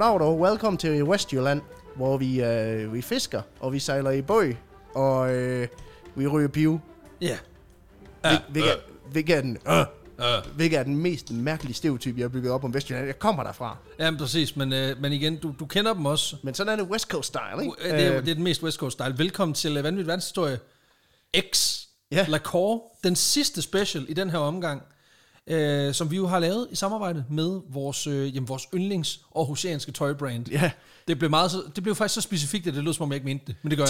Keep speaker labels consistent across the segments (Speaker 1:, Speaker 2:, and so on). Speaker 1: dog. Velkommen til Westjylland, hvor vi, øh, vi fisker, og vi sejler i bøg, og øh, vi ryger piv.
Speaker 2: Ja.
Speaker 1: Hvil- Hvilket, hvilket, er den, øh,
Speaker 2: Øh.
Speaker 1: hvilket er den mest mærkelige stereotyp, jeg har bygget op om Vestjylland. Jeg kommer derfra.
Speaker 2: Jamen præcis, men, øh, men igen, du, du kender dem også.
Speaker 1: Men sådan er det West Coast style,
Speaker 2: Uh,
Speaker 1: ikke?
Speaker 2: Det er, jo- det er den mest West Coast style. Velkommen til uh, Vanvittig Verdenshistorie X.
Speaker 1: Ja.
Speaker 2: Ja. Lacour, den sidste special i den her omgang, øh, som vi jo har lavet i samarbejde med vores, øh, jamen, vores yndlings aarhusianske tøjbrand.
Speaker 1: Øh, ja.
Speaker 2: Det blev, meget, så- det blev faktisk så specifikt, at det lød som om jeg ikke mente det. Men det gør jeg.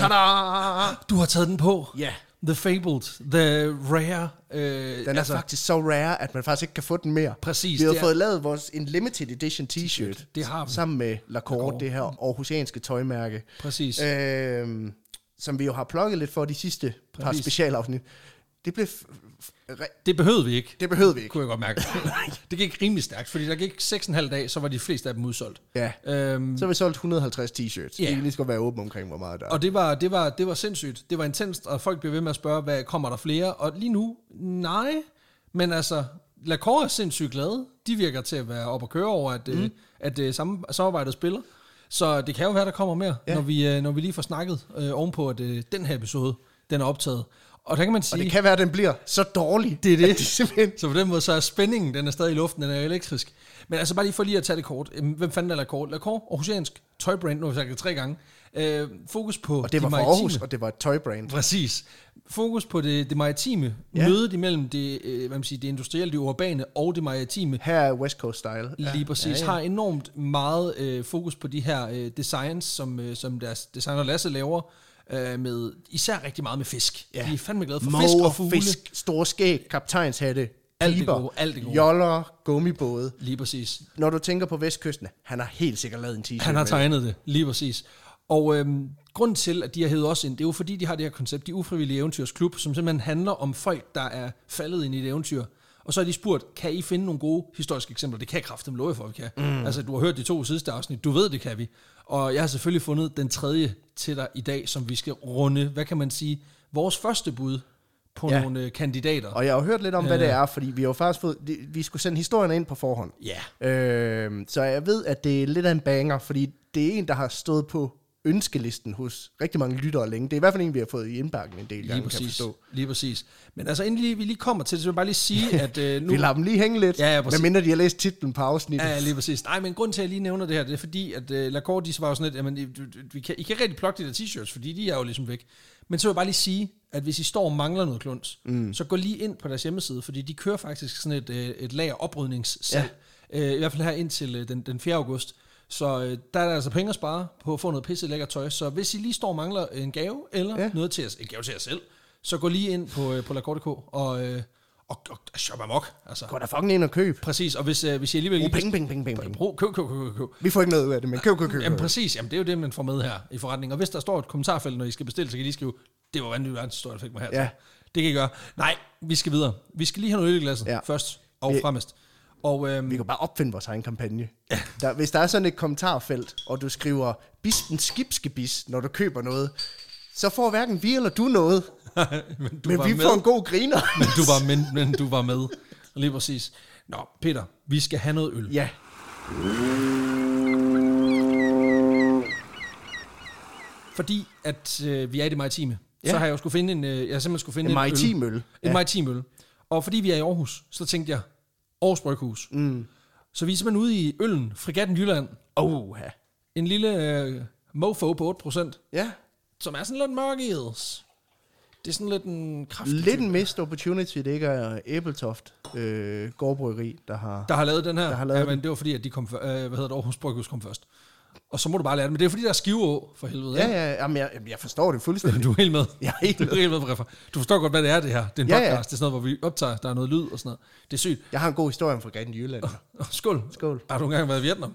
Speaker 1: Tada!
Speaker 2: Du har taget den på.
Speaker 1: Ja.
Speaker 2: The Fabled. The Rare. Øh,
Speaker 1: Den er altså, faktisk så rare, at man faktisk ikke kan få den mere.
Speaker 2: Præcis,
Speaker 1: Vi har
Speaker 2: det er-
Speaker 1: fået lavet vores en limited edition t-shirt.
Speaker 2: Det har vi. Mm.
Speaker 1: Sammen med Lacour, det her aarhusianske tøjmærke.
Speaker 2: Præcis. Øh.
Speaker 1: Øhm, som vi jo har plukket lidt for de sidste Præcis. par
Speaker 2: Præcis.
Speaker 1: specialafsnit. Det blev... F- f- re-
Speaker 2: Det behøvede vi ikke.
Speaker 1: det behøvede vi ikke.
Speaker 2: kunne jeg godt mærke. det gik rimelig stærkt, fordi der gik 6,5 dage, så var de fleste af dem udsolgt.
Speaker 1: Ja.
Speaker 2: Øhm,
Speaker 1: Så har vi solgt 150 t-shirts.
Speaker 2: Ja.
Speaker 1: Yeah. Vi kan lige så godt være åbne omkring, hvor meget der er.
Speaker 2: Og det var, det, var, det var sindssygt. Det var intenst, og folk blev ved med at spørge, hvad kommer der flere? Og lige nu, nej. Men altså, Lacroix er sindssygt glade. De virker til at være op og køre over, at, mm. at, at samme, samarbejdet spiller. Så det kan jo være, der kommer mere, ja. når, vi, øh, når vi lige får snakket øh, ovenpå, at øh, den her episode, den er optaget. Og der kan man
Speaker 1: Og
Speaker 2: sige,
Speaker 1: det kan være, at den bliver så dårlig.
Speaker 2: Det er det.
Speaker 1: At de simpelthen...
Speaker 2: så på den måde, så er spændingen, den er stadig i luften, den er elektrisk. Men altså bare lige for lige at tage det kort. Øhm, Hvem fanden er Lacroix? Lacroix, Aarhusiansk, tøjbrand, nu har vi sagt det tre gange. Øh, fokus på
Speaker 1: Og det var
Speaker 2: de
Speaker 1: fra
Speaker 2: maritime.
Speaker 1: Aarhus, og det var et tøjbrand.
Speaker 2: Præcis. Fokus på det, det maritime.
Speaker 1: Ja.
Speaker 2: Ja. Mødet imellem det, øh, hvad man siger, det industrielle, det urbane og det maritime.
Speaker 1: Her er West Coast Style.
Speaker 2: Ja. Lige præcis. Ja, ja. Har enormt meget øh, fokus på de her øh, designs, som, øh, som deres designer Lasse laver. Øh, med, især rigtig meget med fisk.
Speaker 1: Ja.
Speaker 2: Ja. De er fandme glade for fisk og
Speaker 1: Måger,
Speaker 2: fugle.
Speaker 1: fisk, store skæg, kaptajnshatte,
Speaker 2: Alt det
Speaker 1: piber,
Speaker 2: gode, alt det gode.
Speaker 1: joller, gummibåde.
Speaker 2: Lige præcis.
Speaker 1: Når du tænker på vestkysten, han har helt sikkert lavet en t-shirt
Speaker 2: Han har
Speaker 1: med.
Speaker 2: tegnet det, lige præcis. Og øhm, grunden til, at de har hævet os ind, det er jo fordi, de har det her koncept, de ufrivillige eventyrsklub, som simpelthen handler om folk, der er faldet ind i et eventyr. Og så har de spurgt, kan I finde nogle gode historiske eksempler? Det kan jeg kraftigt love jer for, vi kan. Mm. Altså, du har hørt de to sidste afsnit, du ved, det kan vi. Og jeg har selvfølgelig fundet den tredje til dig i dag, som vi skal runde, hvad kan man sige, vores første bud på
Speaker 1: Ja.
Speaker 2: ja. nogle øh, kandidater.
Speaker 1: Og jeg har jo hørt lidt om, hvad det er, fordi vi har jo faktisk fået, de- vi skulle sende historierne ind på forhånd.
Speaker 2: Ja,
Speaker 1: Øh, så jeg ved, at det er lidt af en banger, fordi det er en, der har stået på ønskelisten hos rigtig mange lyttere længe. Det er i hvert fald en, vi har fået i indbakken en del gange,
Speaker 2: lige
Speaker 1: kan jeg
Speaker 2: præcis.
Speaker 1: forstå.
Speaker 2: Lige præcis. Men altså, inden lige- vi lige kommer til det, så vil jeg bare lige sige, at øh, nu...
Speaker 1: Vi lader dem lige hænge lidt,
Speaker 2: Ja, ja, præcis.
Speaker 1: medmindre de har læst titlen på afsnittet.
Speaker 2: Ja, ja, lige præcis. Nej, men grund til, at jeg lige nævner det her, det er fordi, at uh, Lacour, de var jo sådan lidt, jamen, I, du- du- vi kan, I kan ikke rigtig plukke de der t-shirts, fordi de er jo ligesom væk. Men så vil jeg bare lige sige, at hvis I står og mangler noget kluns, mm. så gå lige ind på deres hjemmeside, fordi de kører faktisk sådan et, øh, et lager oprydningssalg, ja. uh, i hvert fald her indtil uh, den, den 4. august. Så øh, der er der altså penge at spare på at få noget pisse lækker tøj. Så hvis I lige står og mangler en gave, eller
Speaker 1: Ja.
Speaker 2: ja. noget til jer, en gave til jer selv, så gå lige ind på, øh, på Lacour.dk og, øh, og, og shop amok. Altså,
Speaker 1: Gå da fucking ind og køb.
Speaker 2: Præcis, og hvis, øh, hvis I alligevel
Speaker 1: Brug
Speaker 2: ikke
Speaker 1: penge, penge, penge, penge, penge.
Speaker 2: Brug, køb, køb, køb, køb, køb.
Speaker 1: Vi får ikke noget ud af det, men køb, køb, køb.
Speaker 2: Jamen
Speaker 1: køb.
Speaker 2: præcis, jamen, det er jo det, man får med her i forretningen. Og hvis der står et kommentarfelt, når I skal bestille, så kan I lige skrive, det var vanvittigt verdenshistorie, der fik mig her.
Speaker 1: Ja.
Speaker 2: Det kan I gøre. Nej, vi skal videre. Vi skal lige have noget øl i glasset
Speaker 1: Ja.
Speaker 2: ja. først og
Speaker 1: Vi-
Speaker 2: fremmest. Og øhm,
Speaker 1: Vi kan bare opfinde vores egen kampagne. Der, hvis der er sådan et kommentarfelt, og du skriver bispen skibskebis, når du køber noget, så får hverken vi eller du noget.
Speaker 2: men du
Speaker 1: Men
Speaker 2: var
Speaker 1: vi
Speaker 2: med.
Speaker 1: får en god griner.
Speaker 2: Men du var med. Men du var med. Lige præcis. Nå, Peter, vi skal have noget øl.
Speaker 1: ja.
Speaker 2: Fordi at øh, vi er i det maritime,
Speaker 1: Ja.
Speaker 2: så har jeg jo skulle finde en, øh, jeg har simpelthen skulle finde
Speaker 1: En maritim øl.
Speaker 2: En
Speaker 1: Ja.
Speaker 2: maritim øl. Og fordi vi er i Aarhus, så tænkte jeg, Aarhus Bryghus. Mm. Så vi er simpelthen ude i øllen, Fregatten Jylland.
Speaker 1: Oh, ja.
Speaker 2: En lille øh, mofo på 8%,
Speaker 1: Ja.
Speaker 2: som er sådan lidt mørk i eds. Det er sådan lidt en kraftig
Speaker 1: Lidt
Speaker 2: type,
Speaker 1: en missed opportunity, det ikke er Æbletoft øh, gårdbryggeri, der har...
Speaker 2: der har lavet den her.
Speaker 1: har lavet
Speaker 2: ja, men det var fordi, at de kom, før- øh, hvad hedder det, Aarhus Bryghus kom først. Og så må du bare lære det. Men det er fordi, der er skiveå, for helvede.
Speaker 1: Ja, ja, jamen, jeg, jamen, jeg forstår det fuldstændig.
Speaker 2: Du er helt med.
Speaker 1: Jeg er helt
Speaker 2: Du er helt med, Breffer. Du forstår godt, hvad det er, det her. Det er en
Speaker 1: Ja,
Speaker 2: ja,
Speaker 1: ja.
Speaker 2: podcast. Ja. Det er sådan noget, hvor vi optager, der er noget lyd og sådan noget. Det er sygt.
Speaker 1: Jeg har en god historie om Fregatten Jylland.
Speaker 2: Åh, Skål.
Speaker 1: Skål.
Speaker 2: Har du engang været i Vietnam?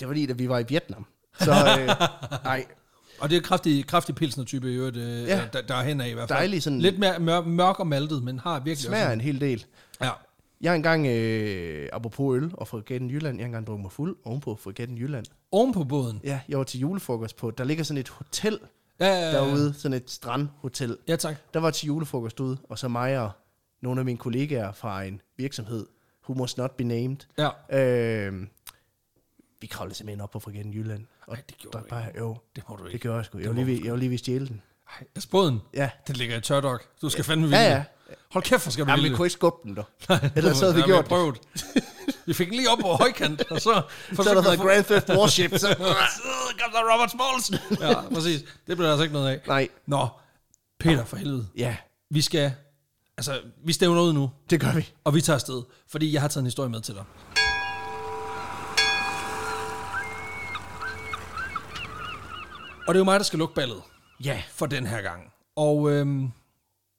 Speaker 1: Det var lige, da vi var i Vietnam. Så øh, nej,
Speaker 2: Og det er kraftig, kraftig pilsner-type i øvrigt,
Speaker 1: Ja.
Speaker 2: ja. der, der er hen af i hvert fald.
Speaker 1: Dejlig sådan-
Speaker 2: Lidt mere mør, mørk og maltet, men har virkelig
Speaker 1: smager en hel del.
Speaker 2: også... Ja.
Speaker 1: Jeg har engang, øh, apropos øl og Fregatten Jylland, jeg har engang drukket mig fuld ovenpå Fregatten Jylland.
Speaker 2: Oven på båden.
Speaker 1: Ja, jeg var til julefrokost på. Der ligger sådan et hotel
Speaker 2: Ja, ja, ja.
Speaker 1: derude, sådan et strandhotel.
Speaker 2: Ja, tak.
Speaker 1: Der var til julefrokost ude, og så mig og nogle af mine kollegaer fra en virksomhed, who must not be named,
Speaker 2: Ja.
Speaker 1: øh, kravlede simpelthen op på Fregatten Jylland. Og
Speaker 2: Ej, det gjorde
Speaker 1: der
Speaker 2: du
Speaker 1: bare, jo,
Speaker 2: Det må du
Speaker 1: det
Speaker 2: ikke.
Speaker 1: gjorde jeg sgu. Jeg var lige ved, jeg var lige ved at stjæle den.
Speaker 2: Ej, altså båden,
Speaker 1: Ja.
Speaker 2: den ligger i tørdok. Du skal fandme
Speaker 1: Ja,
Speaker 2: vinde.
Speaker 1: ja.
Speaker 2: Hold kæft, hvor skal du
Speaker 1: Jamen, vi
Speaker 2: vinde.
Speaker 1: kunne ikke skubbe den, dog.
Speaker 2: Eller
Speaker 1: Ellers så havde vi gjort det.
Speaker 2: prøvet. Vi fik den lige op over højkant, og så...
Speaker 1: Så havde der været Grand Theft Warship. Så,
Speaker 2: øh, Kom der Robert Smalls! ja, præcis. Det blev der altså ikke noget af.
Speaker 1: nej,
Speaker 2: Nå, Peter for helvede.
Speaker 1: ja,
Speaker 2: Vi skal... Altså, vi stævner ud nu,
Speaker 1: det gør vi.
Speaker 2: og vi tager afsted, fordi jeg har taget en historie med til dig. Og det er jo mig, der skal lukke ballet
Speaker 1: Ja,
Speaker 2: for den her gang. Og øhm,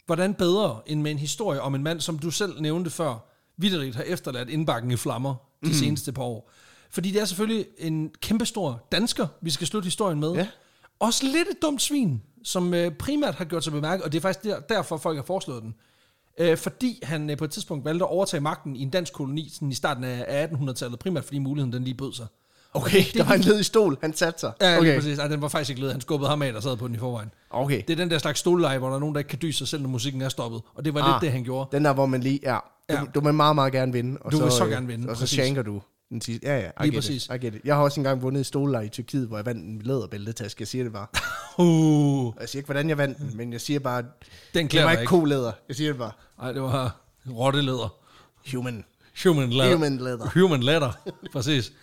Speaker 2: hvordan bedre end med en historie om en mand, som du selv nævnte før, vidderligt har efterladt indbakken i flammer de
Speaker 1: Mhm.
Speaker 2: mm. seneste par år. Fordi det er selvfølgelig en kæmpestor dansker, vi skal slutte historien med.
Speaker 1: Ja.
Speaker 2: Også lidt et dumt svin, som øh, primært har gjort sig bemærket, og det er faktisk der, derfor, folk har foreslået den. Øh, fordi han øh, på et tidspunkt valgte at overtage magten i en dansk koloni sådan i starten af 1800-tallet, primært fordi muligheden den lige bød sig.
Speaker 1: okay, der var en ledig stol, han satte sig.
Speaker 2: Ja, okay.
Speaker 1: okay.
Speaker 2: præcis. Ej, den var faktisk ikke led. Han skubbede ham af, der sad på den i forvejen.
Speaker 1: okay.
Speaker 2: Det er den der slags stoleleje, hvor der er nogen, der ikke kan dyse sig selv, når musikken er stoppet. Og det var ah,
Speaker 1: Ah.
Speaker 2: lidt det, han gjorde.
Speaker 1: Den der, hvor man lige, ja, du,
Speaker 2: Ja.
Speaker 1: du vil meget, meget gerne vinde. Og
Speaker 2: Du
Speaker 1: så,
Speaker 2: vil så
Speaker 1: øh,
Speaker 2: gerne vinde,
Speaker 1: Og så
Speaker 2: præcis.
Speaker 1: shanker du den sidste. Ja, ja, I
Speaker 2: Lige
Speaker 1: get
Speaker 2: præcis.
Speaker 1: It, I get it. Jeg har også engang vundet i stolelej i Tyrkiet, hvor jeg vandt en læderbæltetaske. Jeg siger det bare.
Speaker 2: Uh,
Speaker 1: Og Jeg siger ikke, hvordan jeg vandt den, men jeg siger bare,
Speaker 2: den
Speaker 1: det
Speaker 2: klæder
Speaker 1: var
Speaker 2: mig
Speaker 1: ikke
Speaker 2: ikke.
Speaker 1: kolæder. Jeg siger det bare,
Speaker 2: Nej, det var rotteleder.
Speaker 1: human.
Speaker 2: Human leather.
Speaker 1: Human leather.
Speaker 2: Human leather, præcis.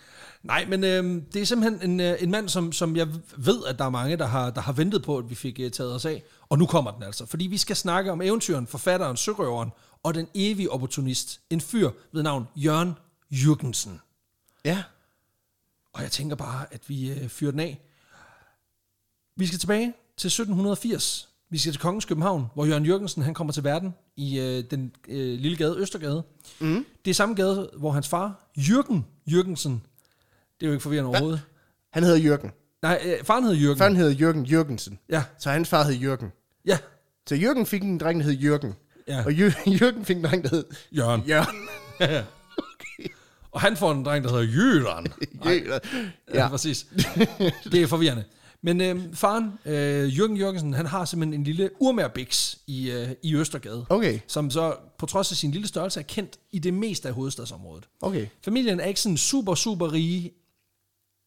Speaker 2: Nej, men øh, det er simpelthen en, øh, en mand, som, som jeg ved, at der er mange, der har, der har ventet på, at vi fik øh, taget os af. Og nu kommer den altså. Fordi vi skal snakke om eventyren, forfatteren, sørøveren og den evige opportunist. En fyr ved navn Jørgen Jürgensen.
Speaker 1: Ja,
Speaker 2: Og jeg tænker bare, at vi øh, fyrer den af. Vi skal tilbage til 1780. Vi skal til Kongens København, hvor Jørgen Jørgensen han kommer til verden i øh, den øh, lille gade Østergade. Mm. Det er samme gade, hvor hans far, Jørgen Jørgensen, det er jo ikke forvirrende overhovedet.
Speaker 1: han hedder Jørgen.
Speaker 2: Nej, øh, faren hed Jørgen.
Speaker 1: Før han hedder Jørgen Jørgensen.
Speaker 2: Ja,
Speaker 1: Så hans far hed Jørgen.
Speaker 2: ja,
Speaker 1: Så Jørgen fik en dreng, der hed Jørgen.
Speaker 2: Ja.
Speaker 1: Og Jør- Jørgen fik en dreng, der hed
Speaker 2: Jørgen.
Speaker 1: Jørgen.
Speaker 2: Ja. Og han får en dreng, der hedder Jørgen. Ja,
Speaker 1: ja.
Speaker 2: præcis. Det er forvirrende. Men øh, faren, øh, Jørgen Jørgensen, han har simpelthen en lille urmærbiks i, øh, i Østergade.
Speaker 1: Okay,
Speaker 2: som så på trods af sin lille størrelse er kendt i det meste af hovedstadsområdet.
Speaker 1: okay.
Speaker 2: Familien er ikke sådan super, super rige,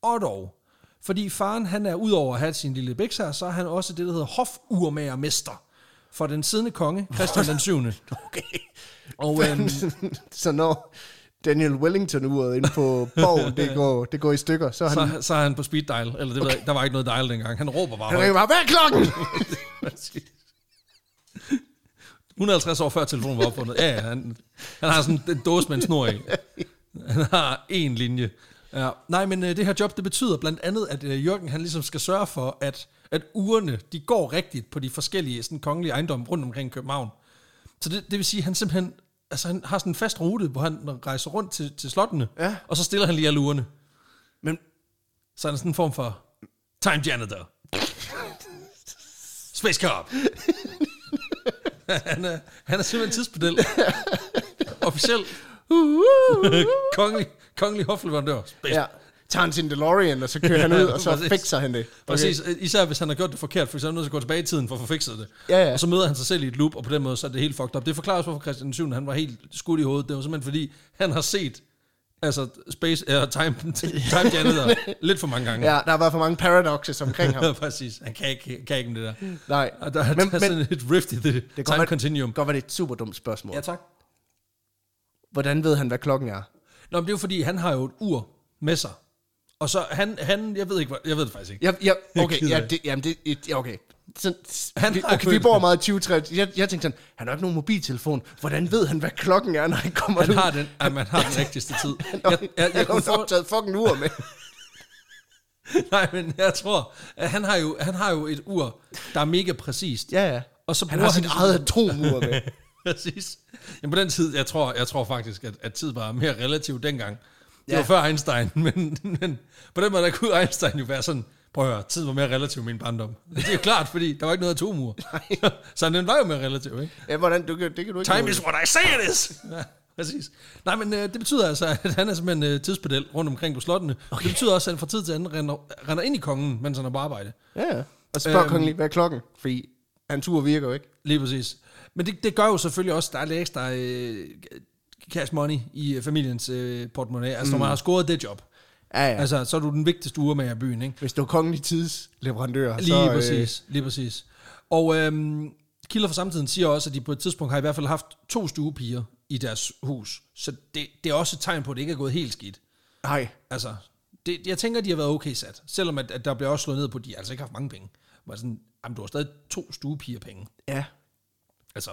Speaker 2: og dog. Fordi faren, han er udover at have sin lille bæks her, så er han også det, der hedder hofurmagermester for den siddende konge, Christian den 7.
Speaker 1: Okay.
Speaker 2: Og øhm,
Speaker 1: så når Daniel Wellington-uret inde på borgen, det går, det går i stykker, så er han...
Speaker 2: så, så er han på speed dial, eller det ved jeg, ikke, der var ikke noget dial dengang. Han råber bare
Speaker 1: Han
Speaker 2: højt.
Speaker 1: ringer bare, hvad er klokken?
Speaker 2: 150 år før telefonen var opfundet. Ja, ja, han, han har sådan en dåse med en snor i. Han har en linje. Ja. Nej, men øh, det her job, det betyder blandt andet, at øh, Jørgen han ligesom skal sørge for, at, at urene, de går rigtigt på de forskellige sådan, kongelige ejendomme rundt omkring København. Så det, det vil sige, at han simpelthen altså, han har sådan en fast rute, hvor han rejser rundt til, til slottene,
Speaker 1: Ja.
Speaker 2: og så stiller han lige alle urene.
Speaker 1: Men
Speaker 2: Så han er sådan en form for time janitor. Space Cop. han, er, han er simpelthen tidspedel. Officiel. kongelig, kongelig hofleverandør. Space. Ja.
Speaker 1: ja, tager han sin DeLorean, og så kører han ud, og så
Speaker 2: Præcis.
Speaker 1: fikser han det. Okay.
Speaker 2: Præcis, især hvis han har gjort det forkert, for eksempel nødt til at gå tilbage i tiden for at få fikset det.
Speaker 1: Ja, ja.
Speaker 2: Og så møder han sig selv i et loop, og på den måde så er det helt fucked up. Det forklarer også, hvorfor Christian den 7. han var helt skudt i hovedet. Det var simpelthen fordi, han har set altså Space, uh, Time, time Janitor lidt for mange gange.
Speaker 1: Ja, der har været for mange paradoxes omkring ham.
Speaker 2: Ja, præcis. Han kan ikke, kan ikke med det der.
Speaker 1: Nej,
Speaker 2: Og der, men, der
Speaker 1: Men-
Speaker 2: er sådan et rift i det, det time
Speaker 1: godt, at-
Speaker 2: continuum.
Speaker 1: godt var det er et super dumt spørgsmål.
Speaker 2: Ja, tak.
Speaker 1: Hvordan ved han, hvad klokken er?
Speaker 2: Nå, men det er jo fordi, han har jo et ur med sig. Og så han, han jeg ved ikke, hvor- jeg ved det faktisk ikke.
Speaker 1: Jeg, jeg, okay,
Speaker 2: keder
Speaker 1: ja,
Speaker 2: det.
Speaker 1: det, jamen det, et- ja, okay. Sådan,
Speaker 2: Han
Speaker 1: han vi,
Speaker 2: har
Speaker 1: okay, vi
Speaker 2: købt-
Speaker 1: bor meget i 2030. Jeg, jeg tænkte sådan, han har ikke nogen mobiltelefon. Hvordan ved han, hvad klokken er, når han kommer
Speaker 2: Han
Speaker 1: ud?
Speaker 2: har den, ja, man har den rigtigste tid. Jeg, jeg, jeg,
Speaker 1: han
Speaker 2: jeg
Speaker 1: har
Speaker 2: kunne
Speaker 1: jo nok
Speaker 2: for,
Speaker 1: taget fucking ur med.
Speaker 2: nej, men jeg tror, at han har, jo, han har jo et ur, der er mega præcist.
Speaker 1: ja, ja.
Speaker 2: Og så
Speaker 1: Han
Speaker 2: bruger
Speaker 1: har sit
Speaker 2: det som-
Speaker 1: eget atomur med.
Speaker 2: Præcis. Jamen på den tid, jeg tror, jeg tror faktisk, at, at tid var mere relativ dengang. Det ja.
Speaker 1: Ja.
Speaker 2: var før Einstein, men, men på den måde, der kunne Einstein jo være sådan, prøv at høre, tid var mere relativ i min barndom. Det er jo klart, fordi der var ikke noget atomur. Så den var jo mere relativ, ikke?
Speaker 1: Ja, hvordan, du, kan- det kan du ikke
Speaker 2: Time is what I say it is. Ja, præcis. Nej, men øh, det betyder altså, at han er simpelthen øh, tidspedel rundt omkring på slottene. Okay. Det betyder også, at han fra tid til anden render, render ind i kongen, mens han er på arbejde.
Speaker 1: Ja, ja. Og spørg øhm, kongen lige, hvad er klokken? Fordi hans ur virker jo ikke.
Speaker 2: Lige præcis. Men det, det gør jo selvfølgelig også, der er lidt ekstra øh, cash money i øh, familiens øh, portemonnaie, altså mm. når man har scoret det job.
Speaker 1: Ja, ja.
Speaker 2: Altså, så er du den vigtigste urmager i byen, ikke?
Speaker 1: Hvis du er kongelig tidsleverandør,
Speaker 2: Lige
Speaker 1: så...
Speaker 2: så, præcis, øh... lige præcis. Og øhm, kilder fra samtiden siger også, at de på et tidspunkt har i hvert fald haft to stuepiger i deres hus. Så det, det er også et tegn på, at det ikke er gået helt skidt.
Speaker 1: Øh, nej,
Speaker 2: Altså, det, jeg tænker, at de har været okay sat. Selvom at, at der bliver også slået ned på, at de har altså ikke haft mange penge. Var sådan, jamen, du har stadig to stuepiger penge.
Speaker 1: ja.
Speaker 2: Altså,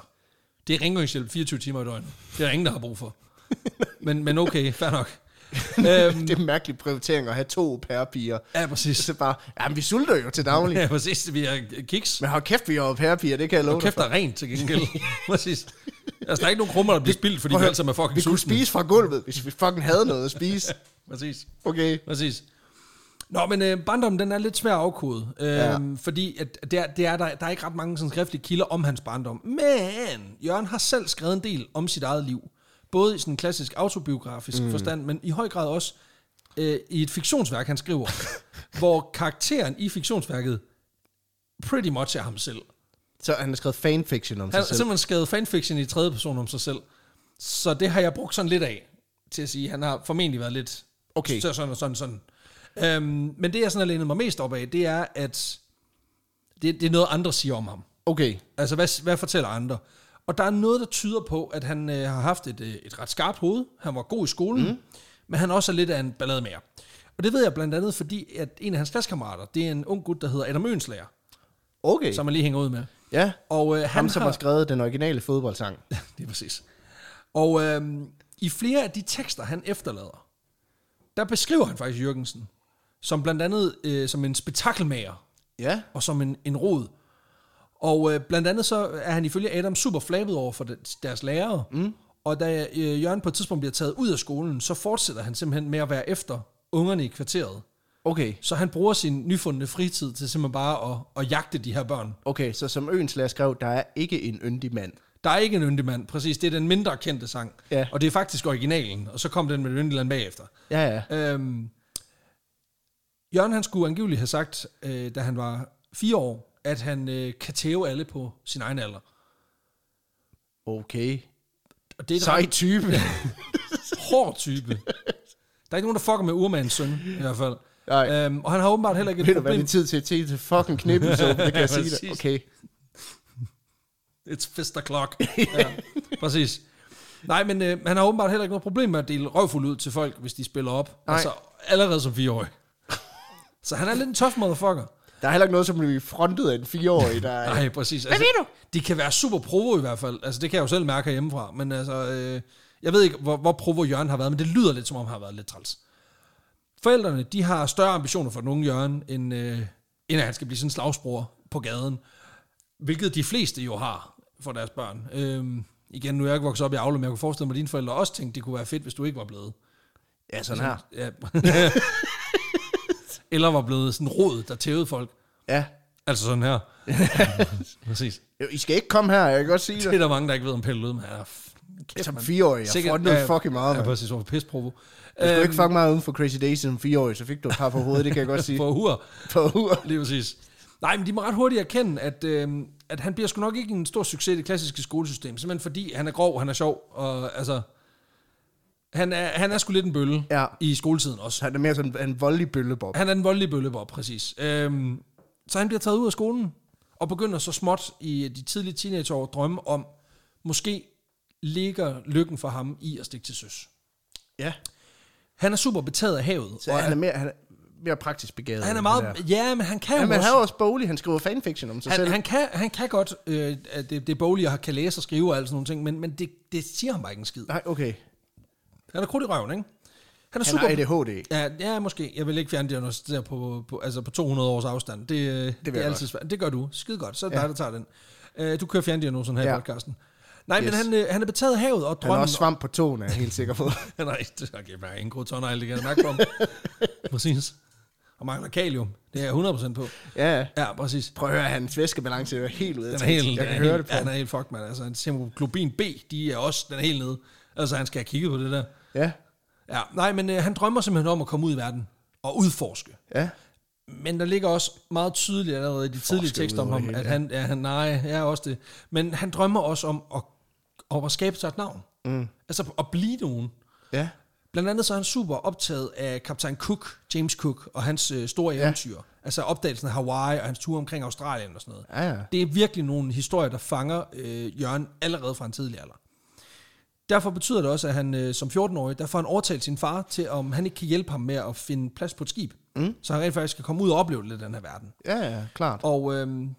Speaker 2: det er rengøringshjælp 24 timer i døgnet. Det er der ingen, der har brug for. men, men okay, fair nok. øhm,
Speaker 1: Det er en mærkelig prioritering at have to pærepiger.
Speaker 2: ja, præcis.
Speaker 1: Så bare, jamen vi sulter jo til daglig.
Speaker 2: Ja, præcis. Vi har kiks.
Speaker 1: Men hold kæft, vi har jo pærepiger, det kan jeg love
Speaker 2: Og kæft, der er rent til gengæld. Præcis. Altså, der er ikke nogen krummer, der bliver spildt, fordi
Speaker 1: Prøv
Speaker 2: vi
Speaker 1: at
Speaker 2: alle sammen er
Speaker 1: høre,
Speaker 2: altså, fucking
Speaker 1: Vi kunne
Speaker 2: sultne.
Speaker 1: spise fra gulvet, hvis vi fucking havde noget at spise.
Speaker 2: Præcis.
Speaker 1: Okay.
Speaker 2: Præcis. Nå, men øh, barndommen, den er lidt svær at afkode, øh, ja.
Speaker 1: Ja.
Speaker 2: fordi at det er, det er, der, der er ikke ret mange sådan, skriftlige kilder om hans barndom. Men Jørgen har selv skrevet en del om sit eget liv, både i sådan en klassisk autobiografisk mm. forstand, men i høj grad også øh, i et fiktionsværk, han skriver, hvor karakteren i fiktionsværket pretty much er ham selv.
Speaker 1: Så han har skrevet fanfiction om
Speaker 2: Han
Speaker 1: sig
Speaker 2: har
Speaker 1: selv.
Speaker 2: simpelthen skrevet fanfiction i tredje person om sig selv. Så det har jeg brugt sådan lidt af, til at sige, han har formentlig været lidt
Speaker 1: Okay.
Speaker 2: så sådan og sådan sådan. Øhm, men det, jeg sådan har lænet mig mest op af, det er, at det, det er noget, andre siger om ham.
Speaker 1: Okay.
Speaker 2: Altså, hvad, hvad fortæller andre? Og der er noget, der tyder på, at han øh, har haft et, øh, et ret skarpt hoved. Han var god i skolen,
Speaker 1: Mhm.
Speaker 2: mm. men han også er lidt af en ballademager. Og det ved jeg blandt andet, fordi at en af hans klassekammerater, det er en ung gut, der hedder Adam Ønslager,
Speaker 1: Okay.
Speaker 2: som jeg lige hænger ud med.
Speaker 1: Ja.
Speaker 2: Og øh, han
Speaker 1: Ham, som
Speaker 2: har...
Speaker 1: har skrevet den originale fodboldsang.
Speaker 2: Det er præcis. Og øhm, i flere af de tekster, han efterlader, der beskriver han faktisk Jørgensen som blandt andet øh, som en spektakelmager
Speaker 1: Ja.
Speaker 2: og som en, en rod. Og øh, blandt andet så er han ifølge Adam super flabet over for de- deres lærere. Mm. Og da øh, Jørgen på et tidspunkt bliver taget ud af skolen, så fortsætter han simpelthen med at være efter ungerne i kvarteret.
Speaker 1: Okay.
Speaker 2: Så han bruger sin nyfundne fritid til simpelthen bare at, at jagte de her børn.
Speaker 1: Okay, så som Øenslager skrev, der er ikke en yndig mand.
Speaker 2: Der er ikke en yndig mand, præcis. Det er den mindre kendte sang.
Speaker 1: Ja.
Speaker 2: Og det er faktisk originalen, og så kom den med Yndeland bagefter.
Speaker 1: Ja, ja.
Speaker 2: Øhm, Jørgen han skulle angiveligt have sagt, øh, da han var fire år, at han øh, kan tæve alle på sin egen alder.
Speaker 1: Okay.
Speaker 2: Og det er et
Speaker 1: Sej
Speaker 2: ret
Speaker 1: type.
Speaker 2: hård type. Der er ikke nogen, der fucker med urmandens søn, i hvert fald.
Speaker 1: Nej.
Speaker 2: Øhm, og han har åbenbart heller ikke
Speaker 1: Ved
Speaker 2: et
Speaker 1: du hvad, det
Speaker 2: problem.
Speaker 1: er tid til at se til fucking knippen, så det kan jeg sige dig.
Speaker 2: Præcis.
Speaker 1: Okay.
Speaker 2: It's fist o'clock. ja, præcis. Nej, men øh, han har åbenbart heller ikke noget problem med at dele røvfuld ud til folk, hvis de spiller op.
Speaker 1: Nej.
Speaker 2: Altså, allerede som fireårig. Så han er lidt en tough motherfucker.
Speaker 1: Der er heller ikke noget, som bliver frontet af en fireårig, der er...
Speaker 2: Nej, præcis. Altså,
Speaker 1: ved du?
Speaker 2: De kan være super provo i hvert fald. Altså, det kan jeg jo selv mærke hjemmefra. Men altså, øh, jeg ved ikke, hvor, hvor provo Jørgen har været, men det lyder lidt, som om han har været lidt træls. Forældrene, de har større ambitioner for den unge Jørgen, end, øh, end at han skal blive sådan en slagsbror på gaden. Hvilket de fleste jo har for deres børn. Øhm, igen, nu er jeg ikke vokset op i Aule, men jeg kunne forestille mig, at dine forældre også tænkte, det kunne være fedt, hvis du ikke var blevet.
Speaker 1: Ja, sådan her.
Speaker 2: Ja. Eller var blevet sådan en rod, der tævede folk.
Speaker 1: Ja.
Speaker 2: Altså sådan her. Præcis.
Speaker 1: I skal ikke komme her, jeg kan godt sige
Speaker 2: Det
Speaker 1: det.
Speaker 2: er der mange, der ikke ved om Pelle Lødem. Han er f- kæft,
Speaker 1: Som
Speaker 2: mand.
Speaker 1: fireårig, jeg
Speaker 2: Sikkert-
Speaker 1: frontede
Speaker 2: ja,
Speaker 1: fucking meget,
Speaker 2: Ja,
Speaker 1: mand.
Speaker 2: præcis. Hvor pisprovo.
Speaker 1: Hvis du
Speaker 2: Øhm,
Speaker 1: ikke fucking meget uden for Crazy Days som fireårig, så fik du et par på hovedet, det kan jeg godt sige.
Speaker 2: For hur.
Speaker 1: På ur.
Speaker 2: Lige præcis. Nej, men de må ret hurtigt erkende, at, øh, at han bliver sgu nok ikke en stor succes i det klassiske skolesystem. Simpelthen fordi han er grov, han er sjov, og altså... Han er, han er sgu lidt en bølle
Speaker 1: Ja.
Speaker 2: i skoletiden også.
Speaker 1: Han er mere sådan en voldelig bøllebob.
Speaker 2: Han er den voldelige bøllebop, præcis. Øhm, så han bliver taget ud af skolen, og begynder så småt i de tidlige teenageår at drømme om, måske ligger lykken for ham i at stikke til søs.
Speaker 1: Ja.
Speaker 2: Han er super betaget af havet.
Speaker 1: Så
Speaker 2: og
Speaker 1: han er mere, han er mere praktisk begavet.
Speaker 2: han er
Speaker 1: end
Speaker 2: meget...
Speaker 1: der.
Speaker 2: Ja, men han kan
Speaker 1: Ja,
Speaker 2: jo
Speaker 1: men han
Speaker 2: også...
Speaker 1: er også bolig, han skriver fanfiction om sig
Speaker 2: Han,
Speaker 1: selv.
Speaker 2: han, kan, han kan godt, øh, at det, det er bolig, og kan læse og skrive og alt sådan nogle ting, men, men det, det siger ham bare ikke en skid.
Speaker 1: Nej, okay.
Speaker 2: Han er krudt i røven, ikke? Han
Speaker 1: Han
Speaker 2: er super...
Speaker 1: har ADHD.
Speaker 2: Ja, ja, måske. Jeg vil ikke fjerne diagnostisere på, på, altså på 200 års afstand. Det, øh, det, det
Speaker 1: jeg
Speaker 2: er
Speaker 1: godt.
Speaker 2: altid svært. Det gør du. Skide godt. Så er det ja. dig, der tager den. Øh, du kører fjerndiagnosen her ja.
Speaker 1: Ja.
Speaker 2: i podcasten. Nej, yes. men
Speaker 1: Yes.
Speaker 2: han, øh, han er betaget af havet og
Speaker 1: Han har
Speaker 2: drømmen.
Speaker 1: også svamp på tåen, er jeg helt sikker på.
Speaker 2: Nej, det er ikke bare ingen grå tårnejl, det kan jeg mærke på ham. Præcis. Og mangler kalium. Det er jeg 100% på.
Speaker 1: ja, ja.
Speaker 2: Ja, præcis.
Speaker 1: Prøv at høre, hans væskebalance er helt ude af
Speaker 2: Den er
Speaker 1: takt.
Speaker 2: helt,
Speaker 1: Jeg kan
Speaker 2: den er
Speaker 1: høre
Speaker 2: helt,
Speaker 1: det på.
Speaker 2: Han
Speaker 1: ham.
Speaker 2: er helt fucked, mand. Altså, hans hemoglobin B, de er også, den er helt nede. Altså, han skal have kigget på det der.
Speaker 1: Ja,
Speaker 2: Ja, nej, men øh, han drømmer simpelthen om at komme ud i verden og udforske.
Speaker 1: ja.
Speaker 2: Men der ligger også meget tydeligt allerede i de tidlige
Speaker 1: Forsker
Speaker 2: tekster om
Speaker 1: ud over
Speaker 2: ham,
Speaker 1: det
Speaker 2: at
Speaker 1: hele,
Speaker 2: han, ja, han, nej, jeg er også det. Men han drømmer også om at, om at skabe sig et navn. Mm. Altså at blive nogen.
Speaker 1: Ja.
Speaker 2: Blandt andet så er han super optaget af kaptajn Cook, James Cook, og hans øh, store
Speaker 1: Ja.
Speaker 2: eventyr. Altså opdagelsen af Hawaii og hans tur omkring Australien og sådan noget.
Speaker 1: Ja, ja.
Speaker 2: Det er virkelig nogle historier, der fanger øh, Jørgen allerede fra en tidlig alder. Derfor betyder det også, at han øh, som 14-årig, der får han overtalt sin far til, om han ikke kan hjælpe ham med at finde plads på et skib. Mm. Så han rent faktisk kan komme ud og opleve lidt af den her verden.
Speaker 1: Ja, ja, klart.
Speaker 2: Og øhm,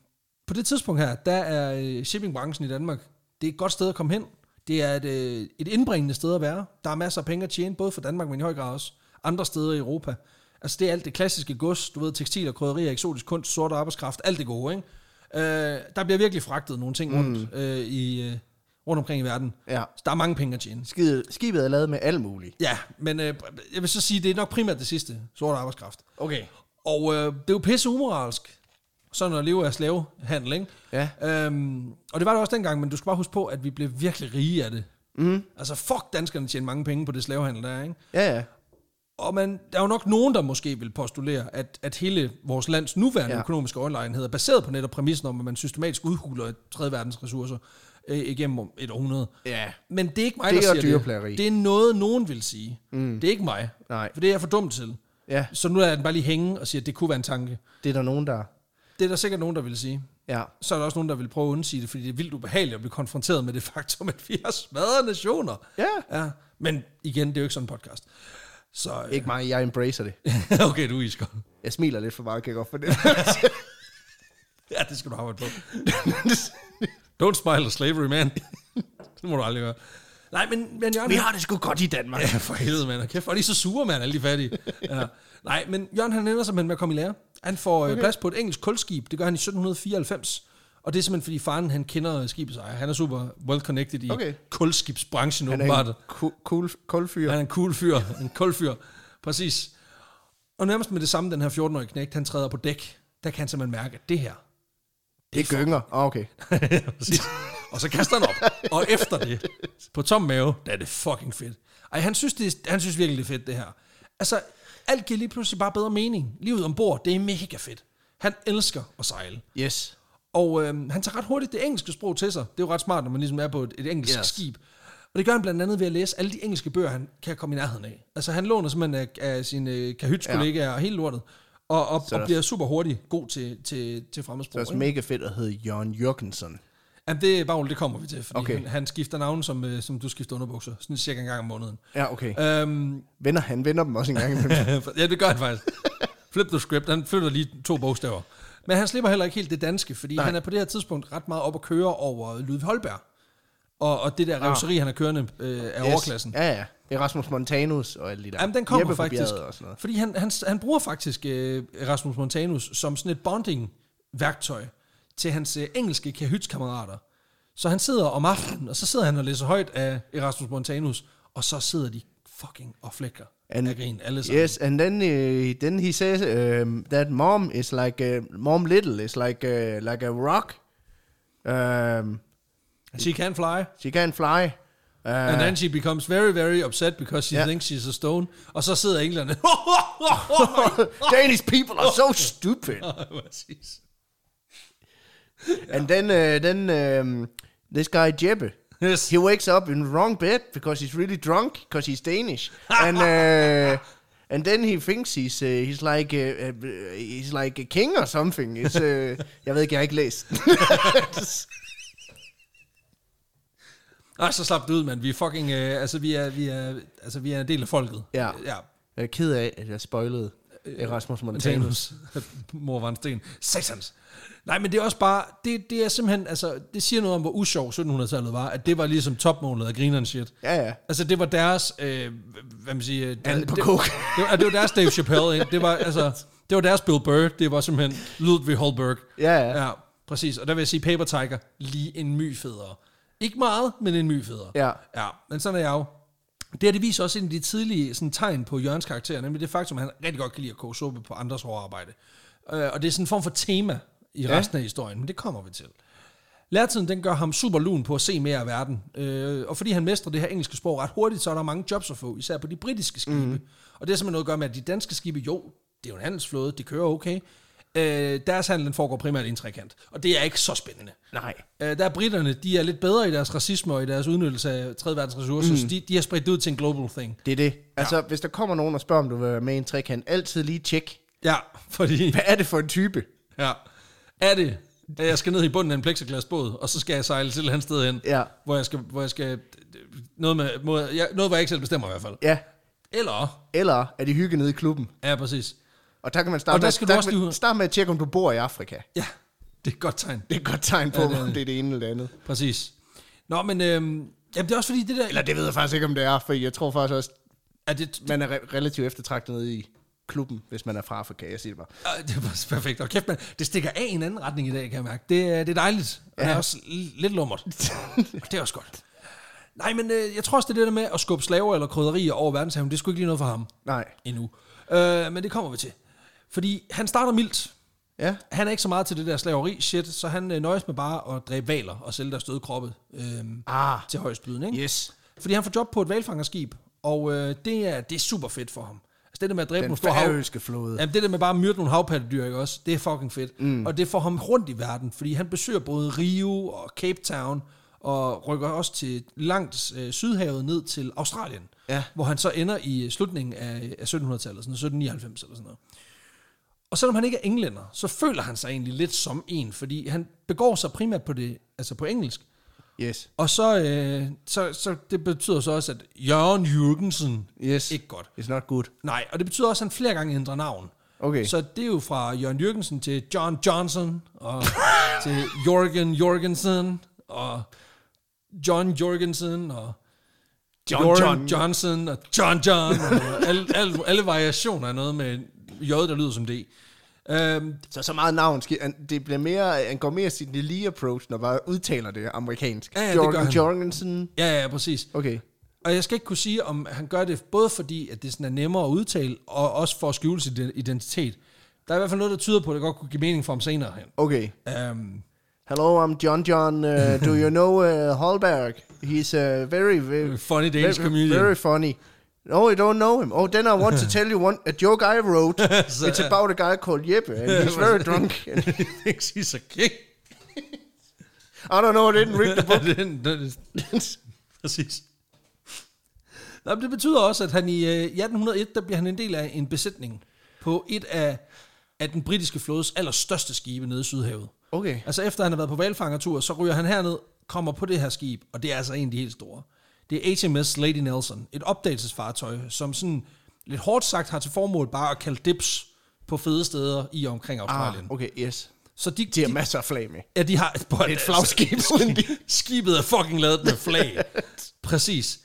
Speaker 2: på det tidspunkt her, der er øh, shippingbranchen i Danmark, det er et godt sted at komme hen. Det er et, øh, et indbringende sted at være. Der er masser af penge at tjene, både for Danmark, men i høj grad også andre steder i Europa. Altså det er alt det klassiske gods, du ved, tekstiler, krydderier, eksotisk kunst, sort arbejdskraft, alt det gode, ikke? Øh, der bliver virkelig fragtet nogle ting rundt, mm. øh, i, øh, rundt omkring i verden.
Speaker 1: Ja.
Speaker 2: Så der er mange penge at tjene.
Speaker 1: Skibet, skibet er lavet med alt muligt.
Speaker 2: Ja, men øh, jeg vil så sige, det er nok primært det sidste, sort arbejdskraft.
Speaker 1: Okay.
Speaker 2: Og øh, det er jo pisse umoralsk, sådan at leve af slavehandel, ikke?
Speaker 1: Ja.
Speaker 2: Øhm, og det var det også dengang, men du skal bare huske på, at vi blev virkelig rige af det. Mm. Altså fuck, danskerne tjener mange penge på det slavehandel, der er, ikke?
Speaker 1: Ja, ja.
Speaker 2: Og man, der er jo nok nogen, der måske vil postulere, at, at hele vores lands nuværende ja.
Speaker 1: Ja.
Speaker 2: økonomiske overlegenhed er baseret på netop præmissen om, at man systematisk udhuler et tredje verdens ressourcer øh, igennem et århundrede.
Speaker 1: Ja.
Speaker 2: Men det er ikke mig,
Speaker 1: Det
Speaker 2: der
Speaker 1: er
Speaker 2: siger
Speaker 1: dyreplageri.
Speaker 2: det. Det er noget, nogen vil sige. Mm. Det er ikke mig.
Speaker 1: Nej.
Speaker 2: For det er jeg for dum til.
Speaker 1: Ja,
Speaker 2: Så nu lader jeg den bare lige hænge og siger, at det kunne være en tanke.
Speaker 1: det er der nogen, der...
Speaker 2: Det er der sikkert nogen, der vil sige.
Speaker 1: Ja.
Speaker 2: Så er der også nogen, der vil prøve at undsige det, fordi det er vildt ubehageligt at blive konfronteret med det faktum, at vi har smadret nationer.
Speaker 1: Ja.
Speaker 2: ja. Men igen, det er jo ikke sådan en podcast. Så øh,
Speaker 1: Ikke mig, jeg embracer det.
Speaker 2: okay, du er iskold.
Speaker 1: Jeg smiler lidt for meget, kan jeg godt for det.
Speaker 2: Ja, det skal du arbejde på. Don't smile at slavery, man. det må du aldrig gøre. Nej, men, men Jørgen...
Speaker 1: Vi har det sgu godt i Danmark.
Speaker 2: Ja, for helvede, mand. Og Kæft, hvor er de så sure, mand, alle de fattige. Ja. Nej, men Jørgen, han ender simpelthen med at komme i lære. Han får okay. plads på et engelsk kulskib. Det gør han i 1794. Og det er simpelthen, fordi faren, han kender skibets ejer. Han er super well connected i okay.
Speaker 1: Okay.
Speaker 2: kulskibsbranchen,
Speaker 1: Han
Speaker 2: åbenbart.
Speaker 1: er en ku- cool, kold fyr.
Speaker 2: Han er en cool fyr. En kold fyr. Præcis. Og nærmest med det samme, den her 14-årige knægt, han træder på dæk. Der kan han simpelthen mærke, at det her,
Speaker 1: Det gynger. Ah, okay.
Speaker 2: Ja, præcis. og så kaster han op. Og efter det, på tom mave, der er det fucking fedt. Ej, han synes, det er, han synes virkelig, det er fedt, det her. Altså, alt giver lige pludselig bare bedre mening. Livet ombord, det er mega fedt. Han elsker at sejle.
Speaker 1: Yes.
Speaker 2: Og øhm, han tager ret hurtigt det engelske sprog til sig. Det er jo ret smart, når man ligesom er på et, et engelsk yes.
Speaker 1: Yes.
Speaker 2: skib. Og det gør han blandt andet ved at læse alle de engelske bøger, han kan komme i nærheden af. Altså han låner simpelthen af, af sine kahytskollegaer ja. og hele lortet. Og, og, og
Speaker 1: der-
Speaker 2: bliver super hurtigt god til, til, til
Speaker 1: Det
Speaker 2: fremmedsprog.
Speaker 1: er også mega fedt at hedde Jørgen Jørgensen.
Speaker 2: Jamen, det, Bagl, det kommer vi til, fordi okay.
Speaker 1: Okay.
Speaker 2: han, han skifter navn, som, øh, som du skifter underbukser, sådan cirka en gang om måneden.
Speaker 1: Ja, okay.
Speaker 2: Øhm,
Speaker 1: Vender, Øh, han vender dem også en gang imellem.
Speaker 2: ja, det gør han faktisk. Flip the script, han flytter lige to bogstaver. Men han slipper heller ikke helt det danske, fordi Nej. han er på det her tidspunkt ret meget op at køre over Ludvig Holberg. Og, og det der revseri, han er kørende øh, af yes. overklassen.
Speaker 1: Ja, ja. Erasmus Montanus og alle de der.
Speaker 2: Jamen, den kommer
Speaker 1: Jeppe på
Speaker 2: faktisk.
Speaker 1: bjerget Og sådan noget.
Speaker 2: Fordi han, han, han bruger faktisk øh, Rasmus Montanus som sådan et bonding-værktøj til hans øh, engelske kahytskammerater. Så han sidder om aftenen, og så sidder han og læser højt af Erasmus Montanus, og så sidder de fucking og flækker
Speaker 1: And-
Speaker 2: af grin alle sammen.
Speaker 1: Yes, and then, uh, then he says um, that mom is like, uh, mom little is like, uh, like a rock. Um,
Speaker 2: She can fly,
Speaker 1: she can fly. Uh,
Speaker 2: and then she becomes very, very upset because she
Speaker 1: Ja.
Speaker 2: thinks she's a stone. Og så sidder englerne.
Speaker 1: Danish people are so stupid.
Speaker 2: Præcis.
Speaker 1: And then, uh, then um, this guy Jeppe,
Speaker 2: yes.
Speaker 1: he wakes up in the wrong bed because he's really drunk because he's Danish, and uh, and then he thinks he's uh, he's like uh, uh, he's like a king or something. It's, uh, jeg ved ikke, jeg har ikke læst.
Speaker 2: Ej, så slap det ud, mand. Vi er fucking... Øh, altså, vi er, vi, er, altså, vi er en del af folket.
Speaker 1: Ja.
Speaker 2: ja.
Speaker 1: jeg er ked af, at jeg spoilede Erasmus Montanus.
Speaker 2: Montanus. Mor var en sten. Satans. Nej, men det er også bare, det, det er simpelthen, altså, det siger noget om, hvor usjov 1700-tallet var, at det var ligesom topmålet af grineren shit.
Speaker 1: Ja, ja.
Speaker 2: Altså, det var deres, øh, hvad man siger... Der,
Speaker 1: Anden på
Speaker 2: det,
Speaker 1: coke.
Speaker 2: det, var, det var deres Dave Chappelle, ikke? Det var, altså, det var deres Bill Burr, det var simpelthen Ludwig Holberg.
Speaker 1: Ja, ja.
Speaker 2: Ja, præcis. Og der vil jeg sige Paper Tiger, lige en my federe. Ikke meget, men en my federe.
Speaker 1: Ja.
Speaker 2: Ja, men sådan er jeg jo. Det her, det viser også en af de tidlige sådan, tegn på Jørgens karakter, nemlig det faktum, at han rigtig godt kan lide at koge suppe på andres hårde arbejde. Øh, og det er sådan en form for tema i resten af historien, men det kommer vi til. Lærtiden, den gør ham super lun på at se mere af verden. Øh, og fordi han mestrer det her engelske sprog ret hurtigt, så er der mange jobs at få, især på de britiske skibe. Mm. Og det har simpelthen noget at gøre med, at de danske skibe, jo, det er jo en handelsflåde, det kører okay, Øh, deres handel foregår primært i en trekant, og det er ikke så spændende.
Speaker 1: Nej.
Speaker 2: Øh, der er britterne, de er lidt bedre i deres racisme og i deres udnyttelse af 3. verdens ressourcer, mm. så de, de har spredt det ud til en global thing.
Speaker 1: Det er det. Altså, ja. hvis der kommer nogen og spørger, om du vil være med i en trekant, altid lige tjek.
Speaker 2: Ja, fordi...
Speaker 1: Hvad er det for en type?
Speaker 2: Ja. Er det, at jeg skal ned i bunden af en plexiglasbåd, og så skal jeg sejle til et eller andet sted hen,
Speaker 1: Ja.
Speaker 2: hvor jeg skal... Hvor jeg skal noget, med, må, jeg, noget, hvor jeg ikke selv bestemmer i hvert fald.
Speaker 1: Ja.
Speaker 2: Eller...
Speaker 1: Eller er de hygge nede i klubben?
Speaker 2: Ja, præcis.
Speaker 1: Og der kan man starte,
Speaker 2: Og der
Speaker 1: med,
Speaker 2: skal du
Speaker 1: starte,
Speaker 2: også lige
Speaker 1: med,
Speaker 2: ud-
Speaker 1: starte med at tjekke, om du bor i Afrika.
Speaker 2: Ja, det er et godt tegn.
Speaker 1: Det er et godt tegn på, ja,
Speaker 2: det er
Speaker 1: det om det er det ene eller det andet.
Speaker 2: Præcis. Nå, men... Øhm, jamen, det er også fordi det der...
Speaker 1: Eller det ved jeg faktisk ikke, om det er, for jeg tror faktisk også,
Speaker 2: Er det,
Speaker 1: man er re- relativt eftertragtet nede i klubben, hvis man er fra Afrika. Jeg siger det bare.
Speaker 2: Ej, Det var perfekt. Og kæft, man, det stikker af i en anden retning i dag, kan jeg mærke. Det, er- det er dejligt, og ja. det er også l- lidt lummert. og det er også godt. Nej, men øh, jeg tror også, det er det der med at skubbe slaver eller krydderier over verdenshavnen, det skulle ikke lige noget for ham
Speaker 1: Nej.
Speaker 2: endnu. Øh, men det kommer vi til. Fordi han starter mildt.
Speaker 1: Ja.
Speaker 2: Han er ikke så meget til det der slaveri shit, så han øh, nøjes med bare at dræbe valer og sælge deres døde kroppe øh,
Speaker 1: Ah.
Speaker 2: til højstbydende. Ikke?
Speaker 1: Yes.
Speaker 2: Fordi han får job på et valfangerskib, og øh, det, er, det er super fedt for ham. Altså det der med at dræbe
Speaker 1: Den
Speaker 2: nogle store hav...
Speaker 1: færøske flåde.
Speaker 2: Jamen det der med bare at myrde nogle havpattedyr, ikke også? Det er fucking fedt. Mm. Og det får ham rundt i verden, fordi han besøger både Rio og Cape Town, og rykker også til langt øh, sydhavet ned til Australien,
Speaker 1: Ja.
Speaker 2: hvor han så ender i øh, slutningen af, af 1700-tallet, sådan noget, 1799 eller sådan noget. Og selvom han ikke er englænder, så føler han sig egentlig lidt som en, fordi han begår sig primært på det, altså på engelsk,
Speaker 1: Yes.
Speaker 2: og så, øh, så, så det betyder så også, at Jørgen Jørgensen
Speaker 1: Yes.
Speaker 2: ikke godt.
Speaker 1: It's not good.
Speaker 2: Nej, og det betyder også, at han flere gange ændrer navn.
Speaker 1: Okay.
Speaker 2: Så det er jo fra Jørgen Jørgensen til John Johnson, og til Jorgen Jorgensen, og John Jorgensen, og
Speaker 1: John
Speaker 2: Jorgen
Speaker 1: John.
Speaker 2: Johnson, og John John, og alle, alle, alle variationer af noget med J, der lyder som D. Øhm,
Speaker 1: Så så meget navn. sker- han- Det bliver mere, han går mere sin lige approach, når bare udtaler det amerikansk.
Speaker 2: Ja, ja, det gør
Speaker 1: Jorgen
Speaker 2: han.
Speaker 1: Jorgensen.
Speaker 2: ja, ja, præcis.
Speaker 1: Okay.
Speaker 2: Og jeg skal ikke kunne sige, om han gør det både fordi, at det sådan er nemmere at udtale, og også for at skjule sin ide- identitet. Der er i hvert fald noget, der tyder på, at det godt kunne give mening for ham senere hen.
Speaker 1: Okay.
Speaker 2: Um,
Speaker 1: Hello, I'm John John. Uh, do you know uh, Holberg? He's uh, very, very,
Speaker 2: funny Danish
Speaker 1: very,
Speaker 2: comedian.
Speaker 1: very funny. No, I don't know him. Oh, then I want to tell you one a joke I wrote. it's about a guy called Jeppe, and he's very drunk. And
Speaker 2: thinks he's a king.
Speaker 1: I don't know. I didn't read the book.
Speaker 2: Den- den- Præcis. Nå, men det betyder også, at han i, øh, i 1801, der bliver han en del af en besætning på et af, af den britiske flådes allerstørste skibe nede i Sydhavet.
Speaker 1: Okay.
Speaker 2: Altså efter han har været på valfangertur, så ryger han herned, kommer på det her skib, og det er altså en af de helt store. Det er HMS Lady Nelson, et opdagelsesfartøj, som sådan lidt hårdt sagt har til formål bare at kalde dips på fede steder i og omkring Australien.
Speaker 1: Ah, okay, yes.
Speaker 2: Så de,
Speaker 1: De har
Speaker 2: de-
Speaker 1: masser af flag med.
Speaker 2: Ja, de har et, et, et flagskib.
Speaker 1: uden de-
Speaker 2: Skibet er fucking lavet med flag. Præcis.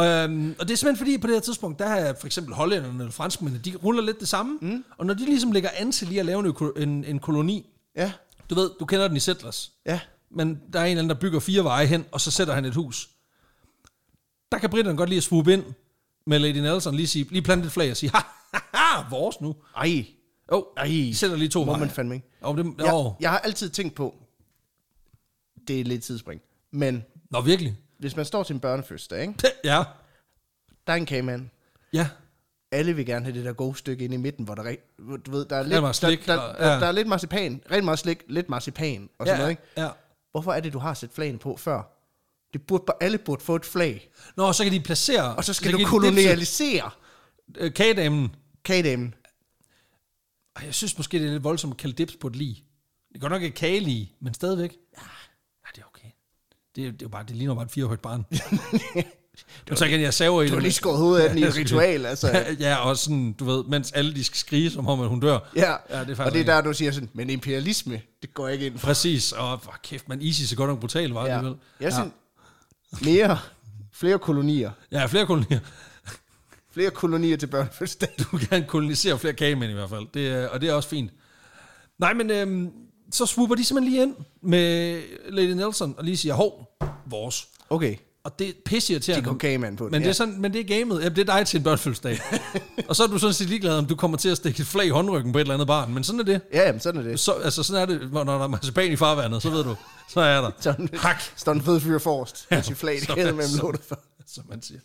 Speaker 2: Øhm, og det er simpelthen fordi, på det her tidspunkt, der er for eksempel hollænderne eller franskmændene, de ruller lidt det samme. Mm. Og når de ligesom lægger an til lige at lave en, øko- en, en koloni,
Speaker 1: Ja,
Speaker 2: du ved, du kender den i Settlers,
Speaker 1: ja.
Speaker 2: men der er en eller anden, der bygger fire veje hen, og så sætter han et hus. Der kan britterne godt lige at swoop ind med Lady Nelson, lige, sige, lige plante et flag og sige, ha, ha, ha, vores nu.
Speaker 1: Ej,
Speaker 2: Jo, oh,
Speaker 1: ej.
Speaker 2: de sætter lige to
Speaker 1: Må
Speaker 2: veje.
Speaker 1: man fandme ikke.
Speaker 2: Oh, det, ja.
Speaker 1: Jeg, jeg har altid tænkt på, det er lidt tidsspring, men
Speaker 2: Nå, virkelig.
Speaker 1: hvis man står til en børnefødselsdag, ikke?
Speaker 2: Ja,
Speaker 1: der er en kagemand.
Speaker 2: ja.
Speaker 1: Alle vil gerne have det der gode stykke inde i midten, hvor der, rigt- hvor du ved, der er lidt,
Speaker 2: meget slik,
Speaker 1: der,
Speaker 2: og-
Speaker 1: der, der,
Speaker 2: ja.
Speaker 1: der er lidt marcipan, rent meget slik, lidt marcipan og sådan
Speaker 2: ja,
Speaker 1: noget. Ikke?
Speaker 2: Ja.
Speaker 1: Hvorfor er det, du har sat flagene på før? Det burde, bare- alle burde få et flag,
Speaker 2: Nå, så kan de placere...
Speaker 1: og så skal du
Speaker 2: kan de dipse,
Speaker 1: kolonialisere
Speaker 2: øh, Kagedamen.
Speaker 1: kagedamen.
Speaker 2: Ej, Jeg synes måske, det er lidt voldsomt at kalde dips på et lig. Det går nok ikke kage lige, men stadigvæk. Ja, ja det er okay. Det, er- det, er jo bare, det ligner bare et firehøjt barn. Men så kan jeg
Speaker 1: Du
Speaker 2: saver i det.
Speaker 1: har
Speaker 2: men-
Speaker 1: lige skåret hovedet af den i et ritual, altså.
Speaker 2: ja, og sådan, du ved, mens alle de skal skrige, som om at hun dør.
Speaker 1: Ja,
Speaker 2: ja det er faktisk
Speaker 1: og det er
Speaker 2: rigtigt.
Speaker 1: der, du siger sådan, men imperialisme, det går jeg ikke ind for.
Speaker 2: Præcis, og for kæft, man Isis er godt nok brutal, var
Speaker 1: Ja.
Speaker 2: ja. det vel?
Speaker 1: Jeg synes, mere, flere kolonier.
Speaker 2: ja, flere kolonier.
Speaker 1: Flere kolonier til børnefødselsdag.
Speaker 2: Du kan kolonisere flere kagemænd i hvert fald, det, er- og det er også fint. Nej, men øhm, så swooper de simpelthen lige ind med Lady Nelson og lige siger, hov, vores.
Speaker 1: Okay,
Speaker 2: Og det er pisse irriterende.
Speaker 1: det går kagemanden på den.
Speaker 2: men, det
Speaker 1: ja.
Speaker 2: er sådan, men det er gamet. Jamen, det er dig til en børnefødselsdag. og så er du sådan set ligeglad, om du kommer til at stikke et flag i håndryggen på et eller andet barn. Men sådan er det.
Speaker 1: Ja, jamen, sådan er det.
Speaker 2: Så, altså, sådan er det, når når der er marcipan i farvandet, så ved du, så er jeg der.
Speaker 1: Sådan.
Speaker 2: Hak,
Speaker 1: Står en fed fyr forrest, med sit flag, det
Speaker 2: så-
Speaker 1: kæder mellem
Speaker 2: så-
Speaker 1: lortet for.
Speaker 2: som man siger.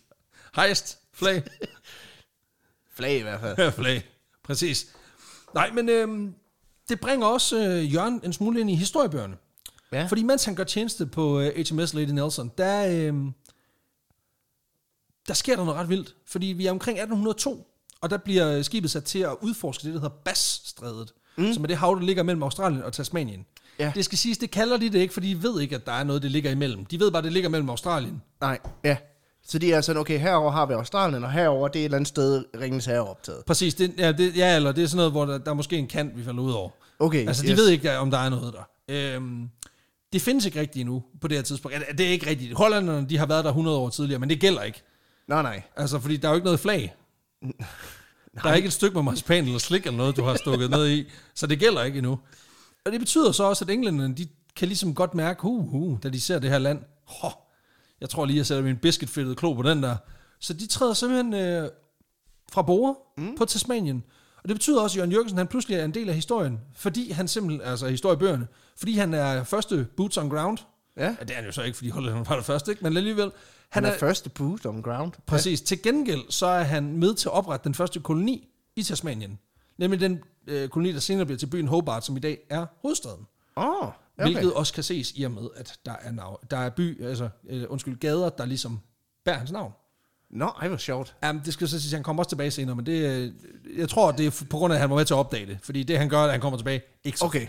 Speaker 2: Hejst, flag,
Speaker 1: Flag i hvert fald.
Speaker 2: flag. Præcis. Nej, men øhm, det bringer også øh, Jørgen en smule ind i historiebøgerne.
Speaker 1: Ja.
Speaker 2: Fordi mens han gør tjeneste på øh, HMS Lady Nelson, der, øh, der sker der noget ret vildt. Fordi vi er omkring 1802, og der bliver øh, skibet sat til at udforske det, der hedder Bassstrædet, mm. som er det hav, der ligger mellem Australien og Tasmanien.
Speaker 1: Ja.
Speaker 2: Det skal siges, det kalder de det ikke, fordi de ved ikke, at der er noget, det ligger imellem. De ved bare, at det ligger mellem Australien.
Speaker 1: Nej, ja. Så de er sådan, okay, herover har vi Australien, og herover det er et eller andet sted, Ringens Herre er optaget.
Speaker 2: Præcis, det, ja, det, ja, eller det er sådan noget, hvor der, der er måske en kant, vi falder ud over.
Speaker 1: Okay,
Speaker 2: Altså, de yes. ved ikke, der- om der er noget der. Øhm, det findes ikke rigtigt endnu på det her tidspunkt. Ja, Det er ikke rigtigt. Hollanderne, de har været der 100 år tidligere, men det gælder ikke.
Speaker 1: Nej, nej.
Speaker 2: Altså, fordi der er jo ikke noget flag. Der er ikke et stykke med marcipan eller slik eller noget, du har stukket ned i. Så det gælder ikke endnu. Og det betyder så også, at englænderne, de kan ligesom godt mærke, hu, hu, da de ser det her land. Hå, jeg tror lige, jeg sætter min biscuitfedtede klo på den der. Så de træder simpelthen øh, fra bordet mm. på Tasmanien. Og det betyder også, at Jørgen Jørgensen han pludselig er en del af historien, fordi han simpelthen, altså historiebøgerne, fordi han er første boots on ground.
Speaker 1: Ja,
Speaker 2: Ja, det er han jo så ikke, fordi holdet var der først, ikke? men alligevel.
Speaker 1: han er, første boot on ground.
Speaker 2: Præcis. Til gengæld så er han med til at oprette den første koloni i Tasmanien. Nemlig den øh, koloni, der senere bliver til byen Hobart, som i dag er hovedstaden.
Speaker 1: Åh, oh,
Speaker 2: Okay.
Speaker 1: okay.
Speaker 2: Hvilket også kan ses i og med, at der er, nav- der er by, altså, øh, undskyld, gader, der ligesom bærer hans navn.
Speaker 1: Nå, ej, hvor sjovt.
Speaker 2: Jamen, det skal så siges, at han kommer også tilbage senere, men det, øh, jeg tror, det er f- på grund af, at han var med til at opdage det. Fordi det, han gør, at han kommer tilbage, ikke så
Speaker 1: Okay.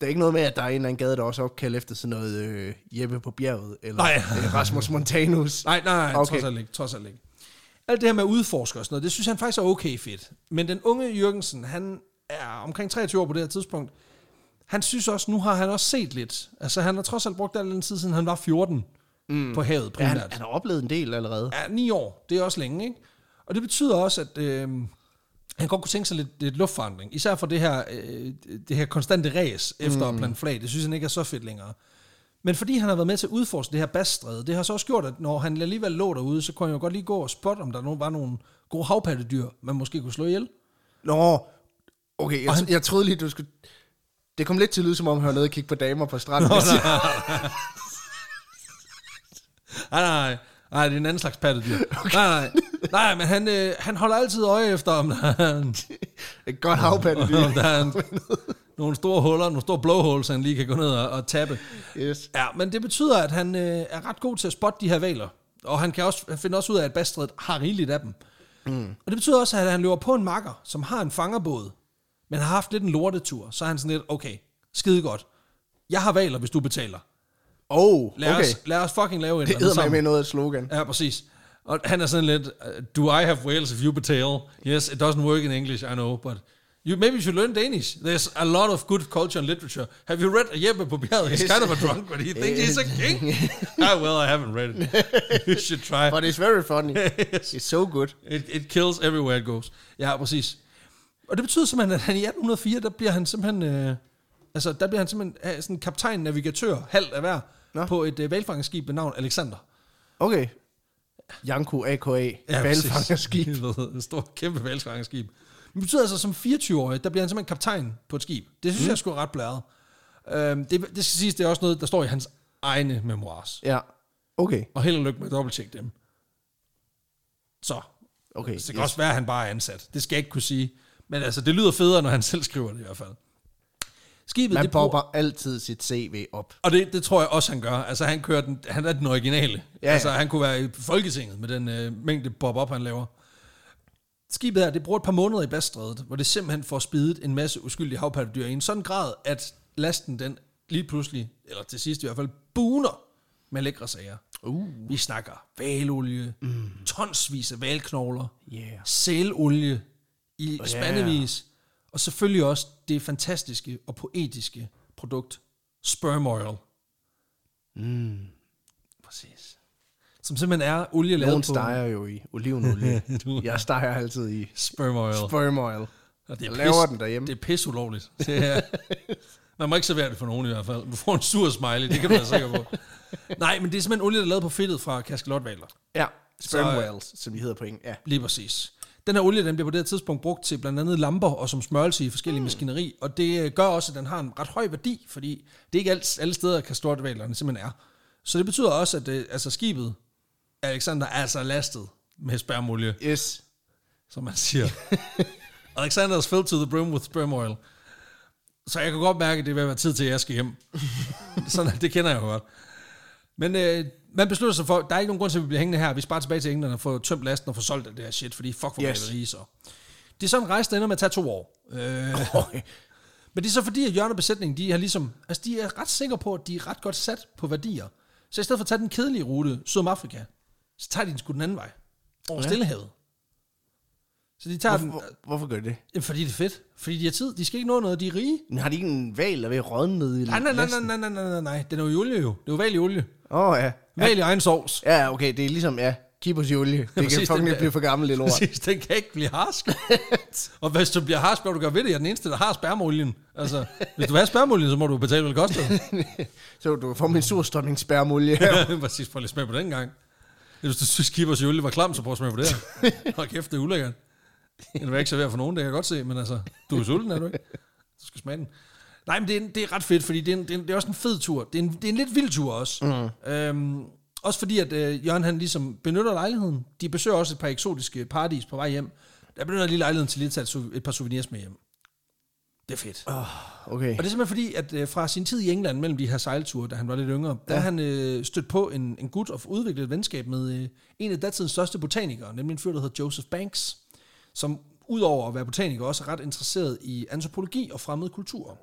Speaker 1: Der er ikke noget med, at der er en eller anden gade, der også er opkaldt efter sådan noget øh, Jeppe på bjerget, eller
Speaker 2: Nej.
Speaker 1: øh, Rasmus Montanus.
Speaker 2: Nej, nej, nej, okay.
Speaker 1: Okay.
Speaker 2: trods alt ikke, trods alt ikke. Alt det her med at udforske og sådan noget, det synes han faktisk er okay fedt. Men den unge Jørgensen, han er omkring 23 år på det her tidspunkt. Han synes også, nu har han også set lidt. Altså han har trods alt brugt al den tid, siden han var 14 mm. på havet
Speaker 1: Ja, han,
Speaker 2: primært.
Speaker 1: han har oplevet en del allerede.
Speaker 2: Ja, 9 år, det er også længe, ikke? Og det betyder også, at øh, han godt kunne tænke sig lidt, lidt luftforandring. Især for det her, øh, det her konstante ræs efter mm. plan flag. Det synes han ikke er så fedt længere. Men fordi han har været med til at udforske det her basstræde, det har så også gjort, at når han alligevel lå derude, så kunne han jo godt lige gå og spotte, om der nu var nogle gode havpattedyr, man måske kunne slå ihjel.
Speaker 1: Nå, okay, jeg,
Speaker 2: Og han-
Speaker 1: jeg troede lige, du skulle... Det kom lidt til at lyde, som om han var nede og kigge på damer på stranden. Nå,
Speaker 2: Nej, nej, nej, det er en anden slags pattedyr. Okay. Nej, nej, nej, men han, øh, han holder altid øje efter, om der er en,
Speaker 1: Et godt havpattedyr.
Speaker 2: om der er en, nogle store huller, nogle store blowholes, han lige kan gå ned og, og tappe.
Speaker 1: Yes.
Speaker 2: Ja, men det betyder, at han øh, er ret god til at spotte de her valer. Og han, kan også, han finder også ud af, at Bastred har rigeligt af dem. Mm. Og det betyder også, at han løber på en makker, som har en fangerbåd, men har haft lidt en lortetur. Så er han sådan lidt, okay, skide godt. Jeg har valer, hvis du betaler.
Speaker 1: Oh,
Speaker 2: Lad,
Speaker 1: okay.
Speaker 2: okay. os, lad os fucking lave en
Speaker 1: Det hedder med noget af et slogan.
Speaker 2: Ja, præcis. Og han er sådan lidt, øh, do I have whales if you betal? Yes, it doesn't work in English, I know, but you, maybe you should learn Danish. There's a lot of good culture and literature. Have you read Jeppe på bjerget? He's kind of a drunk, but he thinks he's a king. ah, well, I haven't read it. You should try.
Speaker 1: But it's very funny. It's so good.
Speaker 2: It, it kills everywhere it goes. Ja, præcis. Og det betyder simpelthen, at han i 1804, der bliver han simpelthen... Øh, altså, der bliver han simpelthen øh, sådan kaptajn, navigatør, halvt af hver,
Speaker 1: Nå.
Speaker 2: på et øh, valfangeskib ved navn Alexander.
Speaker 1: Okay. Janko A.K.A. Ja, Valfangerskib.
Speaker 2: Et stort, kæmpe valfangerskib. Men det betyder altså, som 24-årig, der bliver han simpelthen kaptajn på et skib. Det synes mm. jeg skulle ret blæret. Øhm, det, det skal siges, det er også noget, der står i hans egne memoirs.
Speaker 1: Ja. Okay.
Speaker 2: Og held og lykke med at dobbelttjekke dem. Så.
Speaker 1: Okay.
Speaker 2: Det kan yes. også være, at han bare er ansat. Det skal jeg ikke kunne sige. Men altså, det lyder federe, når han selv skriver det i hvert fald. Skibet,
Speaker 1: Man
Speaker 2: det bruger-
Speaker 1: popper altid sit CV op.
Speaker 2: og det, det tror jeg også, han gør. Altså, han, kører den, han er den originale. Ja,
Speaker 1: Ja,
Speaker 2: altså,
Speaker 1: ja.
Speaker 2: han kunne være i Folketinget med den øh, mængde bob-op, han laver. Skibet her, det bruger et par måneder i Baststrædet, hvor det simpelthen får spidet en masse uskyldige havpattedyr i en sådan grad, at lasten den lige pludselig, eller til sidst i hvert fald, buner med lækre sager.
Speaker 1: Uh.
Speaker 2: Vi snakker valolie, mm. tonsvis af valknogler,
Speaker 1: Yeah.
Speaker 2: sælolie i
Speaker 1: Ja.
Speaker 2: spandevis, og selvfølgelig også det fantastiske og poetiske produkt, sperm oil.
Speaker 1: Mm.
Speaker 2: Præcis. Som simpelthen er olie lavet
Speaker 1: Nogen
Speaker 2: på
Speaker 1: steger jo i olivenolie.
Speaker 2: Du-
Speaker 1: Jeg steger altid i
Speaker 2: sperm oil.
Speaker 1: sperm oil.
Speaker 2: og det
Speaker 1: Jeg
Speaker 2: er
Speaker 1: laver
Speaker 2: pis,
Speaker 1: den derhjemme.
Speaker 2: Det er pis ulovligt. Det er, man må ikke servere det for nogen i hvert fald. Du får en sur smiley, det kan man være sikker på. Nej, men det er simpelthen olie, der er lavet på fedtet fra kaskelotvaler.
Speaker 1: Ja. Sperm
Speaker 2: Så- øh,
Speaker 1: whales, som de hedder på engelsk. Ja.
Speaker 2: Lige præcis. Den her olie, den bliver på det her tidspunkt brugt til blandt andet lamper og som smørelse i forskellige mm. maskineri, og det øh, gør også, at den har en ret høj værdi, fordi det er ikke alt, alle steder, at kastortvalerne simpelthen er. Så det betyder også, at øh, altså skibet, Alexander, er altså lastet med spermolie,
Speaker 1: Yes.
Speaker 2: som man siger. Alexander is filled to the brim with sperm oil. Så jeg kan godt mærke, at det vil være tid til, at jeg skal hjem. Sådan, det kender jeg jo godt. Men øh, man beslutter sig for, der er ikke nogen grund til, at vi bliver hængende her. Vi sparer tilbage til England og får tømt lasten og får solgt alt det her shit, fordi fuck, hvor yes.
Speaker 1: Yes.
Speaker 2: rige så. Det er sådan en rejse, der ender med at tage to år. Øh, men det er så fordi, at Jørgen og besætningen, de, har ligesom, altså de er ret sikre på, at de er ret godt sat på værdier. Så i stedet for at tage den kedelige rute, Sydafrika, så tager de den sgu den anden vej. Over ja.
Speaker 1: Ja.
Speaker 2: Stillehavet. Så de tager den,
Speaker 1: Hvorfor, hvorfor gør de det?
Speaker 2: Jamen, fordi det er fedt. Fordi de har tid. De skal ikke nå noget. De er rige.
Speaker 1: Men Har de ikke en val, der vil rådne ned i
Speaker 2: Nej, nej, nej,
Speaker 1: lasten?
Speaker 2: nej, nej, nej, nej, nej, nej. Den er jo i olie jo. Det er jo valg i olie.
Speaker 1: Åh, oh, ja.
Speaker 2: Valg i egen sovs.
Speaker 1: Ja, okay, det er ligesom, ja, keepers i olie. Det
Speaker 2: præcis,
Speaker 1: kan fucking
Speaker 2: den
Speaker 1: ikke
Speaker 2: der-
Speaker 1: blive for gammel, det lort.
Speaker 2: Præcis, den kan ikke blive harsk. og hvis du bliver harsk, hvad vil du gøre ved det? Jeg er den eneste, der har spermolien. Altså, hvis du vil have spermolien, så må du betale, hvad det koster.
Speaker 1: Så du får min surstrømningsspærmolie her.
Speaker 2: Ja, Præcis, prøv lige at smage på den gang. Hvis du synes, Kibers i olie var klam, så prøv at smage på det her. Hold kæft, det er ulækkert. Det vil jeg ikke servere for nogen, det kan jeg godt se, men altså, du er sulten, er du ikke? Du skal smage den. Nej, men det er, en- det er ret fedt, fordi det er, en, det, er en, det er også en fed tur. Det er en, det er en lidt vild tur også. Mm. Øhm, også fordi, at øh, Jørgen han ligesom benytter lejligheden. De besøger også et par eksotiske paradis på vej hjem. Der benytter lige lejligheden til lige at tage et, sou- et par souvenirs med hjem. Det er fedt.
Speaker 1: Okay.
Speaker 2: Og det er simpelthen fordi, at øh, fra sin tid i England, mellem de her sejlture, da han var lidt yngre, ja. der har han øh, stødt på en, en gut og udviklet et venskab med øh, en af datidens største botanikere, nemlig en fyr, der hedder Joseph Banks, som udover at være botaniker, også er ret interesseret i antropologi og fremmede kulturer.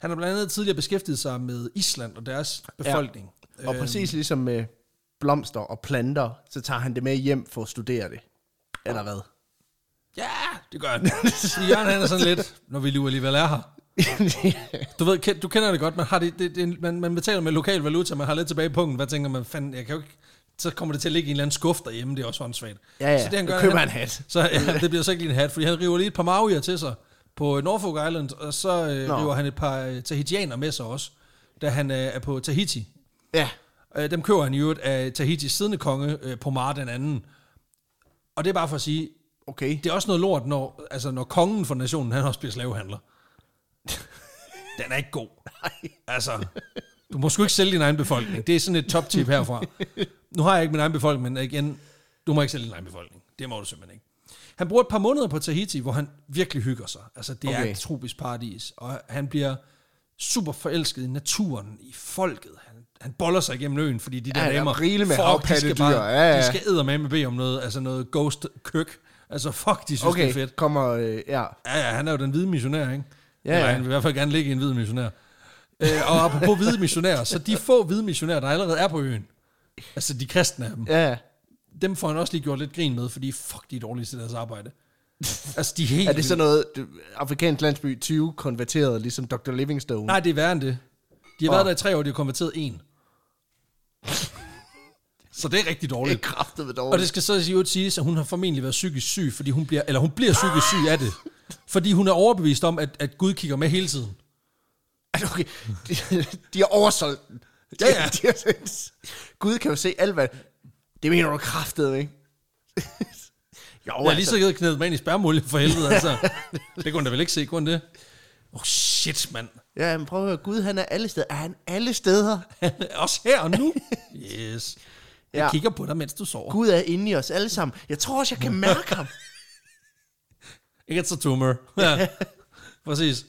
Speaker 2: Han har blandt andet tidligere beskæftiget sig med Island og deres befolkning. Ja.
Speaker 1: Og præcis ligesom med blomster og planter, så tager han det med hjem for at studere det. Eller hvad?
Speaker 2: Ja, det gør han. Fordi Jørgen han er sådan lidt, når vi lige alligevel er her. Du ved, kend- du kender det godt, man, har det, det, det, er en- man, man betaler med lokal valuta, man har lidt tilbage i punkten, hvad tænker man, fanden, jeg kan jo ikke, så kommer det til at ligge i en eller anden skuffe derhjemme, det er også håndsvagt.
Speaker 1: Ja, ja.
Speaker 2: så det, han
Speaker 1: Så
Speaker 2: gør,
Speaker 1: køber
Speaker 2: han,
Speaker 1: han en hat.
Speaker 2: Så, ja, det bliver så ikke lige en hat, fordi han river lige et par maoier til sig på øh, Norfolk Island, og så øh,
Speaker 1: Nå.
Speaker 2: river han et par øh, tahitianer med sig også, da han øh, er på Tahiti.
Speaker 1: Ja.
Speaker 2: Øh, dem køber han i øvrigt af Tahitis siddende konge, øh, Pomar den anden. Og det er bare for at sige,
Speaker 1: Okay.
Speaker 2: det er også noget lort, når, altså, når kongen for nationen, han også bliver slavehandler. Den er ikke god. Nej. Altså, du må sgu ikke sælge din egen befolkning. Det er sådan et top-tip herfra. Nu har jeg ikke min egen befolkning, men igen, du må ikke sælge din egen befolkning. Det må du simpelthen ikke. Han bruger et par måneder på Tahiti, hvor han virkelig hygger sig. Altså, det okay. er
Speaker 1: Okay.
Speaker 2: et tropisk paradis, og han bliver super forelsket i naturen, i folket. Han, han boller sig igennem øen, fordi de der
Speaker 1: Ja, der er
Speaker 2: damer,
Speaker 1: rigeligt med
Speaker 2: fuck, de skal,
Speaker 1: havpattedyr.
Speaker 2: bare,
Speaker 1: Ja, ja.
Speaker 2: de skal eddermame bede om noget, altså noget ghost køk. Altså, fuck, de synes, okay. det er
Speaker 1: Okay,
Speaker 2: fedt.
Speaker 1: kommer... Øh, ja.
Speaker 2: Ja, ja, han er jo den hvide missionær, ikke? Ja,
Speaker 1: Ja,
Speaker 2: ja. Eller
Speaker 1: ja.
Speaker 2: han vil i hvert fald gerne ligge i en hvid missionær. Øh, og apropos hvide missionærer, så de få hvide missionærer, der allerede er på øen, altså de kristne af dem,
Speaker 1: Ja.
Speaker 2: dem får han også lige gjort lidt grin med, fordi fuck, de er dårlige til deres arbejde. Altså, de er helt...
Speaker 1: Er det sådan noget, du, afrikansk landsby 20 konverteret, ligesom Dr. Livingstone?
Speaker 2: Nej, det er værre end det. De har været
Speaker 1: Nå.
Speaker 2: der i tre år, de har konverteret en. Så det er rigtig
Speaker 1: det er
Speaker 2: dårligt.
Speaker 1: kraftet ved
Speaker 2: Og
Speaker 1: dårligt.
Speaker 2: det skal så i øvrigt siges, at hun har formentlig været psykisk syg, fordi hun bliver, eller hun bliver psykisk syg af det. Fordi hun er overbevist om, at, at Gud kigger med hele tiden.
Speaker 1: Altså, okay, de, de har oversolgt den. De,
Speaker 2: Ja, ja.
Speaker 1: De har, Gud kan jo se alt, hvad... Det mener du kraftet, ikke? jo, altså.
Speaker 2: Jeg har lige så givet knædet mig ind i spærmolie for helvede, altså. Det kunne han da vel ikke se, kunne han det? Oh shit, mand.
Speaker 1: Ja, men prøv at høre, Gud han er alle steder. Er han alle steder?
Speaker 2: Også her og nu. Yes. Jeg ja.
Speaker 1: Ja.
Speaker 2: kigger på dig, mens du sover.
Speaker 1: Gud er inde i os alle sammen. Jeg tror også, jeg kan mærke ham.
Speaker 2: It's a tumor. Ja. Præcis.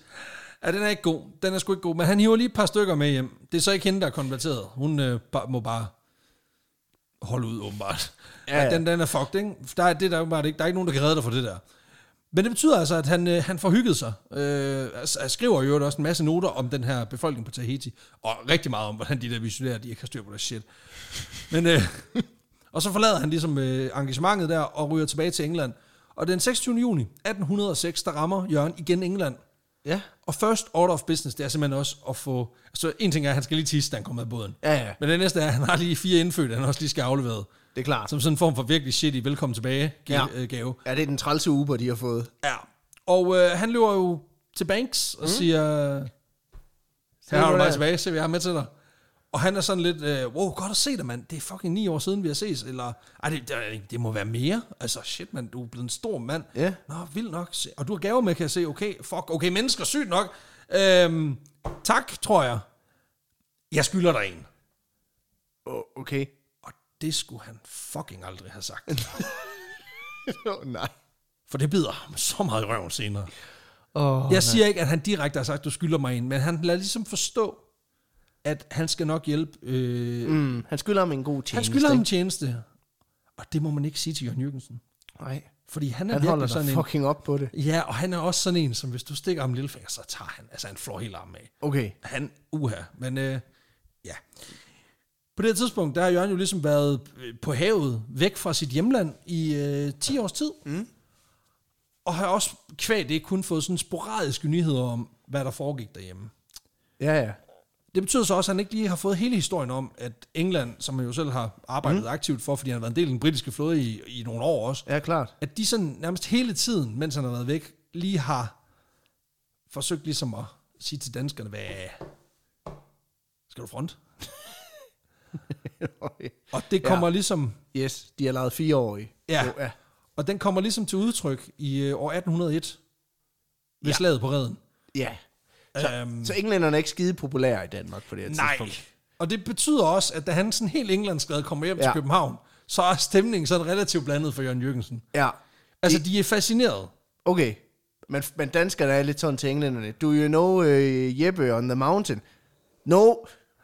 Speaker 2: Ja, den er ikke god. Den er sgu ikke god. Men han hiver lige et par stykker med hjem. Det er så ikke hende, der er konverteret. Hun øh, ba- må bare holde ud, åbenbart. Ja,
Speaker 1: Ja,
Speaker 2: ja.
Speaker 1: ja.
Speaker 2: Den, den er fucked, ikke? Der er, det er der, åbenbart ikke, der er ikke nogen, der kan redde dig for det der. Men det betyder altså, at han, øh, han får hygget sig. Øh, altså, han skriver jo også en masse noter om den her befolkning på Tahiti, og rigtig meget om, hvordan de der visionære, de ikke har styr på deres shit. Men, øh, og så forlader han ligesom øh, engagementet der, og ryger tilbage til England. Og den 26. juni 1806, der rammer Jørgen igen England.
Speaker 1: Ja.
Speaker 2: Og first order of business, det er simpelthen også at få... Altså, en ting er, at han skal lige tisse, da han kommer af båden.
Speaker 1: Ja, ja.
Speaker 2: Men det næste er, at han har lige fire indfødte, han også lige skal aflevere.
Speaker 1: Det er klart.
Speaker 2: Som sådan en form for virkelig shitty velkommen tilbage
Speaker 1: Ja.
Speaker 2: ja. gave.
Speaker 1: Ja, det er den trælse Uber, de har fået.
Speaker 2: Ja. Og øh, han løber jo til Banks og mm. siger, her har
Speaker 1: du
Speaker 2: du mig
Speaker 1: der."
Speaker 2: tilbage, se hvad jeg har med til dig. Og han er sådan lidt, øh, wow, godt at se dig, mand. Det er fucking ni år siden, vi har ses. Eller, ej, det, det, det må være mere. Altså, shit, mand, du er blevet en stor mand.
Speaker 1: Ja.
Speaker 2: Nå, vildt nok. Se- Og du har gaver med, kan jeg se. Okay, fuck, okay, mennesker, sygt nok. Øhm, tak, tror jeg. Jeg skylder dig en.
Speaker 1: Oh, okay.
Speaker 2: Og det skulle han fucking aldrig have sagt.
Speaker 1: oh, nej.
Speaker 2: For det bider ham så meget i røven senere.
Speaker 1: Oh,
Speaker 2: Jeg siger ikke, at han direkte har sagt, du skylder mig en, men han lader ligesom forstå, at han skal nok hjælpe. Øh, mm,
Speaker 1: mm, han skylder ham en god tjeneste.
Speaker 2: han skylder ham en tjeneste. Og det må man ikke sige til Jørgen Jørgensen.
Speaker 1: Nej,
Speaker 2: Fordi han er
Speaker 1: han
Speaker 2: virkelig
Speaker 1: holder
Speaker 2: sådan
Speaker 1: dig
Speaker 2: en...
Speaker 1: fucking op på det.
Speaker 2: Ja, og han er også sådan en, som hvis du stikker ham en lille finger, så tager han, altså han flår hele armen af.
Speaker 1: Okay.
Speaker 2: Han, uha, men øh, ja. På det her tidspunkt, der har Jørgen jo ligesom været øh, på havet, væk fra sit hjemland i øh, 10 års tid. Mm. Og har også kvæg det kun fået sådan sporadiske nyheder om, hvad der foregik derhjemme.
Speaker 1: Ja, ja.
Speaker 2: Det betyder så også, at han ikke lige har fået hele historien om, at England, som han jo selv har arbejdet mm. aktivt for, fordi han har været en del af den britiske flåde i, i nogle år også,
Speaker 1: Ja, klart.
Speaker 2: at de sådan nærmest hele tiden, mens han har været væk, lige har forsøgt ligesom at sige til danskerne, hvad skal du front? Og det kommer ja. ligesom,
Speaker 1: yes, de har lavet fireårige.
Speaker 2: Ja.
Speaker 1: Så, ja.
Speaker 2: og den kommer ligesom til udtryk i øh, år 1801, ved
Speaker 1: Ja.
Speaker 2: ja. slaget på redden.
Speaker 1: ja.
Speaker 2: Så, øhm,
Speaker 1: Så englænderne er ikke skide populære i Danmark på det her
Speaker 2: nej.
Speaker 1: tidspunkt.
Speaker 2: Og det betyder også, at da han sådan helt englandsglad kommer hjem ja.
Speaker 1: Ja.
Speaker 2: til København, så er stemningen sådan relativt blandet for Jørgen Jørgensen.
Speaker 1: Ja.
Speaker 2: Altså, de er fascineret.
Speaker 1: Okay. Men, men danskerne er lidt sådan til englænderne. Do you know uh, Jeppe on the mountain? No.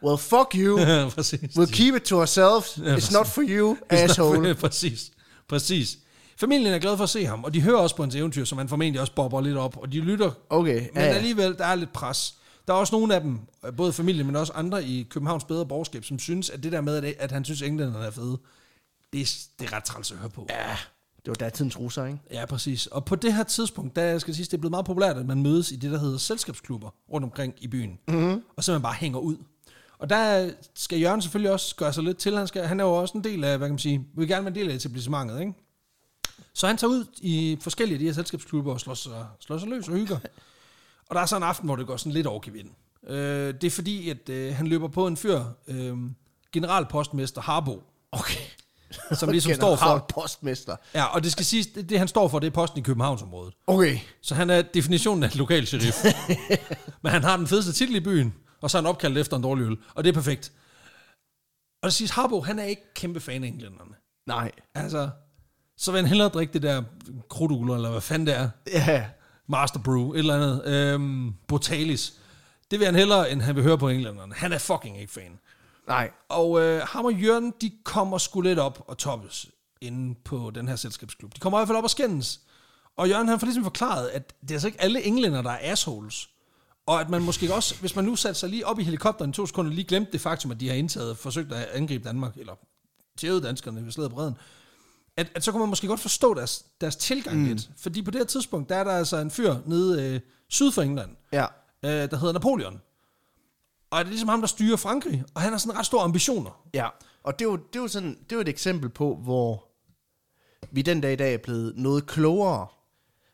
Speaker 1: Well, fuck you.
Speaker 2: Præcis.
Speaker 1: We'll keep it to ourselves. It's not for you, asshole.
Speaker 2: præcis, præcis. Familien er glad for at se ham, og de hører også på hans eventyr, som han formentlig også bobber lidt op, og de lytter.
Speaker 1: Okay,
Speaker 2: Men
Speaker 1: ja, ja.
Speaker 2: alligevel, der er lidt pres. Der er også nogle af dem, både familien, men også andre i Københavns bedre borgerskab, som synes, at det der med, at, at han synes, at englænderne er fede, det er, det er ret træls at høre på. Ja.
Speaker 1: Det var datidens russer, ikke?
Speaker 2: ja, præcis. Og på det her tidspunkt, der skal jeg sige, det er blevet meget populært, at man mødes i det, der hedder selskabsklubber rundt omkring i byen. Mm-hmm. Og så man bare hænger ud. Og der skal Jørgen selvfølgelig også gøre sig lidt til. Han, skal, han er jo også en del af, hvad kan man sige, vil gerne være en del af etablissementet, ikke? Så han tager ud i forskellige af de her selskabsklubber og slår sig, slår sig løs og hygger. og der er så en aften, hvor det går sådan lidt over gevind. Øh, det er fordi, at øh, han løber på en fyr, øh, generalpostmester Harbo. Okay. Som ligesom står for...
Speaker 1: postmester.
Speaker 2: Ja, og det skal siges, det, det han står for, det er posten i Københavnsområdet.
Speaker 1: Okay.
Speaker 2: Så han er definitionen af en lokal sheriff. Men han har den fedeste titel i byen, og så er han opkaldt efter en dårlig øl. Og det er perfekt. Og det siges, Harbo, han er ikke kæmpe fan af englænderne.
Speaker 1: Nej.
Speaker 2: Altså, så vil han hellere drikke det der krudtugler, eller hvad fanden det er.
Speaker 1: Ja.
Speaker 2: Master Brew, et eller andet. Øhm, Botalis. Det vil han hellere, end han vil høre på englænderne. Han er fucking ikke fan.
Speaker 1: Nej.
Speaker 2: Og øh, ham og Jørgen, de kommer sgu lidt op og toppes inde på den her selskabsklub. De kommer i hvert fald op og skændes. Og Jørgen han får ligesom forklaret, at det er altså ikke alle englænder, der er assholes. Og at man måske også, hvis man nu satte sig lige op i helikopteren i to sekunder, lige glemte det faktum, at de har indtaget og forsøgt at angribe Danmark, eller tævede danskerne ved slaget på redden, at, at så kunne man måske godt forstå deres, deres tilgang mm. lidt. Fordi på det her tidspunkt, der er der altså en fyr nede øh, syd for England,
Speaker 1: Ja.
Speaker 2: øh, der hedder Napoleon. Og det er ligesom ham, der styrer Frankrig, og han har sådan ret store ambitioner.
Speaker 1: Ja. Og det er jo, det er jo sådan, det er jo et eksempel på, hvor vi den dag i dag er blevet noget klogere.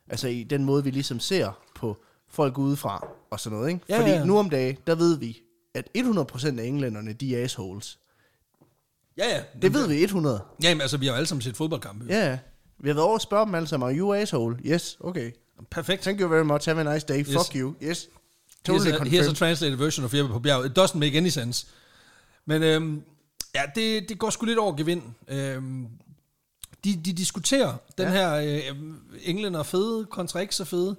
Speaker 1: Altså i den måde, vi ligesom ser på folk udefra og sådan noget, ikke?
Speaker 2: Ja,
Speaker 1: Fordi
Speaker 2: ja, ja.
Speaker 1: nu om dagen, der ved vi, at 100% af englænderne, de er assholes.
Speaker 2: Ja, ja.
Speaker 1: Det ved vi 100.
Speaker 2: Jamen, altså, vi har jo alle sammen set fodboldkampe. Ja.
Speaker 1: Ja, ja. Vi har været over og spørge dem alle sammen, are you asshole? Yes, okay.
Speaker 2: Perfekt.
Speaker 1: Thank you very much, have a nice day,
Speaker 2: Yes.
Speaker 1: fuck you. Yes,
Speaker 2: Here's
Speaker 1: totally
Speaker 2: a, here's a
Speaker 1: confirmed.
Speaker 2: translated version of Jeppe på bjerget. It doesn't make any sense. Men øhm, ja, det, det går sgu lidt over gevind. Øhm, de, de diskuterer den
Speaker 1: Ja.
Speaker 2: her øh, øhm, englænder er fede kontra ikke så fede.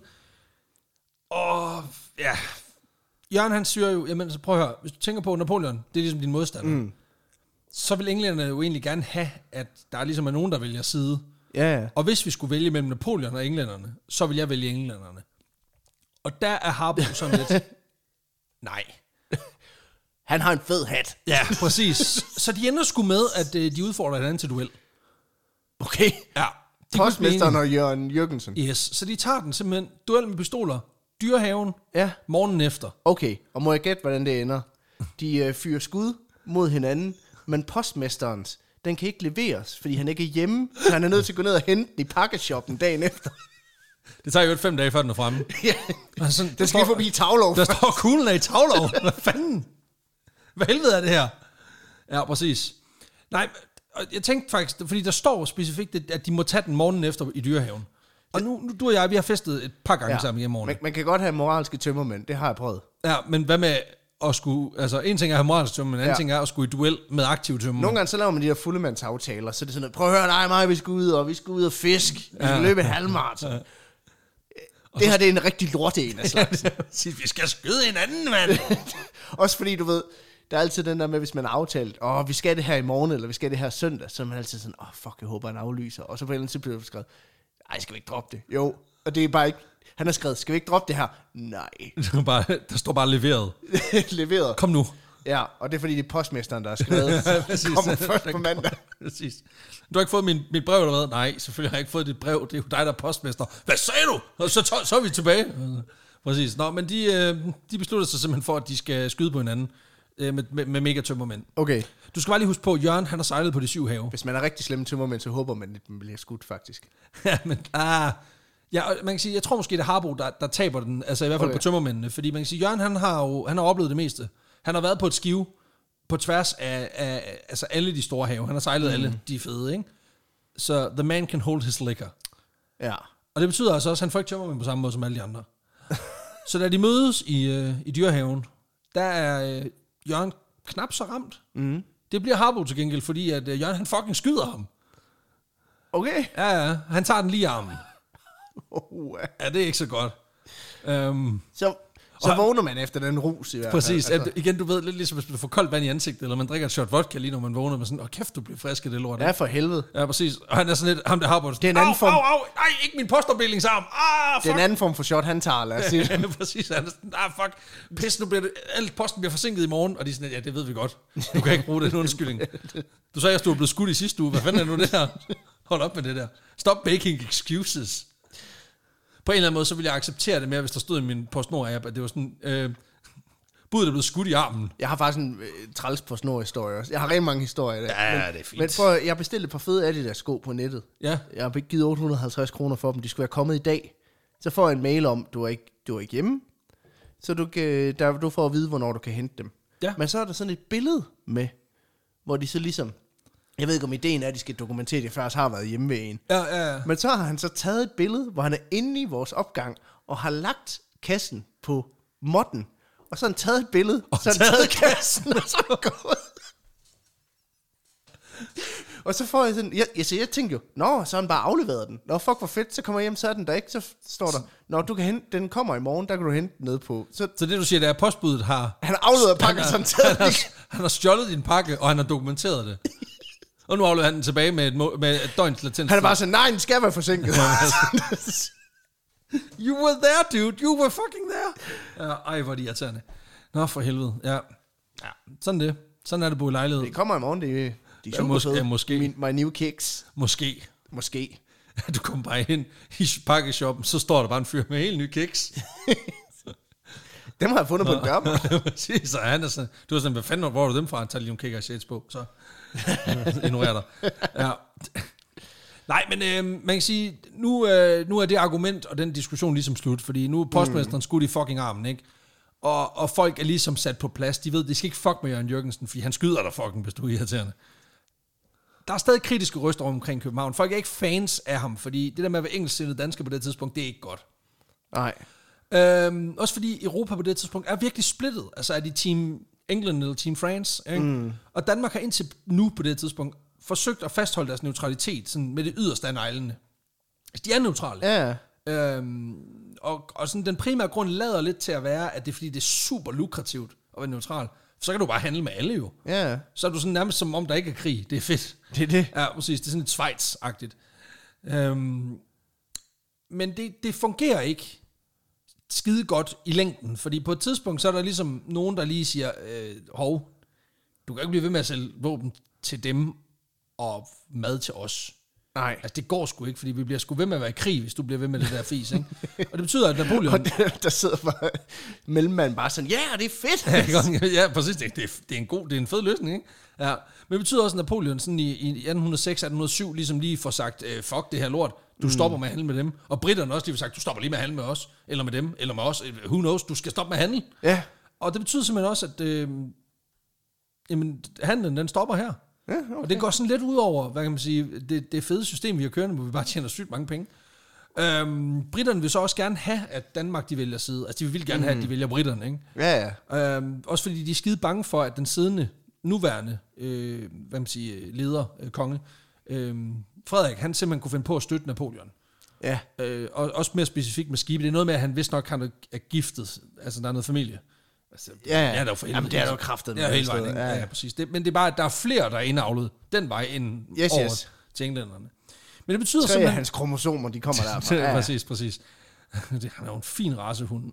Speaker 2: Og ja, Jørgen han siger jo, jamen så prøv at høre, hvis du tænker på Napoleon, det er ligesom din modstander. Mm. Så vil englænderne jo egentlig gerne have, at der ligesom er nogen, der vælger side.
Speaker 1: Ja, ja.
Speaker 2: Og hvis vi skulle vælge mellem Napoleon og englænderne, så ville jeg vælge englænderne. Og der er Harbo sådan lidt, nej.
Speaker 1: Han har en fed hat.
Speaker 2: Ja, præcis. Så de ender sgu med, at øh, de udfordrer hinanden til duel.
Speaker 1: Okay.
Speaker 2: Ja. De
Speaker 1: Postmesteren og Jørgen Jørgensen.
Speaker 2: Yes, så de tager den simpelthen. Duel med pistoler. Dyrehaven.
Speaker 1: Ja.
Speaker 2: Morgenen efter.
Speaker 1: Okay, og må jeg gætte, hvordan det ender? De øh, fyrer skud mod hinanden, men postmesterens, den kan ikke leveres, fordi han ikke er hjemme, så han er nødt til at gå ned og hente den i pakkeshoppen dagen efter.
Speaker 2: Det tager jo et fem dage, før den er fremme.
Speaker 1: ja,
Speaker 2: Og sådan,
Speaker 1: den skal lige forbi Tavlov.
Speaker 2: Der står kuglen af i tavlov. Hvad fanden? Hvad helvede er det her? Ja, præcis. Nej, og jeg tænkte faktisk, fordi der står specifikt, at- at de må tage den morgenen efter i dyrehaven. Og nu, nu du og jeg, vi har festet et par gange ja. sammen i morgen.
Speaker 1: man, man kan godt have moralske tømmermænd, det har jeg prøvet.
Speaker 2: Ja, men hvad med at skulle... Altså, en ting er at have moralsk tømme, men en anden
Speaker 1: Ja.
Speaker 2: ting er at skulle i duel med aktiv tømme.
Speaker 1: Nogle gange så laver man de der fuldemandsaftaler, så det er sådan noget, prøv at høre dig og mig, vi skal ud, og vi skal ud og fisk, vi skal
Speaker 2: Ja.
Speaker 1: løbe halvmarathon.
Speaker 2: Og
Speaker 1: Øh, Det her det er en rigtig lorte en af slags.
Speaker 2: Sige, vi skal skyde hinanden, mand.
Speaker 1: Også fordi, du ved, der er altid den der med, hvis man har aftalt, åh, vi skal det her i morgen, eller vi skal det her søndag, så er man altid sådan, åh, fuck, jeg håber, han aflyser. Og så på en eller anden tid bliver der skrevet, ej, skal vi ikke droppe det? Jo, og det er bare ikke, han har skrevet, skal vi ikke droppe det her? Nej.
Speaker 2: Det var bare, der står bare leveret.
Speaker 1: Leveret.
Speaker 2: Kom nu.
Speaker 1: Ja, og det er fordi, det er postmesteren, der har skrevet, så
Speaker 2: præcis.
Speaker 1: det kommer først på mandag.
Speaker 2: Præcis. Du har ikke fået min, mit brev eller hvad? Nej, selvfølgelig har jeg ikke fået dit brev. Det er jo dig, der er postmester. Hvad sagde du? Og så, tog, så er vi tilbage. Præcis. Nå, men de, øh, de beslutter sig simpelthen for, at de skal skyde på hinanden øh, med, med, med mega tømmermænd.
Speaker 1: Okay,
Speaker 2: Du skal bare lige huske på, at Jørgen han har sejlet på de syv have.
Speaker 1: hvis man er rigtig slem tømmermænd, så håber man, at man bliver skudt faktisk.
Speaker 2: ja, men ah, ja, og man kan sige, jeg tror måske, det er Harbo, der, der taber den, altså i hvert fald okay.
Speaker 1: Okay.
Speaker 2: på tømmermændene, fordi man kan sige, Jørgen han har jo han har oplevet det meste. Han har været på et skive på tværs af, af altså alle de store have. Han har sejlet mm. alle de er fede, ikke? Så the man can hold his liquor.
Speaker 1: Ja.
Speaker 2: Og det betyder altså også, at han får ikke tømmermænd på samme måde som alle de andre. så da de mødes i, øh, i dyrehaven, der er øh, Jørgen knap så ramt. Mm. Det bliver Harbo til gengæld, fordi at øh, Jørgen han fucking skyder ham.
Speaker 1: Okay.
Speaker 2: Ja, ja, han tager den lige i armen.
Speaker 1: Oh,
Speaker 2: Ja, det er ikke så godt. Um,
Speaker 1: så, så vågner man efter den rus i hvert fald.
Speaker 2: præcis.
Speaker 1: Altså,
Speaker 2: Altså. Igen, du ved, lidt ligesom hvis man får koldt vand i ansigtet, eller man drikker et shot vodka lige når man vågner, men sådan, åh kæft, du bliver frisk af det lort.
Speaker 1: ja, for helvede.
Speaker 2: ja, præcis. Og han er sådan lidt, ham der har på det
Speaker 1: er en anden form-
Speaker 2: Au, au, nej, ikke min postopdelingsarm. Ah,
Speaker 1: Det er
Speaker 2: fuck.
Speaker 1: en anden form for shot, han tager, lad os sige. det.
Speaker 2: Ja, præcis. Han er sådan, ah, fuck. Pis, nu bliver det, alt posten bliver forsinket i morgen. Og de er sådan, ja, det ved vi godt. Du kan ikke bruge den undskyldning. Du sagde, at du var blevet skudt i sidste uge. Hvad fanden er nu det her? Hold op med det der. Stop making excuses. På en eller anden måde, så ville jeg acceptere det mere, hvis der stod i min PostNord-app, at det var sådan, øh, budet er blevet skudt i armen.
Speaker 1: Jeg har faktisk en øh, træls på snor historie også. Jeg har rigtig mange historier i dag.
Speaker 2: Ja, det er fint.
Speaker 1: Men prøv, at- jeg bestilte et par fede Adidas sko på nettet.
Speaker 2: Ja,
Speaker 1: Jeg har givet 850 kroner for dem. De skulle være kommet i dag. Så får jeg en mail om, du er ikke, du er ikke hjemme. Så du, kan, der, du får at vide, hvornår du kan hente dem.
Speaker 2: Ja.
Speaker 1: Men så er der sådan et billede med, hvor de så ligesom... Jeg ved ikke, om ideen er, at de skal dokumentere, at de faktisk har været hjemme ved en.
Speaker 2: ja, ja. ja.
Speaker 1: Men så har han så taget et billede, hvor han er inde i vores opgang, og har lagt kassen på modden. Og så har han taget et billede, og så har han taget kassen, og så er han gået. Og så får jeg sådan, jeg, jeg, så jeg tænkte jo, nå, så har han bare afleveret den. Nå, fuck, hvor fedt, så kommer jeg hjem, så er den der ikke, så står der, nå, du kan hente, den kommer i morgen, der kan du hente den ned på. Så
Speaker 2: Så det, du siger, det er, at postbuddet har,
Speaker 1: han afleverede pakken, så han taget
Speaker 2: han,
Speaker 1: den.
Speaker 2: har, han har stjålet din pakke, og han har dokumenteret det. Og nu afleverer han den tilbage med et, må- med et døgns latens.
Speaker 1: Han er bare sådan, nej, den skal være forsinket.
Speaker 2: altså, You were there, dude. You were fucking there. Ja, ej, hvor er de irriterende. Nå, for helvede. Ja. ja. Sådan det. Sådan er det at bo i lejlighed.
Speaker 1: det kommer i morgen, det er, de er
Speaker 2: Ja,
Speaker 1: super
Speaker 2: mås- ja,
Speaker 1: fede.
Speaker 2: måske.
Speaker 1: Min, my new kicks.
Speaker 2: Måske.
Speaker 1: Måske.
Speaker 2: Du kommer bare ind i pakkeshoppen, så står der bare en fyr med helt nye kiks.
Speaker 1: Dem har jeg fundet på en dørmål.
Speaker 2: Præcis, og han er sådan, du er sådan, hvad fanden, hvor har du dem fra? Han tager lige nogle kikker og shades på, så ignorerer dig. Ja. Nej, men øh, man kan sige, nu, øh, nu er det argument og den diskussion ligesom slut, fordi nu er postmesteren mm. skudt i fucking armen, ikke? Og, og folk er ligesom sat på plads. De ved, de skal ikke fuck med Jørgen Jørgensen, fordi han skyder dig fucking, hvis du er irriterende. Der er stadig kritiske røster rundt omkring København. Folk er ikke fans af ham, fordi det der med at være engelsksindet dansker på det tidspunkt, det er ikke godt.
Speaker 1: Nej.
Speaker 2: Øhm, også fordi Europa på det tidspunkt er virkelig splittet. Altså er de Team England eller Team France. Ikke? Mm. Og Danmark har indtil nu på det tidspunkt forsøgt at fastholde deres neutralitet sådan med det yderste af neglene. Altså, de er neutrale.
Speaker 1: Ja,
Speaker 2: Øhm, og, og sådan, den primære grund lader lidt til at være, at det er fordi, det er super lukrativt at være neutral. Så kan du bare handle med alle jo.
Speaker 1: ja.
Speaker 2: Så er du sådan nærmest som om, der ikke er krig. Det er fedt.
Speaker 1: Det er det.
Speaker 2: Ja, præcis. Det er sådan lidt Schweiz-agtigt. Øhm, men det, det fungerer ikke skide godt i længden, fordi på et tidspunkt, så er der ligesom nogen, der lige siger, øh, hov, du kan ikke blive ved med at sælge våben til dem og mad til os.
Speaker 1: Nej.
Speaker 2: Altså, det går sgu ikke, fordi vi bliver sgu ved med at være i krig, hvis du bliver ved med det der fis, ikke? Og det betyder, at Napoleon...
Speaker 1: Og der, der sidder bare mellemmanden bare sådan, ja, det er fedt.
Speaker 2: Ja, ikke også? ja, præcis. Det, det, er- det, er en god, det er en fed løsning, ikke? Ja. Men det betyder også, at Napoleon sådan i, i 1806-1807 ligesom lige får sagt, øh, fuck det her lort, du stopper med at handle med dem. Og britterne også lige får sagt, du stopper lige med at handle med os, eller med dem, eller med os. Who knows, du skal stoppe med at handle.
Speaker 1: Ja.
Speaker 2: Og det betyder simpelthen også, at øh, jamen, handlen den stopper her. Ja, okay. Og det går sådan lidt ud over, hvad kan man sige, det, det fede system, vi har kørende, hvor vi bare tjener sygt mange penge. Øhm, britterne vil så også gerne have, at Danmark de vælger side. Altså de vil gerne mm. have, at de vælger britterne, ikke?
Speaker 1: Ja, ja.
Speaker 2: Øhm, også fordi de er skide bange for, at den siddende, nuværende, øh, hvad øhm, man siger, leder, øh, konge, øh, Frederik, han simpelthen kunne finde på at støtte Napoleon.
Speaker 1: Ja.
Speaker 2: Øh, og også mere specifikt med skibe. Det er noget med, at han vist nok han er giftet. Altså, der er noget familie. Altså,
Speaker 1: Ja, ja.
Speaker 2: det er der jo for helvede.
Speaker 1: Jamen, det er der jo kraftet
Speaker 2: Det er jo hele vejen. Ja, ja. ja, præcis. Det, men det er bare, at der er flere, der er indavlet den vej end
Speaker 1: Yes,
Speaker 2: yes, over
Speaker 1: yes.
Speaker 2: yes. til englænderne. Men det betyder
Speaker 1: Tre af
Speaker 2: simpelthen...
Speaker 1: hans kromosomer, de kommer derfra.
Speaker 2: Ja,
Speaker 1: Ja, ja.
Speaker 2: præcis, præcis. Det, han er jo en fin racehund.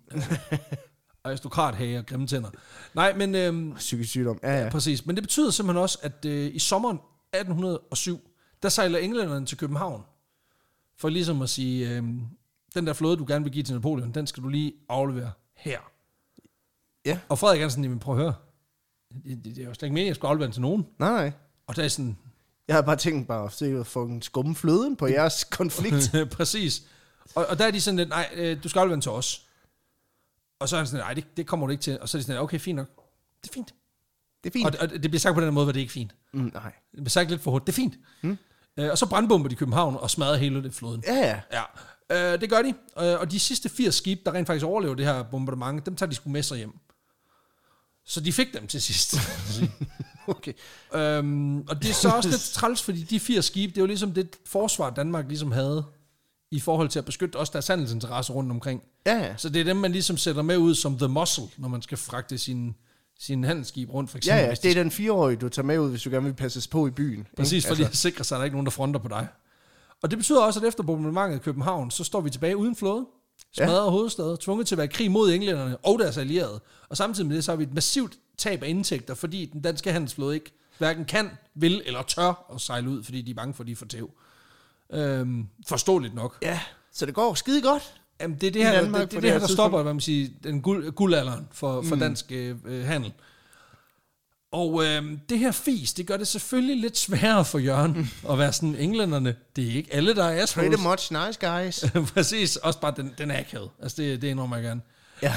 Speaker 2: Aristokrat hage og grimme tænder. Nej, men... Øhm,
Speaker 1: Psykisk sygdom. Ja, ja.
Speaker 2: Præcis, men det betyder simpelthen også, at øh, i sommeren 1807, der sejler englænderne til København, for ligesom at sige, øh, den der flåde, du gerne vil give til Napoleon, den skal du lige aflevere her.
Speaker 1: Ja.
Speaker 2: Og Frederik Hansen, jamen prøv at høre, det, det, det er jo slet ikke meningen, at jeg skal aflevere den til nogen.
Speaker 1: Nej, nej.
Speaker 2: Og der er sådan,
Speaker 1: Jeg havde bare tænkt bare, at det var fucking skumme fløden på jeres konflikt.
Speaker 2: præcis. Og, og der er de sådan lidt, nej, øh, du skal aflevere den til os. Og så er han sådan, nej, det, det kommer du ikke til. Og så er de sådan, okay, fint nok. Det er fint.
Speaker 1: Det er fint.
Speaker 2: Og, og det bliver sagt på den her måde, hvor det er ikke fint.
Speaker 1: Mm, nej.
Speaker 2: Det blev sagt lidt for hurtigt. Det er fint. Mm. Øh, og så brandbomber de København og smadrer hele det floden.
Speaker 1: Ja, ja.
Speaker 2: Ja. Øh, det gør de. Øh, og de sidste 80 skibe, der rent faktisk overlever det her bombardement, dem tager de sgu med sig hjem. Så de fik dem til sidst.
Speaker 1: Okay.
Speaker 2: øhm, og det er så også lidt træls, fordi de 80 skibe, det er jo ligesom det forsvar, Danmark ligesom havde i forhold til at beskytte også deres handelsinteresser rundt omkring.
Speaker 1: Ja, ja.
Speaker 2: Så det er dem, man ligesom sætter med ud som the muscle, når man skal fragte sin, sin handelsskib rundt, for
Speaker 1: Ja,
Speaker 2: eksempel.
Speaker 1: ja.
Speaker 2: hvis de
Speaker 1: Det er den fireårige, du tager med ud, hvis du gerne vil passes på i byen. ikke? Altså-
Speaker 2: Præcis, for lige at sikre sig, at der ikke er nogen, der fronter på dig. Og det betyder også, at efter bombardementet i København, så står vi tilbage uden flåde, smadret ja. hovedstad, tvunget til at være i krig mod englænderne og deres allierede. Og samtidig med det, så har vi et massivt tab af indtægter, fordi den danske handelsflåde ikke hverken kan, vil eller tør at sejle ud, fordi de er bange for, at de er for tæv. Øhm, forståeligt nok.
Speaker 1: Altså, Ja, så det går skide godt.
Speaker 2: Jamen, det er det her,
Speaker 1: Danmark på
Speaker 2: det, det, det,
Speaker 1: det
Speaker 2: det
Speaker 1: her
Speaker 2: her der
Speaker 1: tidspunkt.
Speaker 2: stopper hvad man siger, den guld, guldalderen for, for mm. dansk øh, øh, handel. Og øh, det her fis, det gør det selvfølgelig lidt sværere for Jørgen
Speaker 1: Mm.
Speaker 2: at være sådan, englænderne, det er ikke alle, der er
Speaker 1: Pretty
Speaker 2: assholes.
Speaker 1: much nice guys.
Speaker 2: Præcis, også bare den, den er akavet. Altså, det, det indrømmer jeg gerne.
Speaker 1: Ja.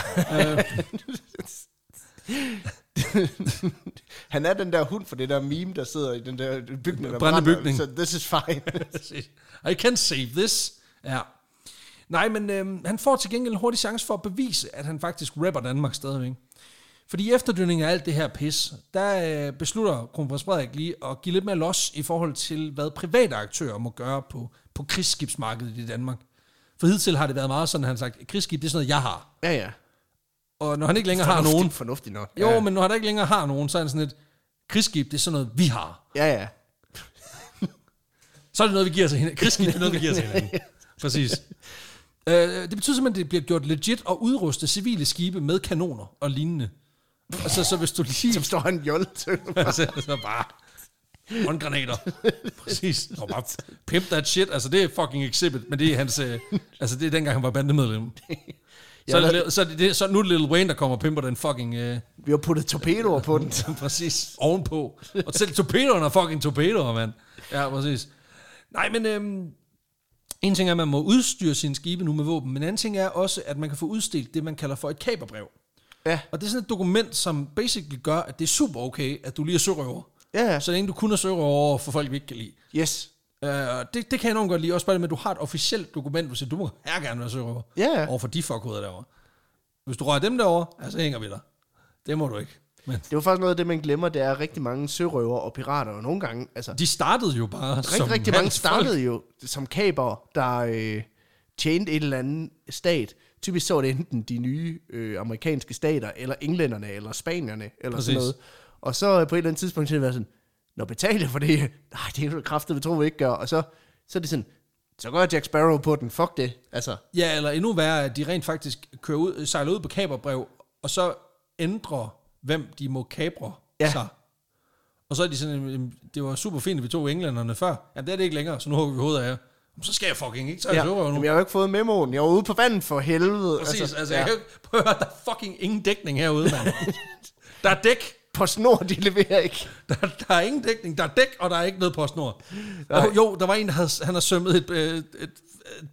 Speaker 1: Han er den der hund for det der meme, der sidder i den der bygning, der
Speaker 2: Brændende bygning.
Speaker 1: Så this is fine.
Speaker 2: Præcis. I can save this. Ja. Nej, men øh, han får til gengæld en hurtig chance for at bevise, at han faktisk rapper Danmark stadigvæk. Fordi i efterdønningen af alt det her pis, der øh, beslutter kronprins Frederik lige at give lidt mere los i forhold til, hvad private aktører må gøre på, på krigsskibsmarkedet i Danmark. For hidtil har det været meget sådan, at han har sagt, krigsskib, det er sådan noget, jeg har.
Speaker 1: ja, ja.
Speaker 2: Og når han ikke længere har nogen,
Speaker 1: Fornuftig nok.
Speaker 2: jo,
Speaker 1: ja.
Speaker 2: men når han ikke længere har nogen, så er han sådan et, krigsskib, det er sådan noget, vi har.
Speaker 1: Ja, ja.
Speaker 2: Så er det noget, vi giver til hinanden. Krigsskib, det er noget, vi giver til hinanden. Præcis. Øh, det betyder simpelthen, at det bliver gjort legit at udruste civile skibe med kanoner og lignende. Altså, så hvis du lige...
Speaker 1: Som står en jolle til.
Speaker 2: altså, så bare håndgranater. Præcis. Og bare pimp that shit. Altså, det er fucking exhibit, men det er hans... Øh, altså, det er dengang, han var bandemedlem. Så, er det, så, er det, så nu er det Lil Wayne, der kommer og pimper den fucking... Øh,
Speaker 1: Vi har puttet torpedoer på den.
Speaker 2: præcis. Ovenpå. Og selv torpedoerne er fucking torpedoer, mand. Ja, præcis. Nej, men øhm, en ting er, at man må udstyre sine skibe nu med våben, men en anden ting er også, at man kan få udstilt det, man kalder for et kaperbrev.
Speaker 1: Ja.
Speaker 2: Og det er sådan et dokument, som basically gør, at det er super okay, at du lige er sørøver.
Speaker 1: Ja, ja.
Speaker 2: Så længe du kun er sørøver over for folk, vi ikke kan lide.
Speaker 1: Yes.
Speaker 2: Øh, og det, det kan jeg enormt godt lide, også bare det med, at du har et officielt dokument, hvor du siger, du må her gerne være sørøver
Speaker 1: Ja, ja.
Speaker 2: over for de fuckhoveder derovre. Hvis du rører dem derovre, ja, så hænger vi dig. Det må du ikke. Men
Speaker 1: Det var faktisk noget af det, man glemmer, det er at rigtig mange sørøver og pirater, og nogle gange, altså,
Speaker 2: De startede jo bare Rigt, som
Speaker 1: rigtig, rigtig mange
Speaker 2: handelsfolk.
Speaker 1: startede jo som kaber, der øh, tjente et eller andet stat. Typisk så var det enten de nye øh, amerikanske stater, eller englænderne, eller spanierne, eller Præcis.
Speaker 2: Præcis.
Speaker 1: sådan noget. Og så øh, på et eller andet tidspunkt, så har det været sådan, når betaler jeg for det, nej, det er jo kraftigt, vi tror, vi ikke gør. Og så, så er det sådan, så gør Jack Sparrow på den, fuck det. Altså,
Speaker 2: Ja, eller endnu værre, at de rent faktisk kører ud, øh, sejler ud på kaperbrev, og så ændrer, hvem de må kapre
Speaker 1: Ja.
Speaker 2: ja. sig. Og så er de sådan, "Jamen, det var super fint, at vi tog englænderne før. Ja, det er det ikke længere, så nu hugger vi hovedet af jer. "Jamen, Så skal jeg fucking ikke tage
Speaker 1: ja,
Speaker 2: ja. nu.
Speaker 1: jamen, jeg har jo ikke fået memoen, jeg var ude på vandet for helvede.
Speaker 2: Præcis, altså, altså
Speaker 1: ja.
Speaker 2: jeg kan jo ikke, prøv at høre, der er fucking ingen dækning herude, mand. der er dæk,
Speaker 1: På snor, de leverer ikke.
Speaker 2: der, der er ingen dækning, der er dæk, og der er ikke noget på snor. Jo, jo, der var en, der havde, han har sømmet et, øh, et, et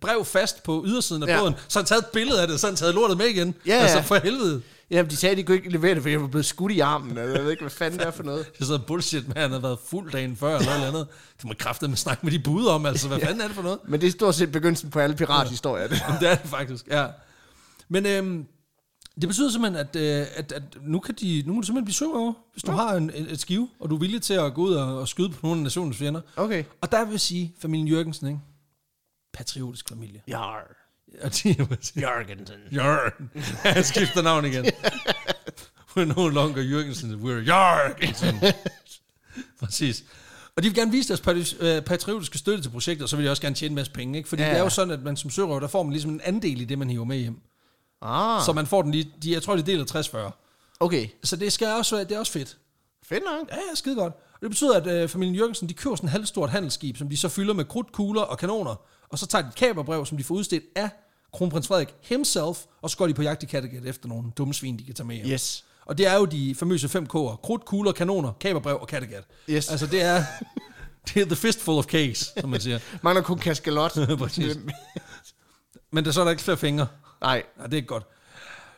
Speaker 2: brev fast på ydersiden af
Speaker 1: Ja.
Speaker 2: ja. båden, så han taget et billede af det, så han taget lortet med igen.
Speaker 1: Ja,
Speaker 2: altså
Speaker 1: ja.
Speaker 2: for helvede.
Speaker 1: Jamen, de sagde, de kunne ikke levere det, fordi jeg var blevet skudt i armen. eller Jeg ved ikke, hvad fanden det er for noget.
Speaker 2: Det er sådan bullshit med, at han har været fuld dagen før eller noget andet. Det må kræftet med snakke med de bud om, altså hvad fanden er det for noget?
Speaker 1: Men det er stort set begyndelsen på alle pirathistorier. Det.
Speaker 2: Jamen, det er det faktisk, ja. Men øhm, det betyder simpelthen, at, øh, at, at nu, kan de, nu må du simpelthen blive sørøver, hvis du har en, et, et skive, og du er villig til at gå ud og, og skyde på nogle af nationens fjender.
Speaker 1: Okay.
Speaker 2: Og der vil jeg sige, familien Jørgensen, ikke? patriotisk familie.
Speaker 1: Jar.
Speaker 2: Og de er præcis-
Speaker 1: Jørgensen.
Speaker 2: Jørgen. Han skifter navn igen. We're no longer Jørgensen, we're Jørgensen. Præcis. Og de vil gerne vise deres patri- øh, patriotiske støtte til projektet, og så vil de også gerne tjene en masse penge. Ikke? Fordi
Speaker 1: Ja,
Speaker 2: ja. det er jo
Speaker 1: ja.
Speaker 2: sådan, at man som sørøver, der får man ligesom en andel i det, man hiver med hjem.
Speaker 1: Ah,
Speaker 2: Så man får den lige, de, jeg tror, de deler 60-40.
Speaker 1: okay.
Speaker 2: Så det, skal også, være- det er også fedt.
Speaker 1: Fedt nok.
Speaker 2: Ja, ja, skide godt. Og det betyder, at øh, familien Jørgensen, de køber sådan et halvstort handelsskib, som de så fylder med krudt, kugler og kanoner, og så tager de et kaberbrev, som de får udstedt af kronprins Frederik himself, og så går de på jagt i Kattegat efter nogle dumme svin, de kan tage med hjem.
Speaker 1: Yes.
Speaker 2: Og det er jo de famøse 5K'er. Krudt, kugler, kanoner, kaberbrev og Kattegat.
Speaker 1: Yes.
Speaker 2: Altså det er, det er the fistful of cakes, som man siger.
Speaker 1: Mangler kun kaskalot.
Speaker 2: Præcis. Men der så er der ikke flere fingre.
Speaker 1: Nej.
Speaker 2: Nej, det er godt.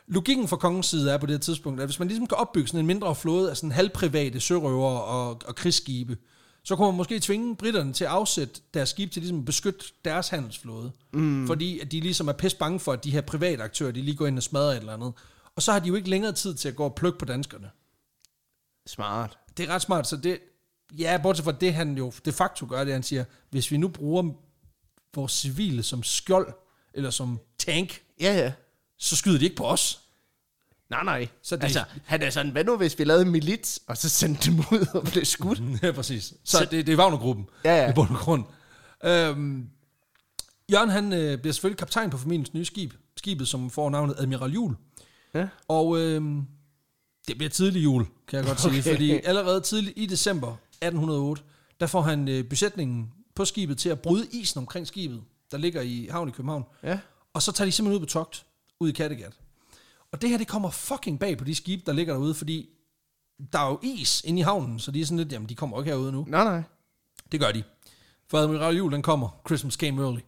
Speaker 2: Logikken fra kongens side er på det her tidspunkt, at hvis man ligesom kan opbygge sådan en mindre flåde af sådan halvprivate sørøvere og, og krigsskibe, så kunne man måske tvinge britterne til at afsætte deres skib til ligesom at beskytte deres handelsflåde. Mm. Fordi at de ligesom er pisse bange for, at de her private aktører, de lige går ind og smadrer et eller andet. Og så har de jo ikke længere tid til at gå og plukke på danskerne.
Speaker 1: Smart.
Speaker 2: Det er ret smart, så det... Ja, bortset fra det, han jo de facto gør, det er, han siger, hvis vi nu bruger vores civile som skjold, eller som tank,
Speaker 1: Ja, ja.
Speaker 2: så skyder de ikke på os.
Speaker 1: Nej, nej.
Speaker 2: Så
Speaker 1: Så
Speaker 2: det-
Speaker 1: det... Altså, han er sådan, hvad nu hvis vi lavede en milit, og så sendte dem ud og blev skudt?
Speaker 2: Ja, præcis. Så, så det, det er Wagner-gruppen,
Speaker 1: Ja, ja.
Speaker 2: i bund og grund. Øhm, Jørgen, han øh, bliver selvfølgelig kaptajn på familiens nye skib. Skibet, som får navnet Admiral Jul.
Speaker 1: Ja.
Speaker 2: Og øhm, det bliver tidlig jul, kan jeg godt sige. Okay.
Speaker 1: Okay.
Speaker 2: Fordi allerede tidligt i december 1808, der får han øh, besætningen på skibet til at bryde isen omkring skibet, der ligger i havn i København.
Speaker 1: Ja.
Speaker 2: Og så tager de simpelthen ud på togt, ud i Kattegat. Og det her, det kommer fucking bag på de skibe, der ligger derude, fordi der er jo is inde i havnen, så de er sådan lidt, jamen de kommer jo ikke herude nu.
Speaker 1: Nej, nej.
Speaker 2: Det gør de. For Admiral Jul, den kommer. Christmas came early.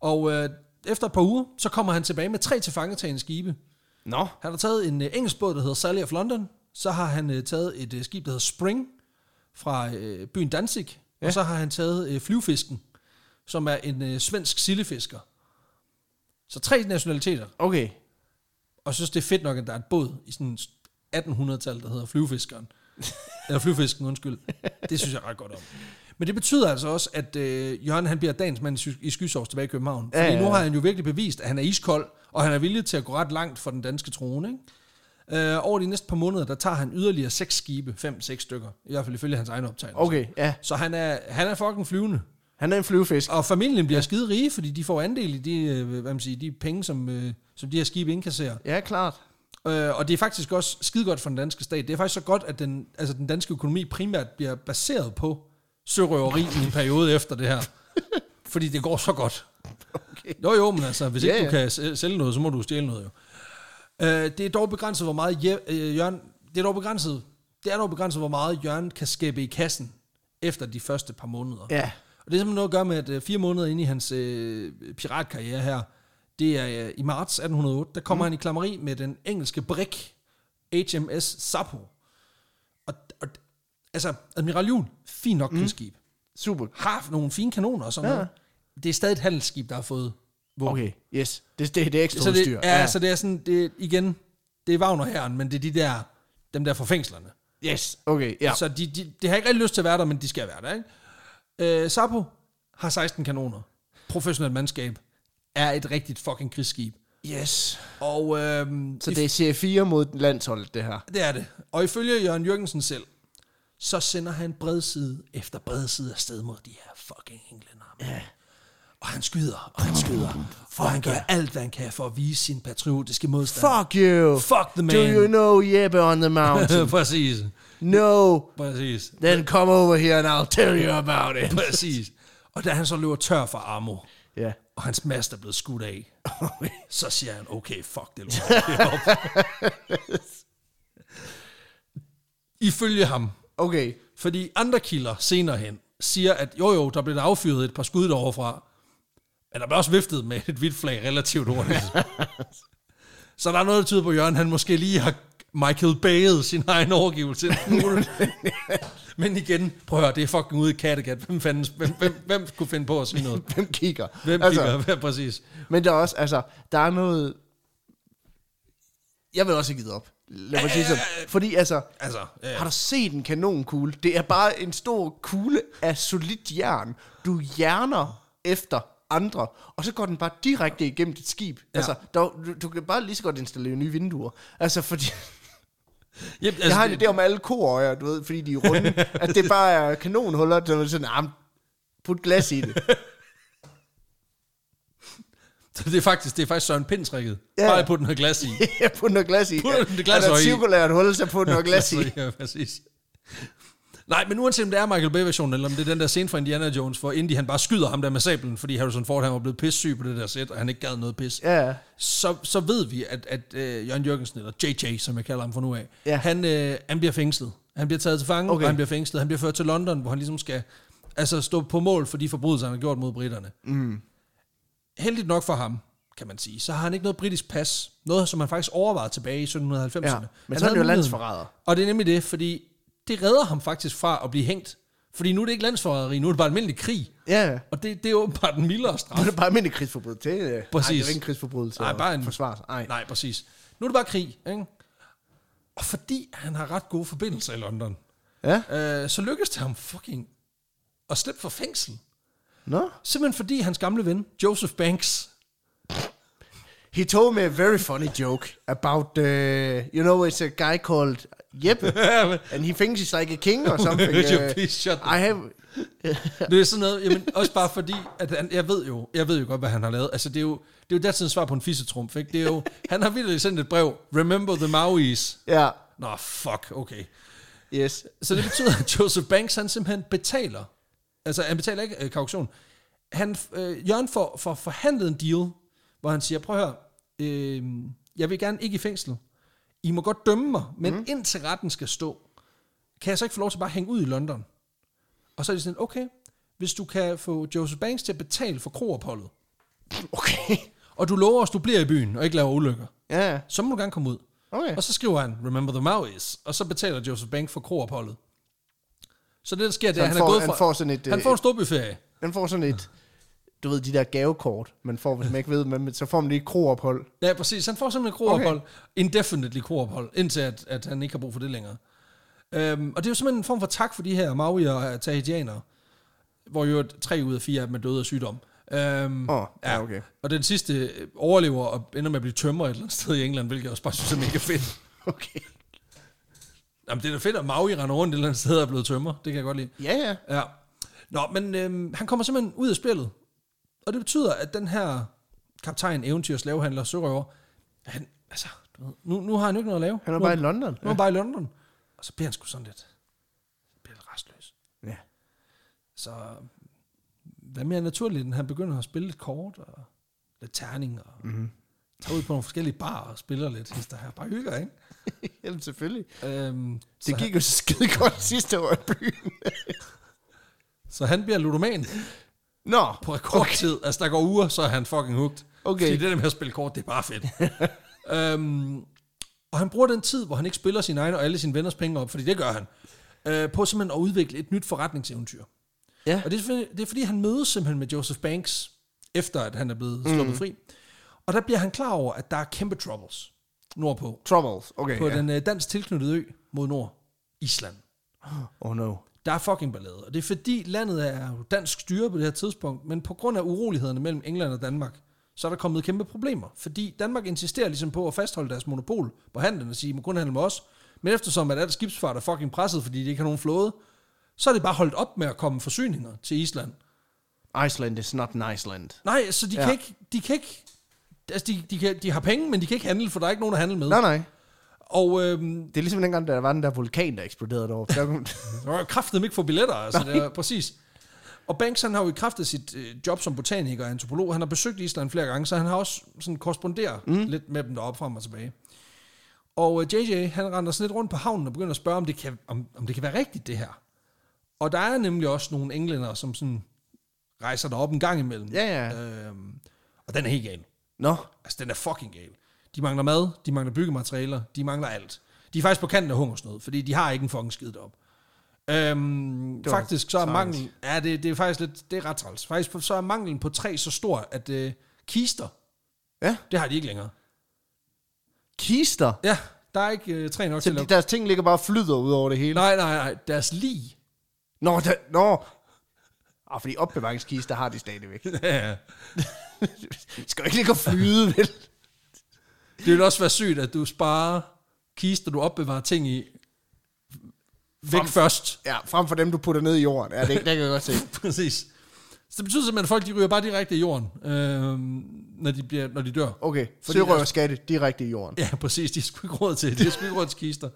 Speaker 2: Og øh, efter et par uger, så kommer han tilbage med tre tilfangetagende skibe.
Speaker 1: Nå.
Speaker 2: Han har taget en øh, engelsk båd, der hedder Sally of London. Så har han øh, taget et øh, skib, der hedder Spring, fra øh, byen Danzig. Ja. Og så har han taget øh, flyvefisken, som er en øh, svensk sildefisker. Så tre nationaliteter.
Speaker 1: Okay.
Speaker 2: Og jeg synes, det er fedt nok, at der er et båd i sådan 1800-tal, der hedder flyvefiskeren. Eller flyvefisken, undskyld. Det synes jeg ret godt om. Men det betyder altså også, at øh, Jørgen han bliver dagens mand i sky- i skysovs tilbage i København. Fordi
Speaker 1: Ja, ja,
Speaker 2: nu
Speaker 1: ja.
Speaker 2: har han jo virkelig bevist, at han er iskold, og han er villig til at gå ret langt for den danske trone. Ikke? Øh, over de næste par måneder, der tager han yderligere seks skibe, fem-seks stykker, i hvert fald ifølge hans egen optagelse.
Speaker 1: Okay, ja.
Speaker 2: Så han er, han er fucking flyvende.
Speaker 1: Han er en flyvefisk.
Speaker 2: Og familien bliver skide rige, fordi de får andel i de, øh, hvad man siger, de penge, som, øh, som de her skibe indkasserer.
Speaker 1: Ja, klart.
Speaker 2: Øh, og det er faktisk også skide godt for den danske stat. Det er faktisk så godt, at den, altså, den danske økonomi primært bliver baseret på sørøveri i en periode efter det her. Fordi det går så godt. Okay. Jo jo, men altså, hvis ikke
Speaker 1: Ja,
Speaker 2: yeah.
Speaker 1: ja.
Speaker 2: du kan sæ- sælge noget, så må du stjæle noget jo. Øh, det er dog begrænset, hvor meget Je- øh, Jørgen... Det er dog begrænset, det er dog begrænset, hvor meget Jørgen kan skæbe i kassen efter de første par måneder.
Speaker 1: Ja.
Speaker 2: Og det er simpelthen noget at gøre med, at øh, fire måneder inde i hans øh, piratkarriere her, det er øh, i marts 1808, der kommer mm. han i klammeri med den engelske brik HMS Sapo. Og, og altså, Admiral Juhl, fint nok mm. skib.
Speaker 1: Super.
Speaker 2: Har haft nogle fine kanoner og sådan ja.
Speaker 1: Ja.
Speaker 2: noget. Det er stadig et handelsskib, der har fået våben.
Speaker 1: Okay, yes. Det, det, det er ekstra
Speaker 2: Så det,
Speaker 1: udstyr.
Speaker 2: ja, ja, så det er sådan, det, er- igen, det er Wagner-herren, men det er de der, dem der fra fængslerne.
Speaker 1: Yes, okay, ja.
Speaker 2: Ja. Så de, de, de har ikke rigtig lyst til at være der, men de skal være der, ikke? Øh, Sapo har 16 kanoner. Professionelt mandskab. Er et rigtigt fucking krigsskib.
Speaker 1: Yes.
Speaker 2: Og øhm,
Speaker 1: Så det er serie 4 mod landsholdet, det her.
Speaker 2: det er det. Og ifølge Jørgen Jørgensen selv, så sender han bredside efter bredside afsted mod de her fucking englænder. Ja. Og han skyder, og han skyder. Og han gør alt, hvad han kan for at vise sin patriotiske modstand.
Speaker 1: Fuck you.
Speaker 2: Fuck the man.
Speaker 1: Do you know Jeppe on the mountain?
Speaker 2: præcis,
Speaker 1: no.
Speaker 2: præcis,
Speaker 1: Then come over here and I'll tell you about it.
Speaker 2: præcis. Og da han så løber tør for armor,
Speaker 1: Ja.
Speaker 2: og hans mast er blevet skudt af. så siger han, okay, fuck det lort. det er op. Ifølge ham,
Speaker 1: Okay.
Speaker 2: fordi andre kilder senere hen siger, at jo jo, der blev der affyret et par skud derovre men der blev også viftet med et hvidt flag relativt hurtigt. så der er noget, der tyder på, at Jørgen han måske lige har Michael Bay'et sin egen overgivelse. en smule. Men igen, prøv at høre, det er fucking ude i Kattegat. Hvem, fanden, hvem, hvem, hvem kunne finde på at sige noget?
Speaker 1: Hvem kigger?
Speaker 2: Hvem altså, kigger? Ja, præcis.
Speaker 1: Men der er også, altså, der er noget... Jeg vil også have givet op. Lad mig sige
Speaker 2: Øh.
Speaker 1: sådan. Fordi altså,
Speaker 2: Altså, ja,
Speaker 1: Har du set en kanonkugle? Det er bare en stor kugle af solidt jern. Du hjerner efter andre, og så går den bare direkte igennem dit skib. Ja. Altså, der, du, du kan bare lige så godt installere nye vinduer. Altså, fordi...
Speaker 2: Yep, altså,
Speaker 1: Jeg har en idé om alle koøjer, du ved, fordi de er runde. at det bare er kanonhuller, der er sådan, ah, put glas i det.
Speaker 2: det, det, er faktisk, det er faktisk Søren Pindtrækket.
Speaker 1: Ja.
Speaker 2: Ja. Bare putte noget glas i.
Speaker 1: ja, put noget glas i.
Speaker 2: Put noget glas
Speaker 1: er der
Speaker 2: i.
Speaker 1: et cirkulært hul, så put noget glas i.
Speaker 2: Ja, præcis. Nej, men uanset om det er Michael Bay-versionen, eller om det er den der scene fra Indiana Jones, hvor Indy han bare skyder ham der med sablen, fordi Harrison Ford han var blevet pissyg på det der sæt, og han ikke gad noget pis.
Speaker 1: Ja,
Speaker 2: så, så ved vi, at, at uh, Jørgen Jørgensen, eller JJ, som jeg kalder ham fra nu af,
Speaker 1: Ja.
Speaker 2: ja. han, øh, han bliver fængslet. Han bliver taget til fange,
Speaker 1: Okay.
Speaker 2: okay. og han bliver fængslet. Han bliver ført til London, hvor han ligesom skal altså, stå på mål for de forbrydelser, han har gjort mod britterne. Mm. Heldigt nok for ham, kan man sige, så har han ikke noget britisk pas. Noget, som han faktisk overvejede tilbage i
Speaker 1: ja.
Speaker 2: 1790'erne. Han
Speaker 1: Men så er
Speaker 2: havde
Speaker 1: det jo
Speaker 2: muligheden.
Speaker 1: landsforræder.
Speaker 2: Og det er nemlig det, fordi det redder ham faktisk fra at blive hængt. Fordi nu er det ikke landsforræderi, nu er det bare almindelig krig.
Speaker 1: Ja, ja.
Speaker 2: Og det, det er åbenbart den mildere straf.
Speaker 1: Det er bare almindelig krigsforbrydelse. Det, er-
Speaker 2: Præcis.
Speaker 1: Ej, det er jo ikke en krigsforbrydelse.
Speaker 2: Nej,
Speaker 1: at
Speaker 2: bare en-
Speaker 1: Forsvare sig. Ej.
Speaker 2: Nej, præcis. Nu er det bare krig, ikke? Og fordi han har ret gode forbindelser i London,
Speaker 1: Ja,
Speaker 2: øh, så lykkes det ham fucking at slippe for fængsel.
Speaker 1: nå.
Speaker 2: Simpelthen fordi hans gamle ven, Joseph Banks,
Speaker 1: He told me a very funny joke about, uh, you know, it's a guy called Jeppe, and he thinks he's like a king or something.
Speaker 2: Would you
Speaker 1: Uh,
Speaker 2: please shut the-
Speaker 1: I have,
Speaker 2: "Øh, det er sådan noget, jamen, også bare fordi, at han, jeg, ved jo, jeg ved jo godt, hvad han har lavet. Altså, det er jo, det er jo datidens svar på en fissetrumf, ikke? Det er jo, han har vildt sendt et brev, Remember the Mauis.
Speaker 1: ja,
Speaker 2: Nå, fuck, okay.
Speaker 1: yes.
Speaker 2: Så det betyder, at Joseph Banks, han simpelthen betaler. Altså, han betaler ikke øh, kaution. Han, øh, Jørgen får, får forhandlet en deal, hvor han siger, prøv at høre, øh, jeg vil gerne ikke i fængsel. I må godt dømme mig, men mm. indtil retten skal stå, kan jeg så ikke få lov til bare at hænge ud i London? Og så er de sådan, okay, hvis du kan få Joseph Banks til at betale for kroopholdet,
Speaker 1: Okay.
Speaker 2: og du lover os, du bliver i byen og ikke laver ulykker,
Speaker 1: Ja,
Speaker 2: så må du gerne komme ud.
Speaker 1: okay.
Speaker 2: Og så skriver han, remember the Maoris, og så betaler Joseph Bank for kroopholdet. Så det, der sker, det er,
Speaker 1: han
Speaker 2: at han,
Speaker 1: får-
Speaker 2: er gået
Speaker 1: han
Speaker 2: fra,
Speaker 1: får sådan et,
Speaker 2: Han
Speaker 1: øh,
Speaker 2: får en storbyferie.
Speaker 1: Den får sådan et, du ved, de der gavekort, man får, hvis man ikke ved, men så får man lige et kroophold.
Speaker 2: Ja, præcis. Han får simpelthen kroophold. Okay. Indefinitely kroophold, indtil at, at han ikke har brug for det længere. Øhm, og det er jo simpelthen en form for tak for de her Maui og Tahitianere, hvor jo at tre ud af fire af dem er døde af sygdom. Øhm,
Speaker 1: Åh, ja, okay.
Speaker 2: Og den sidste øh, overlever og ender med at blive tømmer et eller andet sted i England, hvilket jeg også bare synes er mega fedt.
Speaker 1: Okay.
Speaker 2: Jamen, det er da fedt, at Maui render rundt et eller andet sted og er blevet tømmer. Det kan jeg godt lide.
Speaker 1: Ja, ja.
Speaker 2: Ja. Nå, men øhm, han kommer simpelthen ud af spillet. Og det betyder, at den her kaptajn, eventyr, slavehandler, sørøver, han, altså, du ved, nu, nu har han jo ikke noget at lave.
Speaker 1: Han var
Speaker 2: nu,
Speaker 1: bare i London.
Speaker 2: Nu er han bare i London. Og så bliver han sgu sådan lidt, bliver lidt restløs.
Speaker 1: Ja.
Speaker 2: Så hvad mere naturligt, end han begynder at spille lidt kort, og lidt terning, og mm-hmm.
Speaker 1: Mhm.
Speaker 2: tager ud på nogle forskellige barer og spiller lidt. Hister her bare hygger, ikke?
Speaker 1: Jamen selvfølgelig.
Speaker 2: Øhm, så,
Speaker 1: Det
Speaker 2: han,
Speaker 1: gik jo så skide godt sidste år i byen.
Speaker 2: så han bliver ludoman.
Speaker 1: Nå,
Speaker 2: på rekordtid. Okay. Altså, der går uger, så er han fucking hooked.
Speaker 1: Okay.
Speaker 2: Fordi det der med at spille kort, det er bare fedt. øhm, og han bruger den tid, hvor han ikke spiller sin egen og alle sine venners penge op, fordi det gør han, øh, på simpelthen at udvikle et nyt forretningseventyr.
Speaker 1: Ja.
Speaker 2: Og det er, selvfølgelig- det er fordi, han mødes simpelthen med Joseph Banks, efter at han er blevet sluppet mm. fri. Og der bliver han klar over, at der er kæmpe troubles nordpå,
Speaker 1: Troubles. Okay,
Speaker 2: på
Speaker 1: ja.
Speaker 2: ja. den øh, dansk tilknyttede ø mod nord, Island.
Speaker 1: Oh no.
Speaker 2: Der er fucking ballade, og det er fordi landet er jo dansk styre på det her tidspunkt, men på grund af urolighederne mellem England og Danmark, så er der kommet kæmpe problemer, fordi Danmark insisterer ligesom på at fastholde deres monopol på handlen og sige, I må kun handle med os, men eftersom at alt skibsfart er fucking presset, fordi de ikke har nogen flåde, så er det bare holdt op med at komme forsyninger til Island.
Speaker 1: Iceland is not an Iceland.
Speaker 2: Nej, så de ja.
Speaker 1: Ja.
Speaker 2: kan ikke, de kan ikke, altså de, de, kan, de har penge, men de kan ikke handle, for der er ikke nogen at handle med.
Speaker 1: Nej, nej.
Speaker 2: Og øhm,
Speaker 1: Det er ligesom dengang, der var den der vulkan, der eksploderede deroppe. Der kom...
Speaker 2: Der var kraftedeme ikke få billetter, altså det er, præcis. Og Banks, han har jo i kraft af sit øh, job som botaniker og antropolog, han har besøgt Island flere gange, så han har også sådan korresponderet mm. lidt med dem deroppe frem og tilbage. Og øh, JJ, han render sådan lidt rundt på havnen og begynder at spørge, om det kan, om, om det kan være rigtigt, det her. Og der er nemlig også nogle englænder, som sådan rejser derop en gang imellem.
Speaker 1: Ja, ja.
Speaker 2: Øhm, og den er helt gal.
Speaker 1: Nå,
Speaker 2: Altså, den er fucking gal. De mangler mad, de mangler byggematerialer, de mangler alt. De er faktisk på kanten af hungersnød, fordi de har ikke en fucking skid op. Øhm,
Speaker 1: Det var
Speaker 2: faktisk så er
Speaker 1: træls.
Speaker 2: manglen... Ja, det, det er faktisk lidt... Det er ret træls. Faktisk så er manglen på træ så stor, at øh, kister,
Speaker 1: Ja.
Speaker 2: det har de ikke længere.
Speaker 1: kister.
Speaker 2: Ja, der er ikke øh, træ nok
Speaker 1: Så
Speaker 2: til
Speaker 1: de,
Speaker 2: at...
Speaker 1: deres ting ligger bare og flyder ud over det hele.
Speaker 2: Nej, nej, nej. Deres lig
Speaker 1: Nå, der, nå. Og Ah, fordi opbevaringskister har de stadigvæk.
Speaker 2: Ja, ja.
Speaker 1: Det skal jo ikke ligge og flyde, vel?
Speaker 2: Det ville også være sygt, at du sparer kister, du opbevarer ting i, væk
Speaker 1: Frem-
Speaker 2: først.
Speaker 1: Ja, frem for dem, du putter ned i jorden. Ja, det, det kan jeg godt se.
Speaker 2: Præcis. Så det betyder simpelthen, at folk de ryger bare direkte i jorden, øh, når, de bliver, når de dør.
Speaker 1: Okay,
Speaker 2: Fordi
Speaker 1: sørøver skatte direkte i jorden.
Speaker 2: Ja, præcis. De er sgu ikke råd til. De er sgu ikke råd til kister.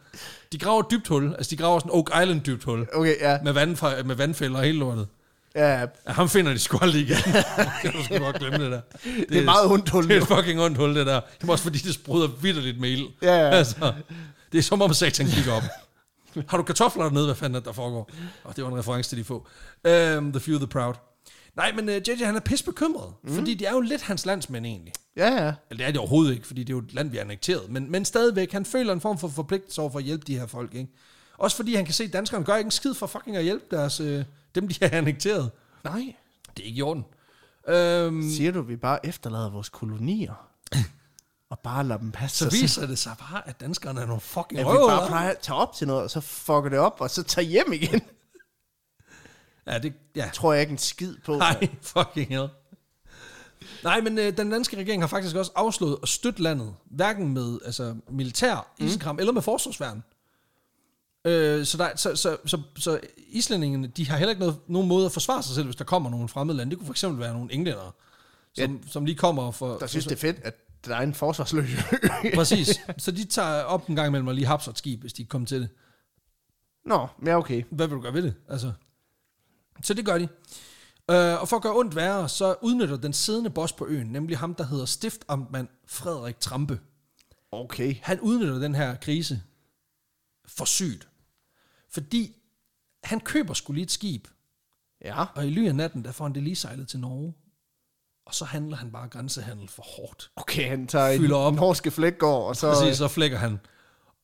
Speaker 2: De graver et dybt hul. Altså, de graver sådan Oak Island dybt hul.
Speaker 1: Okay, ja.
Speaker 2: Med, vandfra, med vandfælder og hele lortet.
Speaker 1: ja.
Speaker 2: Ja, ham finder de sgu aldrig igen. det kan du sgu godt glemme det der. Det,
Speaker 1: Det er meget ondt hul.
Speaker 2: Det er
Speaker 1: jo.
Speaker 2: et fucking ondt hul, det der. Det er også fordi, det sprøder vidderligt med ild.
Speaker 1: Ja, ja.
Speaker 2: Altså, det er som om satan kigger op. Har du kartofler dernede? Hvad fanden er det, der foregår? Og det var en reference til de få. Um, the few, the proud. Nej, men uh, JJ, han er pisse bekymret. Mm. Fordi de er jo lidt hans landsmænd, egentlig.
Speaker 1: Ja, ja.
Speaker 2: Eller det er det overhovedet ikke, fordi det er jo et land, vi har annekteret. Men, men stadigvæk, han føler en form for forpligtelse over for at hjælpe de her folk, ikke? Også fordi han kan se, at danskerne gør ikke en skid for fucking at hjælpe deres, øh, dem, de har annekteret.
Speaker 1: Nej.
Speaker 2: Det er ikke i orden. Øhm,
Speaker 1: Siger du, at vi bare efterlader vores kolonier? Og bare lader dem passe
Speaker 2: så
Speaker 1: sig selv?
Speaker 2: viser det sig bare, at danskerne er nogle fucking
Speaker 1: At vi bare
Speaker 2: røvhuller.
Speaker 1: plejer at tage op til noget, og så fucker det op, og så tager hjem igen.
Speaker 2: Ja, det, ja.
Speaker 1: Tror jeg ikke en skid på.
Speaker 2: Nej, fucking hell. Nej, men øh, den danske regering har faktisk også afslået at støtte landet, hverken med altså, militær isenkram mm. eller med forsvarsværn. Øh, så, der, så, så, så, så islændingene, de har heller ikke noget, nogen måde at forsvare sig selv, hvis der kommer nogle fremmede lande. Det kunne for eksempel være nogle englændere, som, ja. som lige kommer for...
Speaker 1: Der synes, det er fedt, at der er en forsvarsløs ø.
Speaker 2: Præcis. Så de tager op en gang imellem og lige hapser et skib, hvis de kommer til det.
Speaker 1: Nå, men ja, okay.
Speaker 2: hvad vil du gøre ved det? Altså. Så det gør de. Øh, og for at gøre ondt værre, så udnytter den siddende boss på øen, nemlig ham, der hedder stiftamtmand Frederik Trampe.
Speaker 1: Okay.
Speaker 2: Han udnytter den her krise for sygt. Fordi han køber sgu lige et skib,
Speaker 1: Ja.
Speaker 2: og i ly af natten, der får han det lige sejlet til Norge. Og så handler han bare grænsehandel for hårdt.
Speaker 1: Okay, han tager en,
Speaker 2: Fylder op.
Speaker 1: en norske flækgård, og så...
Speaker 2: Præcis, så flækker han.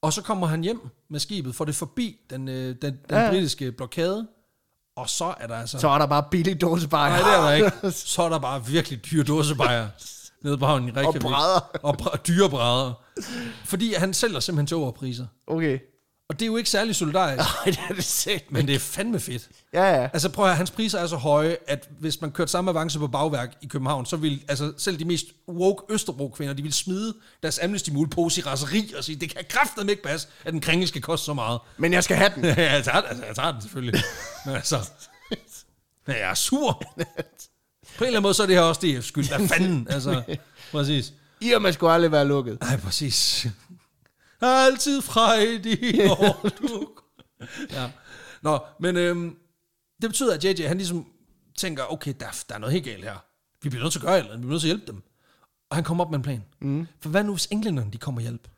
Speaker 2: Og så kommer han hjem med skibet, får det forbi den, øh, den, den
Speaker 1: Ja,
Speaker 2: ja.
Speaker 1: ja.
Speaker 2: britiske blokade, og så er der altså...
Speaker 1: Så er der bare billig dåsebajer.
Speaker 2: Nej, det er der ikke. Så er der bare virkelig dyre dåsebajer nede på havnen i Reykjavik.
Speaker 1: brædder.
Speaker 2: Og br- dyre brædder. Fordi han sælger simpelthen til overpriser.
Speaker 1: Okay.
Speaker 2: Og det er jo ikke særlig solidarisk,
Speaker 1: Nej, det er det sæt.
Speaker 2: men det er fandme fedt.
Speaker 1: Ja, ja.
Speaker 2: Altså prøv at høre, hans priser er så høje, at hvis man kørte samme avance på bagværk i København, så ville altså, selv de mest woke Østerbro-kvinder, de ville smide deres amnesty mulepose i raseri og sige, det kan kraftedeme ikke passe, at en kringle skal koste så meget.
Speaker 1: Men jeg skal have den.
Speaker 2: Ja, jeg tager, den- altså, jeg tager den selvfølgelig. Men altså, men jeg er sur. På en eller anden måde, så er det her også DF's skyld. Hvad fanden? Altså, præcis.
Speaker 1: Irma skulle aldrig være lukket.
Speaker 2: Nej, præcis. Altid frejdig, når du... Ja. Nå, men øhm, det betyder, at JJ, han ligesom tænker, okay, der, der er noget helt galt her. Vi bliver nødt til at gøre et eller andet. Vi bliver nødt til at hjælpe dem. Og han kommer op med en plan. Mm. For hvad nu, hvis englænderne de kommer og hjælper?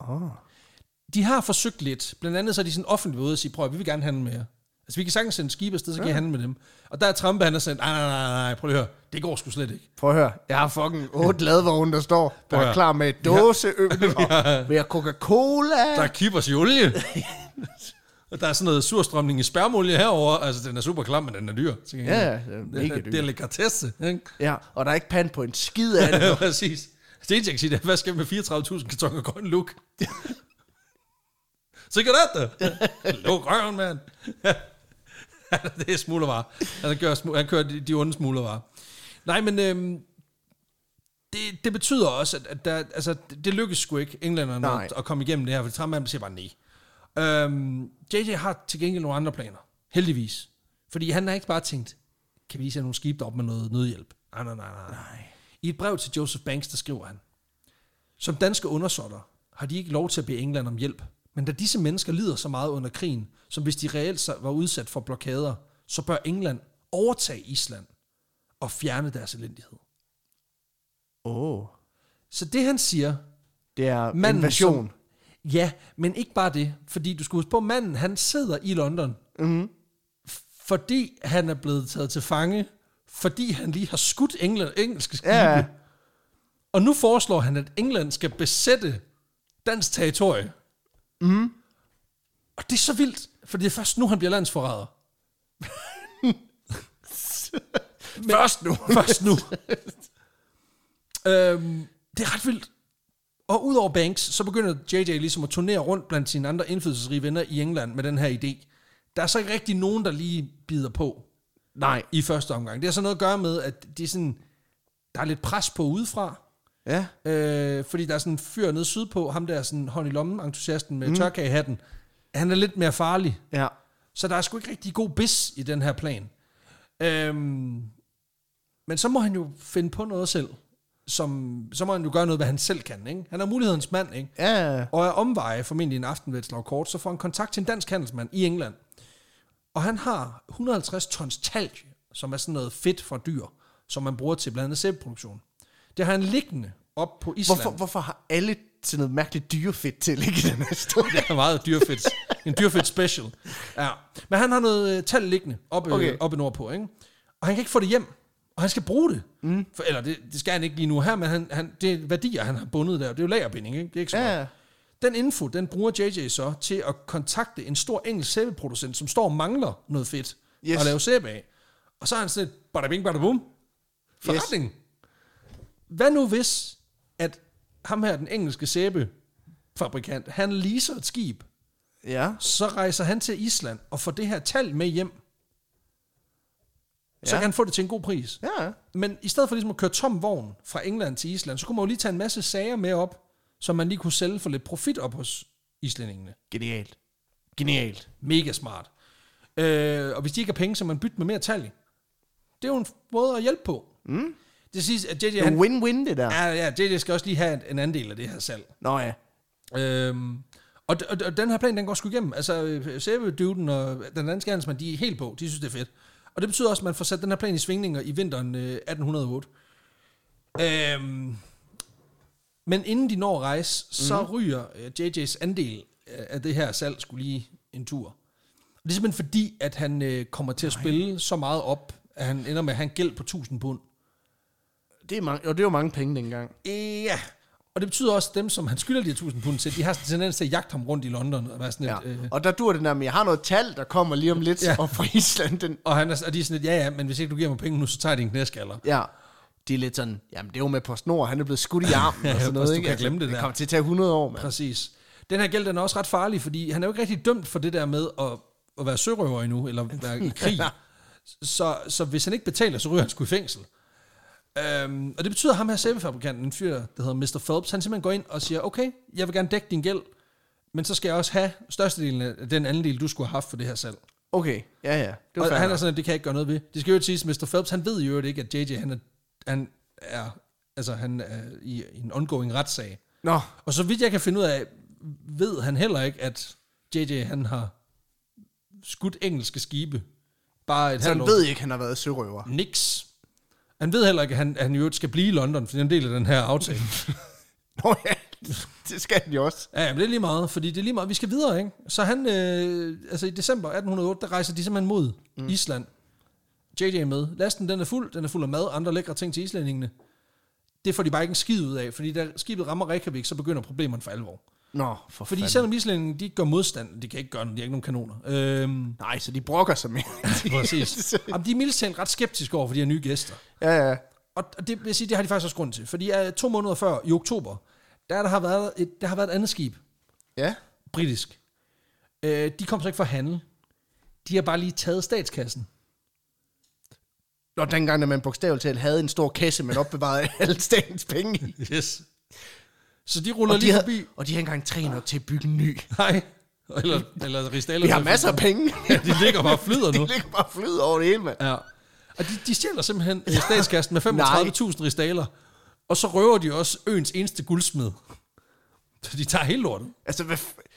Speaker 1: Oh.
Speaker 2: de har forsøgt lidt. Blandt andet så er de sådan offentligt ude og sige, prøv at vi vil gerne handle med jer. Altså vi kan sagtens sende skibe afsted, så kan ja. I handle med dem. Og der er Trampe, han har sendt, nej, nej, nej, nej, prøv lige at høre, det går sgu slet ikke.
Speaker 1: Prøv at høre, jeg har fucking otte ladvogne, der står, der
Speaker 2: Prøv at
Speaker 1: er
Speaker 2: høre.
Speaker 1: klar med dåseøl og vi har Coca-Cola.
Speaker 2: Der er kippers i olie. og der er sådan noget surstrømning i spermolie herover. Altså den er super klam, men den er dyr. til gengæld.
Speaker 1: Ja, ja, det er mega
Speaker 2: Det er
Speaker 1: dyrt.
Speaker 2: delikatesse, ikke?
Speaker 1: Ja, og der er ikke pand på en skid af det.
Speaker 2: Ja, præcis. Stenjæk siger det, hvad skal jeg med 34.000 kartonger grøn luk? Sikkert er det. Luk røven, mand. det er smuglervarer. Han kører, smu- han kører de, de onde smuglervarer. Nej, men øhm, det, det betyder også, at, at der, altså, det, det lykkes sgu ikke englænderne
Speaker 1: Nej.
Speaker 2: at, at komme igennem det her, for Tramman siger bare nej. Øhm, JJ har til gengæld nogle andre planer, heldigvis. Fordi han har ikke bare tænkt, kan vi lige sende nogle skibe derop med noget nødhjælp? Ah, Nej, nej, nej, nej. nej. I et brev til Joseph Banks, der skriver han, som danske undersåtter har de ikke lov til at bede England om hjælp, men da disse mennesker lider så meget under krigen, som hvis de reelt så- var udsat for blokader, så bør England overtage Island og fjerne deres elendighed.
Speaker 1: Åh, oh,
Speaker 2: Så det han siger,
Speaker 1: det er
Speaker 2: Manden,
Speaker 1: invasion.
Speaker 2: ja, men ikke bare det, fordi du skal huske på, manden han sidder i London, mm-hmm. fordi han er blevet taget til fange, fordi han lige har skudt England, engelske skibe.
Speaker 1: Ja, ja.
Speaker 2: Og nu foreslår han, at England skal besætte dansk territorie. Mm. Mm-hmm. Og det er så vildt, for det er først nu, han bliver landsforræder. Men, først nu. først nu. øhm, det er ret vildt. Og udover Banks, så begynder JJ ligesom at turnere rundt blandt sine andre indflydelsesrige venner i England med den her idé. Der er så ikke rigtig nogen, der lige bider på.
Speaker 1: Nej.
Speaker 2: i første omgang. Det har så noget at gøre med, at de er sådan, der er lidt pres på udefra,
Speaker 1: Ja.
Speaker 2: øh, fordi der er sådan en fyr nede sydpå, ham der er sådan hånd i lommen entusiasten med mm. tørkagehatten. Han er lidt mere farlig.
Speaker 1: Ja.
Speaker 2: Så der er sgu ikke rigtig god bis i den her plan. Øhm, men så må han jo finde på noget selv. Som, så må han jo gøre noget, hvad han selv kan. Ikke? Han er mulighedens mand, ikke?
Speaker 1: Ja.
Speaker 2: Og af omveje, formentlig en aften ved et slag kort, så får han kontakt til en dansk handelsmand i England. Og han har 150 tons talg, som er sådan noget fedt fra dyr, som man bruger til blandt andet sæbeproduktion. Det har han liggende op på Island.
Speaker 1: Hvorfor, hvorfor har alle sådan noget mærkeligt dyrefedt til at ligge i den her historie?
Speaker 2: Det er meget dyrfedt. En dyrfedt special. Ja. Men han har noget øh, tal liggende oppe, okay.
Speaker 1: Okay.
Speaker 2: oppe nordpå, ikke? Og han kan ikke få det hjem. Og han skal bruge det. Mm. For, eller det, det skal han ikke lige nu her, men han, han, det er værdier, han har bundet der. Det er jo lagerbinding, ikke? Det er ikke så meget.
Speaker 1: Ja.
Speaker 2: Den info, den bruger JJ så til at kontakte en stor engelsk sæbeproducent, som står og mangler noget fedt yes.
Speaker 1: Yes.
Speaker 2: at lave sæbe af. Og så er han sådan et bada bing, bada boom. Forretning. Yes. Hvad nu hvis, at ham her, den engelske sæbefabrikant, han leaser et skib,
Speaker 1: Ja.
Speaker 2: så rejser han til Island og får det her tal med hjem. Så
Speaker 1: Ja.
Speaker 2: kan han få det til en god pris.
Speaker 1: Ja.
Speaker 2: Men i stedet for ligesom at køre tom vogn fra England til Island, så kunne man jo lige tage en masse sager med op, som man lige kunne sælge for lidt profit op hos islændingene.
Speaker 1: Genialt. Genialt.
Speaker 2: Mega smart. Øh, og hvis de ikke har penge, så man bytte med mere tal. Det er jo en måde at hjælpe på. Mm. Det siges, at JJ,
Speaker 1: Det er en
Speaker 2: han,
Speaker 1: win-win, det der.
Speaker 2: ja, ja, JJ skal også lige have en- en andel af det her salg.
Speaker 1: Nå ja.
Speaker 2: Øhm, og, d- og, d- og den her plan, den går sgu igennem. Altså, Sæbe-duden og den danske handelsmand, de er helt på. De synes, det er fedt. Og det betyder også, at man får sat den her plan i svingninger i vinteren øh, 1808. Øhm, men inden de når at rejse, mm-hmm. så ryger øh, JJ's andel øh, af det her salg skulle lige en tur. Og det er simpelthen fordi, at han øh, kommer til at spille så meget op, at han ender med at have en gæld på 1000 pund.
Speaker 1: Det er, mange, og det var mange penge dengang.
Speaker 2: Ja. Og det betyder også, at dem, som han skylder de her 1000 pund til, de har sådan en tendens til at jagte ham rundt i London. Og, være sådan
Speaker 1: Ja.
Speaker 2: et, øh,
Speaker 1: Og der dur den der med, jeg har noget tal, der kommer lige om lidt,
Speaker 2: Ja.
Speaker 1: ja. og fra Island, den...
Speaker 2: og, han er, og de er sådan lidt, ja ja, men hvis ikke du giver mig penge nu, så tager jeg din knæskaller.
Speaker 1: Ja. De er lidt sådan, jamen det er jo med på snor, han er blevet skudt i armen
Speaker 2: Ja,
Speaker 1: og sådan
Speaker 2: hvis du
Speaker 1: noget, ikke? Altså,
Speaker 2: kan glemme det der.
Speaker 1: Det kommer til at tage 100 år, mand.
Speaker 2: Præcis. Den her gæld, den er også ret farlig, fordi han er jo ikke rigtig dømt for det der med at, at være sørøver endnu, eller være i krig. så, så hvis han ikke betaler, så ryger han sgu i fængsel. Øhm, og det betyder, at ham her sæbefabrikanten, en fyr, der hedder Mr. Phelps, han simpelthen går ind og siger, okay, jeg vil gerne dække din gæld, men så skal jeg også have størstedelen af den anden del, du skulle have haft for det her salg.
Speaker 1: Okay, ja ja. Det
Speaker 2: Og
Speaker 1: var
Speaker 2: han er
Speaker 1: han
Speaker 2: sådan, at det kan jeg ikke gøre noget ved. Det skal jo ikke siges, Mr. Phelps, han ved jo ikke, at JJ, han er, han er, altså, han er i en ongoing retssag.
Speaker 1: Nå,
Speaker 2: Og så vidt jeg kan finde ud af, ved han heller ikke, at JJ, han har skudt engelske skibe. Bare et
Speaker 1: så han
Speaker 2: halvt år.
Speaker 1: ved ikke, han har været sørøver.
Speaker 2: Niks. Han ved heller ikke, at han, at han jo skal blive i London, for det er en del af den her aftale.
Speaker 1: Nå ja, det skal han jo også.
Speaker 2: Ja, men det er lige meget, fordi det er lige meget. Vi skal videre, ikke? Så han, øh, altså i december 1808, der rejser de simpelthen mod mm. Island. JJ er med. Lasten, den er fuld. Den er fuld af mad, andre lækre ting til islændingene. Det får de bare ikke en skid ud af, fordi da skibet rammer Reykjavik, så begynder problemerne for alvor.
Speaker 1: Nå, for
Speaker 2: Fordi
Speaker 1: fanden.
Speaker 2: selvom islændingene, de gør modstand, de kan ikke gøre noget, de har ikke nogen kanoner. Øhm,
Speaker 1: Nej, så de brokker sig mere.
Speaker 2: præcis. Jamen, de er mildest talt ret skeptiske over for de her nye gæster.
Speaker 1: ja, ja.
Speaker 2: Og og det vil jeg sige, det har de faktisk også grund til. Fordi uh, to måneder før, i oktober, der, der, har været et, der har været et andet skib,
Speaker 1: Ja,
Speaker 2: britisk. Øh, de kom så ikke for handel. De har bare lige taget statskassen.
Speaker 1: Nå, dengang, da man bogstaveligt talt havde en stor kasse, man opbevarede alle statens penge i.
Speaker 2: Yes. Så de ruller
Speaker 1: Og de,
Speaker 2: lige
Speaker 1: havde,
Speaker 2: forbi.
Speaker 1: og de havde engang 300 til at bygge en ny.
Speaker 2: Nej. Eller, eller Ristaler.
Speaker 1: Vi har masser af penge.
Speaker 2: De ligger bare og flyder nu.
Speaker 1: Det ligger bare flyder over det hele, mand.
Speaker 2: Ja. Og de, de stjæler simpelthen øh, statskassen med 35.000 ristaler. Og så røver de også øens eneste guldsmed. Så de tager hele lorten.
Speaker 1: Altså, hvad, f-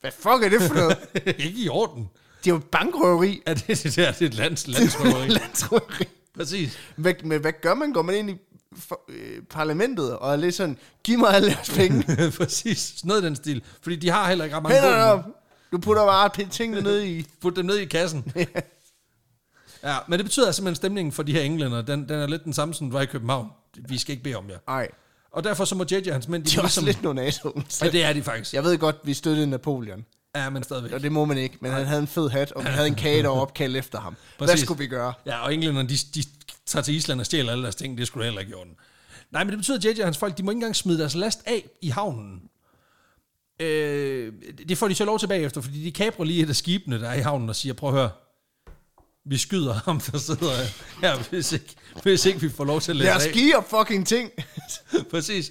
Speaker 1: hvad fuck er det for noget?
Speaker 2: ikke i orden.
Speaker 1: Det er jo bankrøveri.
Speaker 2: Ja, det, det, der, det er et lands, landsrøveri.
Speaker 1: Landsrøveri.
Speaker 2: Præcis.
Speaker 1: Hvad, men hvad gør man? Går man ind i for, øh, parlamentet og er lidt sådan, giv mig alle jeres penge.
Speaker 2: Præcis. Sådan noget i den stil. Fordi de har heller ikke ret mange
Speaker 1: Hænderne
Speaker 2: våben.
Speaker 1: op. Du putter bare p- tingene ned i.
Speaker 2: Put dem ned i kassen. ja, men det betyder simpelthen, at stemningen for de her englænder, den, den er lidt den samme, som den var i København. Vi skal ikke bede om jer.
Speaker 1: Nej,
Speaker 2: Og derfor så må JJ og hans mænd,
Speaker 1: det
Speaker 2: de
Speaker 1: er
Speaker 2: må
Speaker 1: også
Speaker 2: ligesom...
Speaker 1: lidt nogle nasoer.
Speaker 2: Ja, det er de faktisk.
Speaker 1: Jeg ved godt, vi støttede Napoleon.
Speaker 2: Ja, men stadigvæk.
Speaker 1: Og det må man ikke, men han havde en fed hat, og vi havde en kage, der var opkaldt efter ham. Hvad
Speaker 2: Præcis.
Speaker 1: skulle vi gøre?
Speaker 2: Ja, og englænderne, de, de tager til Island og stjæler alle deres ting. Det skulle du heller ikke gjort. Nej, men det betyder, at JJ og hans folk, de må ikke engang smide deres last af i havnen. Øh, det får de så lov til bagefter, fordi de kaprer lige et af skibene, der er i havnen, og siger, prøv at høre, vi skyder ham, der sidder her, hvis ikke, hvis ikke vi får lov til at læse
Speaker 1: Jeg
Speaker 2: af.
Speaker 1: skier fucking ting.
Speaker 2: Præcis.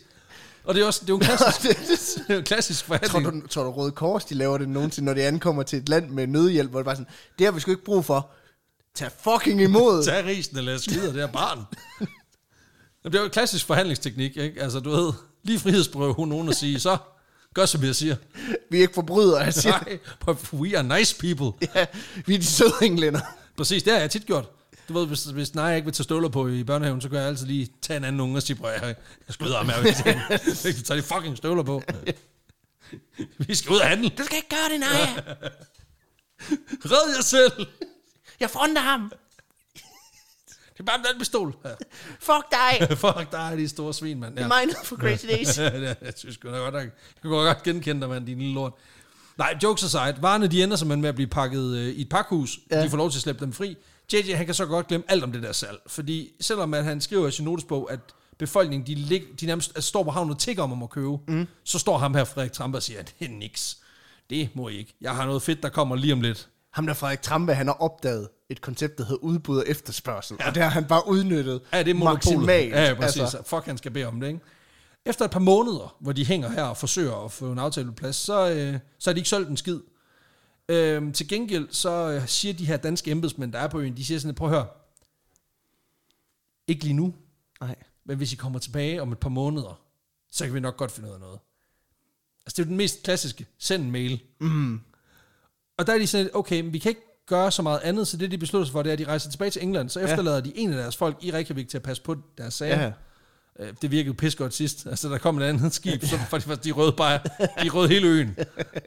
Speaker 2: Og det er også det er jo en klassisk, det er jo en klassisk
Speaker 1: Tror
Speaker 2: forhandling.
Speaker 1: du, tror du Røde Kors, de laver det nogensinde, når de ankommer til et land med nødhjælp, hvor det bare sådan, det har vi sgu ikke brug for. Tag fucking imod.
Speaker 2: Tag risen eller jeg skyder det her barn. Det er jo en klassisk forhandlingsteknik, ikke? Altså, du ved, lige frihedsberøve hun nogen og sige, så gør som jeg siger.
Speaker 1: vi er ikke forbrydere. Jeg siger.
Speaker 2: Nej, but we are nice people.
Speaker 1: Ja, vi er de søde englænder.
Speaker 2: Præcis, det har jeg tit gjort. Du ved, hvis, hvis nej, jeg ikke vil tage støvler på i børnehaven, så kan jeg altid lige tage en anden unge og sige, prøv at høre, jeg skyder ham her, hvis jeg ikke tager de fucking støvler på. Vi skal ud og handle.
Speaker 1: Du skal ikke gøre det, nej.
Speaker 2: Red jer selv.
Speaker 1: Jeg fronter ham.
Speaker 2: Det er bare med den pistol. Ja.
Speaker 1: Fuck dig.
Speaker 2: Fuck dig, de store svin, mand. Ja.
Speaker 1: Mine for crazy days.
Speaker 2: Ja, jeg synes sgu da godt, jeg, jeg kunne godt genkende dig, mand, din lille lort. Nej, jokes aside, varerne de ender simpelthen med at blive pakket øh, i et pakhus. Ja.
Speaker 1: Ja.
Speaker 2: De får lov til at slippe dem fri. JJ, han kan så godt glemme alt om det der salg. Fordi selvom at han skriver i sin notesbog, at befolkningen, de, lig, de nærmest altså, står på havnen og tigger om, om at købe, mm. så står ham her, Frederik Trampe, og siger, at det er niks. Det må I ikke. Jeg har noget fedt, der kommer lige om lidt.
Speaker 1: Ham der Frederik Trampe, han har opdaget et koncept, der hedder udbud og efterspørgsel. Ja. Og det har han bare udnyttet
Speaker 2: Ja, det er monopolet.
Speaker 1: maksimalt.
Speaker 2: Ja, ja, præcis. Altså. Fuck, han skal bede om det, ikke? Efter et par måneder, hvor de hænger her og forsøger at få en aftale på plads, så, øh, så er de ikke solgt en skid. Øhm, til gengæld, så øh, siger de her danske embedsmænd, der er på øen, de siger sådan, lidt, prøv at høre, ikke lige nu,
Speaker 1: Nej.
Speaker 2: men hvis I kommer tilbage om et par måneder, så kan vi nok godt finde ud af noget. Altså, det er jo den mest klassiske, send en mail. Mm. Og der er de sådan, lidt, okay, men vi kan ikke gøre så meget andet, så det, de beslutter sig for, det er, at de rejser tilbage til England, så efterlader de en af deres folk i Reykjavik til at passe på deres sager.
Speaker 1: Ja.
Speaker 2: Øh, Det virkede pissegodt sidst. Altså, der kom et andet skib, som faktisk de røde bare, de røde hele øen.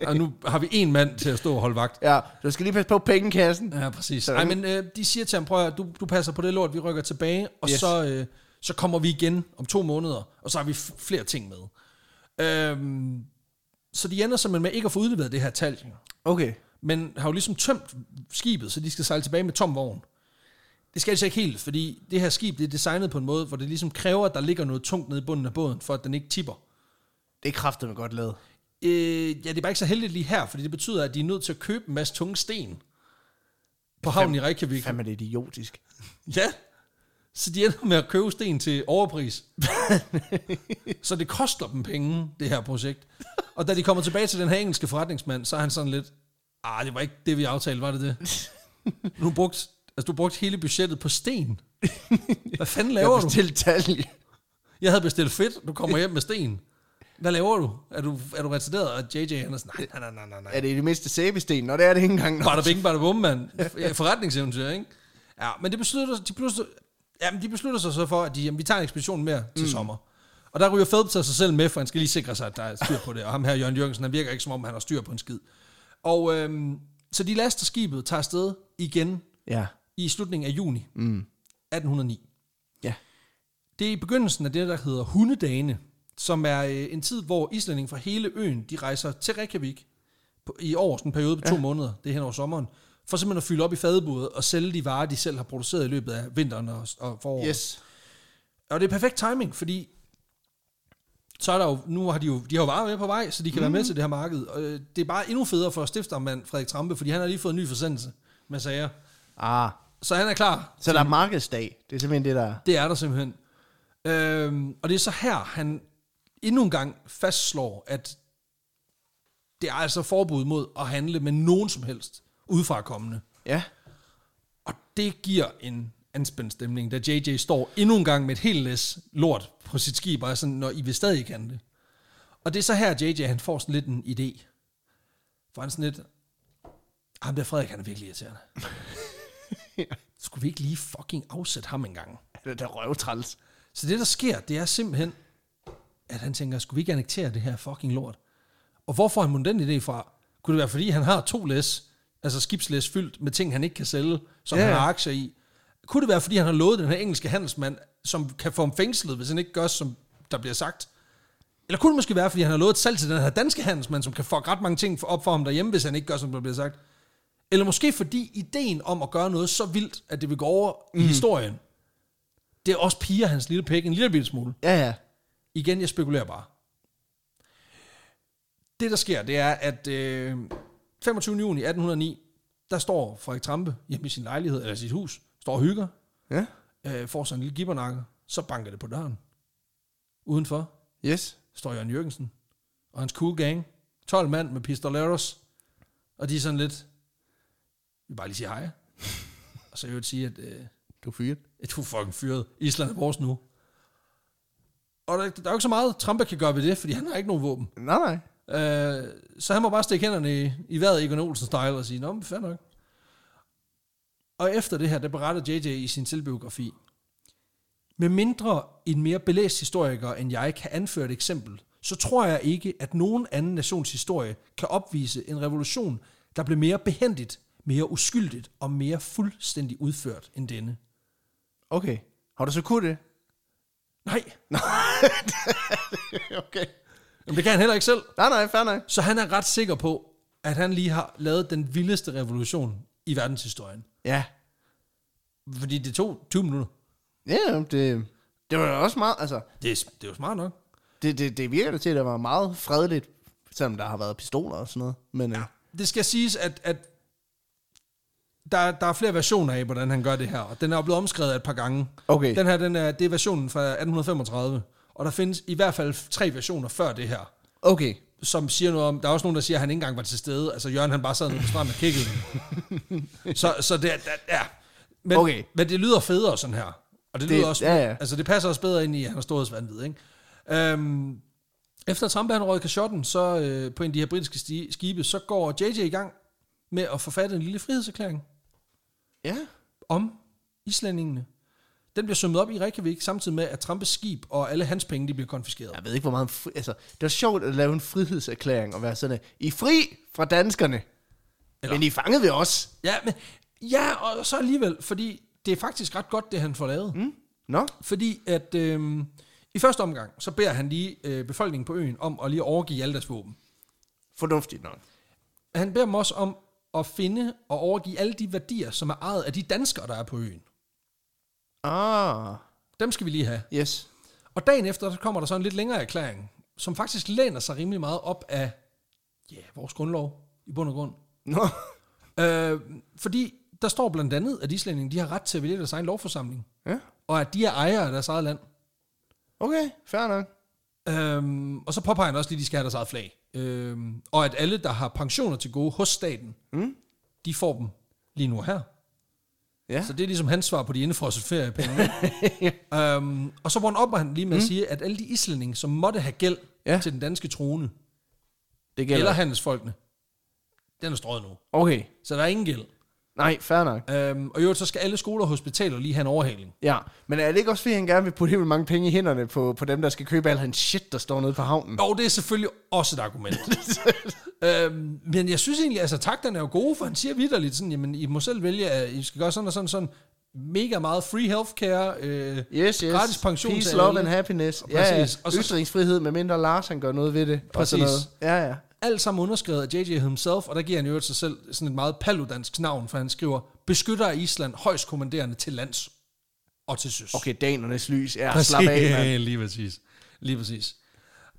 Speaker 2: Og nu har vi en mand til at stå og holde vagt.
Speaker 1: ja, du skal lige passe på pengekassen.
Speaker 2: Ja, præcis. Nej, men øh, de siger til ham, prøv at høre, du, du passer på det lort, vi rykker tilbage, og yes.
Speaker 1: Yes.
Speaker 2: så, øh, så kommer vi igen om to måneder, og så har vi f- flere ting med. Øhm, så de ender simpelthen med ikke at få udleveret det her tal,
Speaker 1: Okay.
Speaker 2: men har jo ligesom tømt skibet, så de skal sejle tilbage med tom vogn. Det skal de så ikke helt, fordi det her skib det er designet på en måde, hvor det ligesom kræver, at der ligger noget tungt nede i bunden af båden, for at den ikke tipper.
Speaker 1: Det er kraftedeme godt lavet.
Speaker 2: Øh, ja, det er bare ikke så heldigt lige her, fordi det betyder, at de er nødt til at købe en masse tunge sten på havnen i Reykjavik.
Speaker 1: Fandme, det er idiotisk.
Speaker 2: Ja. Så de ender med at købe sten til overpris. så det koster dem penge, det her projekt. Og da de kommer tilbage til den her engelske forretningsmand, så er han sådan lidt, ah, det var ikke det, vi aftalte, var det det? Du brugte, altså, du brugte hele budgettet på sten. Hvad fanden
Speaker 1: Jeg
Speaker 2: laver
Speaker 1: har
Speaker 2: du?
Speaker 1: bestilt talje.
Speaker 2: Jeg havde bestilt fedt, du kommer hjem med sten. Hvad laver du? Er du, er du retarderet? Og JJ han er sådan, nej, nej, nej, nej, nej.
Speaker 1: Er det i det mindste sæbesten? Nå, det er det ikke engang. Nå.
Speaker 2: Bada bing, bada bum, mand. Ja, Forretningseventyr, ikke? Ja, men det beslutter, de beslutter, jamen, de beslutter sig så for, at de, jamen, vi tager en ekspedition mere til mm. sommer. Og der ryger Phelps sig selv med, for han skal lige sikre sig, at der er styr på det. Og ham her, Jørgen Jørgensen, han virker ikke, som om han har styr på en skid. Og øhm, så de laster skibet, tager afsted igen
Speaker 1: Ja.
Speaker 2: i slutningen af juni mm. 1809.
Speaker 1: Ja.
Speaker 2: Det er i begyndelsen af det, der hedder Hundedagene, som er øh, en tid, hvor islændinge fra hele øen, de rejser til Reykjavik på, i år, sådan en periode på to måneder, det er hen over sommeren, for simpelthen at fylde op i fadebudet og sælge de varer, de selv har produceret i løbet af vinteren og, og foråret.
Speaker 1: Yes.
Speaker 2: Og det er perfekt timing, fordi så er der jo, nu har de jo, de har jo varer med på vej, så de kan mm. være med til det her marked. Og øh, det er bare endnu federe for stiftermand Frederik Trampe, fordi han har lige fået en ny forsendelse med sager.
Speaker 1: Ah.
Speaker 2: Så han er klar
Speaker 1: Så der er markedsdag. Det er simpelthen det, der er.
Speaker 2: Det er der simpelthen. Øhm, og det er så her, han endnu en gang fastslår, at det er altså forbud mod at handle med nogen som helst udefrakommende.
Speaker 1: Ja.
Speaker 2: Og det giver en anspændt stemning, da JJ står endnu en gang med et helt læs lort på sit skib, og er sådan, når I vil stadig kan det. Og det er så her, JJ han får sådan lidt en idé. For han er sådan lidt, ham der Frederik, han er virkelig irriterende. Skulle vi ikke lige fucking afsætte ham en gang?
Speaker 1: Det er da røvtræls.
Speaker 2: Så det, der sker, det er simpelthen, at han tænker, skulle vi ikke annektere det her fucking lort? Og hvor får han mon den idé fra? Kunne det være, fordi han har to læs, altså skibslæs fyldt med ting, han ikke kan sælge, som
Speaker 1: Ja,
Speaker 2: yeah. han
Speaker 1: ja.
Speaker 2: har aktier i? Kunne det være, fordi han har lovet den her engelske handelsmand, som kan få ham fængslet, hvis han ikke gør, som der bliver sagt? Eller kunne det måske være, fordi han har lovet et salg til den her danske handelsmand, som kan få ret mange ting op for ham derhjemme, hvis han ikke gør, som der bliver sagt? Eller måske fordi ideen om at gøre noget så vildt, at det vil gå over mm.
Speaker 1: Mhm.
Speaker 2: i historien, det er også piger hans lille pæk en lille bitte smule.
Speaker 1: Ja, ja.
Speaker 2: Igen, jeg spekulerer bare. Det, der sker, det er, at øh, 25. juni 1809, der står Frederik Trampe hjemme i sin lejlighed, eller sit hus, står og hygger,
Speaker 1: Ja.
Speaker 2: øh, får sådan en lille gibbernakke, så banker det på døren. Udenfor
Speaker 1: Yes.
Speaker 2: står Jørgen Jørgensen og hans cool gang. 12 mand med pistoleros. Og de er sådan lidt, vi vil bare lige sige hej. og så i øvrigt sige, at øh,
Speaker 1: Du er fyret.
Speaker 2: du er fucking fyret. Island er vores nu. Og der, der er jo ikke så meget, Trump kan gøre ved det, fordi han har ikke nogen våben.
Speaker 1: Nej, nej.
Speaker 2: Øh, så han må bare stikke hænderne i, i vejret Egon Olsen style og sige, nå, men fair nok. Og efter det her, der beretter JJ i sin selvbiografi, med mindre en mere belæst historiker end jeg kan anføre et eksempel, så tror jeg ikke, at nogen anden nations historie kan opvise en revolution, der blev mere behendigt, mere uskyldigt og mere fuldstændig udført end denne.
Speaker 1: Okay. Har du så kunnet det?
Speaker 2: Nej,
Speaker 1: okay.
Speaker 2: jamen det kan han heller ikke selv.
Speaker 1: Nej, nej, fair nok.
Speaker 2: Så han er ret sikker på, at han lige har lavet den vildeste revolution i verdenshistorien.
Speaker 1: Ja.
Speaker 2: Fordi det tog 20 minutter.
Speaker 1: Ja, det, det var også meget, altså,
Speaker 2: Det er, det er jo smart nok.
Speaker 1: det, det, det virker da til, at det var meget fredeligt, selvom der har været pistoler og sådan noget. Men, øh, ja.
Speaker 2: Det skal siges, at, at der, der er flere versioner af, hvordan han gør det her. Og den er blevet omskrevet et par gange.
Speaker 1: Okay.
Speaker 2: Den her, den er, det er versionen fra 1835. Og der findes i hvert fald tre versioner før det her,
Speaker 1: Okay.
Speaker 2: som siger noget om... Der er også nogen, der siger, at han ikke engang var til stede. Altså, Jørgen, han bare sad nede på stranden og kiggede. så, så det er... der- Ja. Men,
Speaker 1: Okay.
Speaker 2: men det lyder federe sådan her. Og det,
Speaker 1: Det-
Speaker 2: det lyder også...
Speaker 1: ja, ja.
Speaker 2: Altså, det passer også bedre ind i, at han har storhedsvandvid, ikke? Øhm, Efter Trump han røg kashotten, så øh, på en af de her britiske sti- skibe, så går JJ i gang med at forfatte en lille frihedserklæring
Speaker 1: Ja.
Speaker 2: om islændingene. Den bliver summet op i Reykjavik, samtidig med, at Trumpes skib og alle hans penge, de bliver konfiskeret.
Speaker 1: Jeg ved ikke, hvor meget... Fri, altså, det var sjovt at lave en frihedserklæring og være sådan, at I er fri fra danskerne, Eller?
Speaker 2: Eller-
Speaker 1: men I fangede ved os.
Speaker 2: Ja, men, ja og så alligevel, fordi det er faktisk ret godt, det han får lavet. Mm.
Speaker 1: Nå?
Speaker 2: Fordi at øh, i første omgang, så beder han lige øh, befolkningen på øen om at lige overgive alle deres våben.
Speaker 1: Fornuftigt nok.
Speaker 2: Han beder dem også om at finde og overgive alle de værdier, som er ejet af de danskere, der er på øen.
Speaker 1: Ah,
Speaker 2: Dem skal vi lige have.
Speaker 1: yes.
Speaker 2: Og dagen efter, så kommer der så en lidt længere erklæring, som faktisk læner sig rimelig meget op af ja, vores grundlov i bund og grund.
Speaker 1: Nå,
Speaker 2: Øh, fordi der står blandt andet, at islændinge de har ret til at vælge deres egen lovforsamling,
Speaker 1: ja.
Speaker 2: og at de er ejere af deres eget land.
Speaker 1: Okay, fair nok.
Speaker 2: Øhm, og så påpeger han også lige, at de skal have deres eget flag. Øhm, og at alle, der har pensioner til gode hos staten,
Speaker 1: Mm.
Speaker 2: de får dem lige nu og her.
Speaker 1: Ja.
Speaker 2: Så det er ligesom hans svar på de indefrosset feriepenge. øhm, og så runder op han lige med at sige, at alle de islændinge, som måtte have gæld
Speaker 1: Ja.
Speaker 2: ja. til den danske trone,
Speaker 1: Det
Speaker 2: Gælder.
Speaker 1: gælder.
Speaker 2: Eller handelsfolkene. Den er strøget nu.
Speaker 1: Okay.
Speaker 2: Så der er ingen gæld.
Speaker 1: Nej, fair nok.
Speaker 2: Øhm, og i øvrigt, så skal alle skoler og hospitaler lige have en overhaling.
Speaker 1: Ja, men er det ikke også, fordi han gerne vil putte helt vildt mange penge i hænderne på, på dem, der skal købe al hans shit, der står nede på havnen?
Speaker 2: Og det er selvfølgelig også et argument. øhm, men jeg synes egentlig, altså takterne er jo gode, for han siger vidderligt sådan, jamen I må selv vælge, at I skal gøre sådan og sådan, sådan mega meget free healthcare. Øh,
Speaker 1: Yes, yes.
Speaker 2: Gratis pension
Speaker 1: Peace,
Speaker 2: til
Speaker 1: love
Speaker 2: alle.
Speaker 1: and happiness. Ja, ja.
Speaker 2: Præcis. Og så-
Speaker 1: Ytringsfrihed, med mindre Lars, han gør noget ved det. og sådan
Speaker 2: Præcis.
Speaker 1: noget. Ja, ja.
Speaker 2: alt sammen underskrevet af JJ himself, og der giver han i øvrigt sig selv sådan et meget paludansk navn, for han skriver, beskytter af Island højst kommanderende til lands og til søs.
Speaker 1: Okay, danernes lys. Ja, slap af, mand.
Speaker 2: lige præcis. Lige præcis.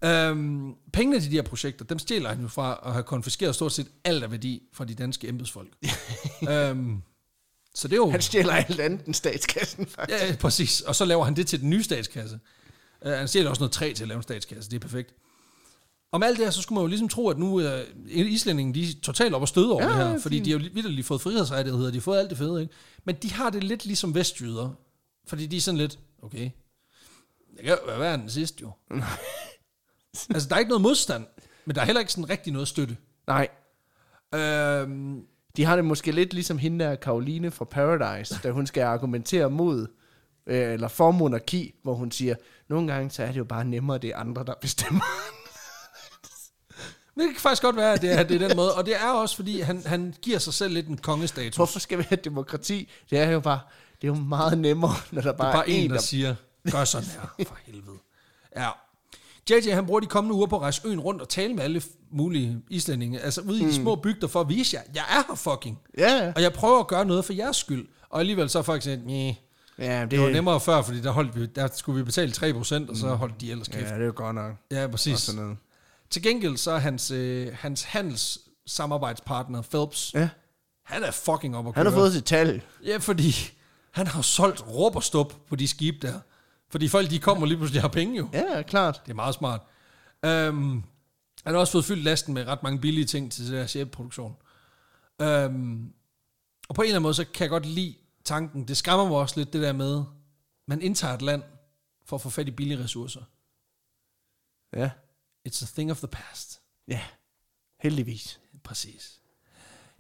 Speaker 2: Øhm, pengene til de her projekter, dem stjæler han jo fra at have konfiskeret stort set alt af værdi fra de danske embedsfolk. øhm, så det er jo...
Speaker 1: Han stjæler alt andet end statskassen, faktisk.
Speaker 2: Ja, ja, præcis. Og så laver han det til den nye statskasse. Uh, han stjæler også noget træ til at lave en statskasse. Det er perfekt. Om alt det her, så skulle man jo ligesom tro, at nu er uh, islændingen, de er totalt op og støde over
Speaker 1: Ja,
Speaker 2: ja, det
Speaker 1: ja,
Speaker 2: her. Fordi
Speaker 1: fint.
Speaker 2: de har jo vidderligt fået frihedsrettigheder, de har fået alt det fede, ikke? Men de har det lidt ligesom vestjyder. Fordi de er sådan lidt, okay, jeg kan jo være den sidste jo. altså, der er ikke noget modstand, men der er heller ikke sådan rigtig noget støtte.
Speaker 1: Nej,
Speaker 2: Øhm,
Speaker 1: de har det måske lidt ligesom hende der Karoline fra Paradise, da hun skal argumentere mod, øh, eller for monarki, hvor hun siger, nogle gange så er det jo bare nemmere, det er andre, der bestemmer.
Speaker 2: det kan faktisk godt være, at det er, det er den måde. Og det er også, fordi han, han giver sig selv lidt en kongestatus.
Speaker 1: Hvorfor skal vi have demokrati? Det er jo bare, det er jo meget nemmere, når der bare,
Speaker 2: bare, bare en, der
Speaker 1: der...
Speaker 2: siger, gør sådan her, for helvede. Ja. JJ, han bruger de kommende uger på at rejse øen rundt og tale med alle f- mulige islændinge, altså ude
Speaker 1: Mm.
Speaker 2: i de små bygder, for at vise jer, jeg er her fucking,
Speaker 1: Ja, ja.
Speaker 2: og jeg prøver at gøre noget for jeres skyld. Og alligevel så er folk sådan, "Næh,
Speaker 1: ja, det, Mm.
Speaker 2: det var nemmere før, fordi der, holdt vi, der skulle vi betale 3%, og så holdt de ellers kæft.
Speaker 1: Ja, det er jo godt nok.
Speaker 2: Ja, ja
Speaker 1: Og
Speaker 2: præcis.
Speaker 1: sådan noget.
Speaker 2: Til gengæld så er hans, øh, hans handelssamarbejdspartner, Phelps,
Speaker 1: Ja.
Speaker 2: Han er fucking op at
Speaker 1: Han har
Speaker 2: køre.
Speaker 1: fået sit tal.
Speaker 2: Ja, fordi han har jo solgt råb og stup på de skibe der. Fordi folk, de kommer lige pludselig og har penge jo.
Speaker 1: Ja, klart.
Speaker 2: Det er meget smart. Øhm, han har også fået fyldt lasten med ret mange billige ting til deres sjæleproduktion. Øhm, og på en eller anden måde, så kan jeg godt lide tanken. Det skræmmer mig også lidt, det der med, man indtager et land for at få fat i billige ressourcer.
Speaker 1: Ja.
Speaker 2: It's a thing of the past.
Speaker 1: Ja. Heldigvis.
Speaker 2: Præcis.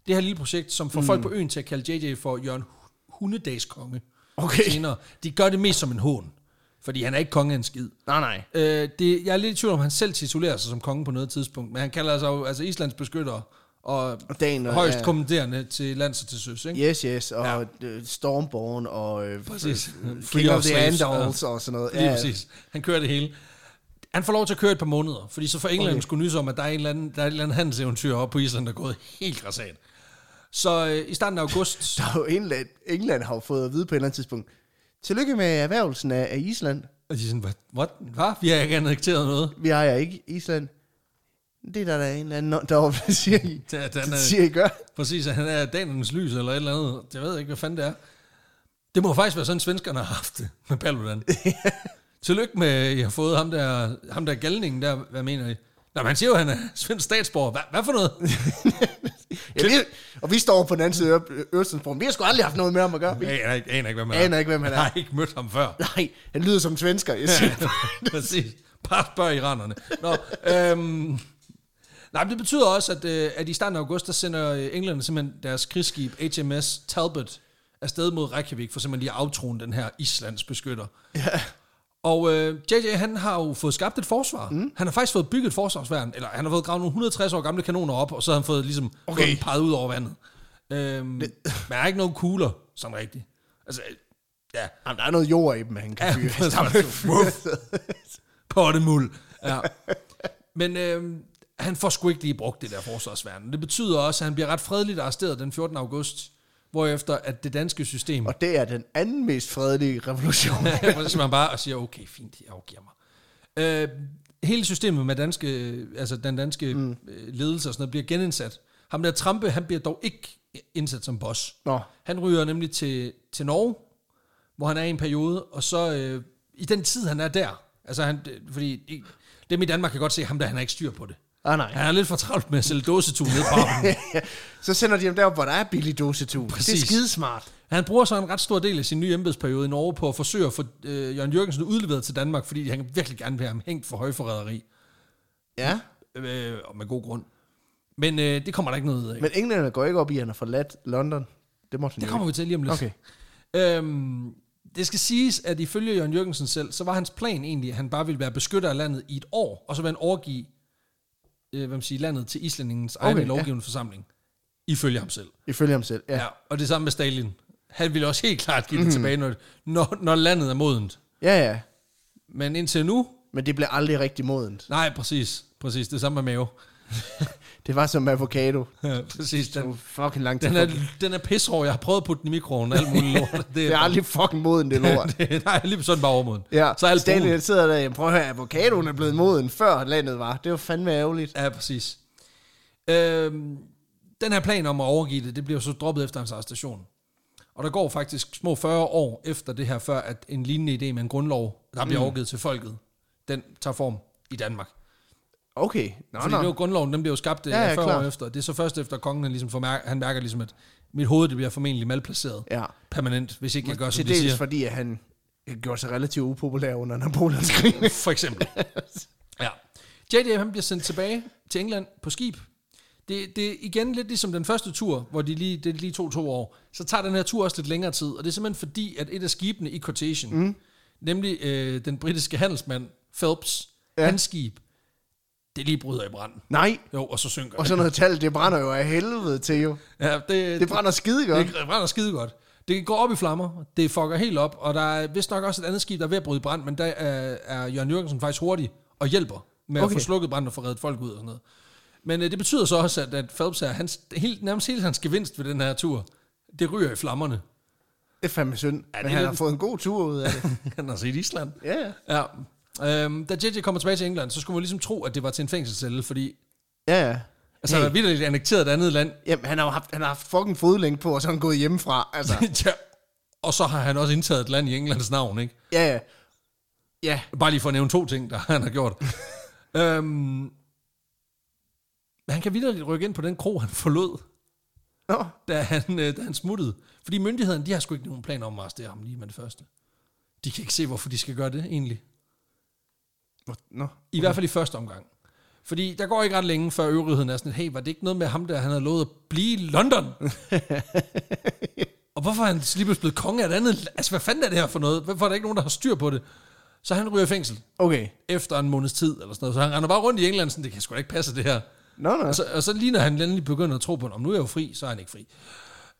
Speaker 2: Det her lille projekt, som får mm. folk på øen til at kalde JJ for Jørgen Hundedags konge
Speaker 1: Okay.
Speaker 2: senere, de gør det mest som en hån. Fordi han er ikke konge af en skid.
Speaker 1: Nej, nej.
Speaker 2: Øh, det, jeg er lidt i tvivl om, han selv titulerer sig som konge på noget tidspunkt, men han kalder sig jo altså Islands beskytter og
Speaker 1: Og dagen, og-
Speaker 2: højst
Speaker 1: ja.
Speaker 2: kommanderende til lands og til søs. Ikke?
Speaker 1: Yes, yes, og ja. Stormborn og øh,
Speaker 2: Præcis.
Speaker 1: øh, King
Speaker 2: Free
Speaker 1: of
Speaker 2: of
Speaker 1: the
Speaker 2: slaves,
Speaker 1: Andals og sådan noget.
Speaker 2: Lige præcis. Han kører det hele. Han får lov til at køre et par måneder, fordi så får England okay. skulle nys om, at der er, en eller anden, der er et eller andet handelseventyr oppe på Island, der er gået helt grassat. Så øh, i starten af august...
Speaker 1: Der er jo England, England har jo fået at vide på et eller andet tidspunkt, tillykke med erhvervelsen af, af Island.
Speaker 2: og de er sådan, hvad? What? Hvad? Vi har ikke annekteret noget.
Speaker 1: Vi ejer ikke Island. Det er der, der er en eller anden ånd deroppe, der siger I.
Speaker 2: Der, der,
Speaker 1: Det
Speaker 2: der,
Speaker 1: siger I gør.
Speaker 2: præcis, han er danernes lys eller et eller andet. Jeg ved ikke, hvad fanden det er. Det må faktisk være sådan, svenskerne har haft det med Paludan. Tillykke med, at I har fået ham der, ham der galningen der. Hvad mener I? Nej, men han siger jo, at han er svensk statsborger. Hvad, hvad for noget?
Speaker 1: Ja, vi, og vi står på den anden side af Ø- Øresundsbroen. Vi har sgu aldrig haft noget med ham at gøre. Vi
Speaker 2: Jeg aner ikke, aner ikke hvem han er.
Speaker 1: aner ikke, hvem han
Speaker 2: Jeg
Speaker 1: er.
Speaker 2: har ikke mødt ham før.
Speaker 1: Nej, han lyder som en svensker. Jeg siger.
Speaker 2: Præcis. Bare spørg iranerne. Nå, øhm, nej, men det betyder også, at, øh, at i starten af august, der sender øh, englænderne simpelthen deres krigsskib HMS Talbot afsted mod Reykjavik, for simpelthen lige at aftrone den her Islands beskytter. Ja. Og øh, JJ, han har jo fået skabt et forsvar. Mm. Han har faktisk fået bygget et forsvarsværn, eller han har fået gravet nogle 160 år gamle kanoner op, og så har han fået ligesom
Speaker 1: Okay.
Speaker 2: okay. peget ud over vandet. Øhm, det. Men er ikke nogen kugler, sådan rigtigt. Altså, øh, ja.
Speaker 1: Jamen, der er noget jord i dem, han kan
Speaker 2: Ja,
Speaker 1: fyre.
Speaker 2: præcis.
Speaker 1: Der er noget fyr.
Speaker 2: pottemuld. Ja. Men øh, han får sgu ikke lige brugt det der forsvarsværn. Det betyder også, at han bliver ret fredeligt arresteret den 14. august, hvorefter at det danske system,
Speaker 1: Og det er den anden mest fredelige revolution.
Speaker 2: hvor så man bare og siger, okay, fint, jeg afgiver mig. Øh, hele systemet med danske, øh, altså den danske mm. ledelse og sådan noget, bliver genindsat. Ham der Trampe, han bliver dog ikke indsat som boss.
Speaker 1: Nå,
Speaker 2: Han ryger nemlig til, til Norge, hvor han er i en periode, og så øh, i den tid, han er der, altså han, det- fordi i- dem i Danmark kan godt se ham, der han har ikke styr på det.
Speaker 1: ah, nej.
Speaker 2: Han er lidt for travlt med at sælge dåsetun ned på havnen.
Speaker 1: Ja, så sender de dem derop, hvor der er billig dosetug. Det
Speaker 2: Præcis.
Speaker 1: er skidesmart.
Speaker 2: Han bruger så en ret stor del af sin nye embedsperiode i Norge på at forsøge at få øh, Jørgen Jørgensen udleveret til Danmark, fordi han virkelig gerne vil have ham hængt for højforræderi,
Speaker 1: Ja,
Speaker 2: øh, og med god grund. Men øh, det kommer der ikke noget ud af.
Speaker 1: men englænderne går ikke op i, at han har forladt London. Det måtte han
Speaker 2: Det
Speaker 1: jo
Speaker 2: kommer vi til lige om lidt.
Speaker 1: Okay.
Speaker 2: Øhm, det skal siges, at ifølge Jørgen Jørgensen selv, så var hans plan egentlig, at han bare ville være beskytter af landet i et år, og så ville han overgive øh, hvad man siger, landet til islændingens okay,
Speaker 1: Okay,
Speaker 2: egen
Speaker 1: ja.
Speaker 2: lovgivende forsamling. Ifølge ham selv.
Speaker 1: ikke. Ifølge ham selv, ja. Mhm.
Speaker 2: Ja. Og det samme med Stalin. Han ville også helt klart give mm. det tilbage, når, når, når landet er modent.
Speaker 1: Ja, ja.
Speaker 2: Men indtil nu,
Speaker 1: Men det blev aldrig rigtig modent.
Speaker 2: nej, præcis. Præcis, det samme med mave.
Speaker 1: Det var som avocado.
Speaker 2: Ja, præcis,
Speaker 1: Det var
Speaker 2: den,
Speaker 1: fucking lang tid.
Speaker 2: den, er, den er pissrå. Jeg har prøvet at putte den i mikroen og alt muligt lort. Det,
Speaker 1: det er aldrig fucking modent, det lort.
Speaker 2: det, nej, lige sådan bare overmoden.
Speaker 1: Ja,
Speaker 2: Så er alt
Speaker 1: Stanley
Speaker 2: brun.
Speaker 1: han sidder der, "Jamen, prøv at høre, avocadoen er blevet moden, før landet var. Det var fandme ærgerligt.
Speaker 2: Ja, præcis. Øhm, den her plan om at overgive det, det bliver så droppet efter hans arrestation. Og der går faktisk små 40 år efter det her, før at en lignende idé med en grundlov, der bliver mm. overgivet til folket, den tager form i Danmark.
Speaker 1: Okay, nå,
Speaker 2: Fordi
Speaker 1: nå.
Speaker 2: det var grundloven, den blev jo skabt ja,
Speaker 1: Ja, ja,
Speaker 2: 40
Speaker 1: klar.
Speaker 2: år efter. Det er så først efter, at kongen han ligesom får mær- han mærker ligesom, at mit hoved det bliver formentlig malplaceret
Speaker 1: Ja.
Speaker 2: permanent, hvis ikke jeg gør, som
Speaker 1: Til
Speaker 2: de
Speaker 1: dels
Speaker 2: siger.
Speaker 1: fordi, at han gjorde sig relativt upopulær under Napoleonskrigen.
Speaker 2: For eksempel. Ja. JD han bliver sendt tilbage til England på skib. Det, det er igen lidt ligesom den første tur, hvor de lige, det lige tog to år. Så tager den her tur også lidt længere tid, og det er simpelthen fordi, at et af skibene i Cortation, mm. nemlig øh, den britiske handelsmand Phelps, ja. hans skib, det lige bryder i brand.
Speaker 1: Nej,
Speaker 2: Jo, og så synker
Speaker 1: og sådan noget tal, det brænder jo af helvede til jo.
Speaker 2: det. Ja, det,
Speaker 1: Det brænder skide godt.
Speaker 2: Det brænder skide godt. Det går op i flammer, det fucker helt op, og der er vist nok også et andet skib, der er ved at bryde i brand, men der er, er Jørgen Jørgensen faktisk hurtig og hjælper med okay.
Speaker 1: Okay.
Speaker 2: at få slukket branden og få reddet folk ud og sådan noget. Men øh, det betyder så også, at, at Phelps er hans, helt, nærmest hele hans gevinst ved den her tur. Det ryger i flammerne.
Speaker 1: Det er fandme synd. Ja, men
Speaker 2: det er
Speaker 1: han
Speaker 2: lidt-
Speaker 1: har fået en god tur ud af det.
Speaker 2: Han har set Island.
Speaker 1: ja, ja.
Speaker 2: Ja. Øhm, da JJ kommer tilbage til England, så skulle man ligesom tro, at det var til en fængselscelle, fordi
Speaker 1: ja, ja.
Speaker 2: Altså, hey. han har vildt annekteret et andet land.
Speaker 1: Jamen, han har jo haft, han har haft fucking fodlænke på, og så er han gået hjemmefra. Altså,
Speaker 2: ja. Og så har han også indtaget et land i Englands navn, ikke?
Speaker 1: ja, ja. Ja,
Speaker 2: Bare lige for at nævne to ting, der han har gjort. øhm, men han kan videre rykke ind på den krog, han forlod,
Speaker 1: Nå,
Speaker 2: da han, øh, da han smuttede. Fordi myndighederne, de har sgu ikke nogen planer om at arrestere ham lige med det første. De kan ikke se, hvorfor de skal gøre det egentlig.
Speaker 1: Hvor- nå.
Speaker 2: I hvert fald i første omgang. Fordi der går ikke ret længe, før øvrigheden er sådan, hey, var det ikke noget med ham, der han havde lovet at blive i London? og hvorfor er han lige pludselig blevet konge af et andet? Altså, hvad fanden er det her for noget? Hvorfor er der ikke nogen, der har styr på det? Så han ryger i fængsel
Speaker 1: Okay.
Speaker 2: efter en måneds tid, eller sådan noget. Så han render bare rundt i England, sådan, det kan sgu da ikke passe det her.
Speaker 1: Nå, nå.
Speaker 2: Og så, og så lige når han endelig begynder at tro på, om nu er jeg jo fri, så er han ikke fri.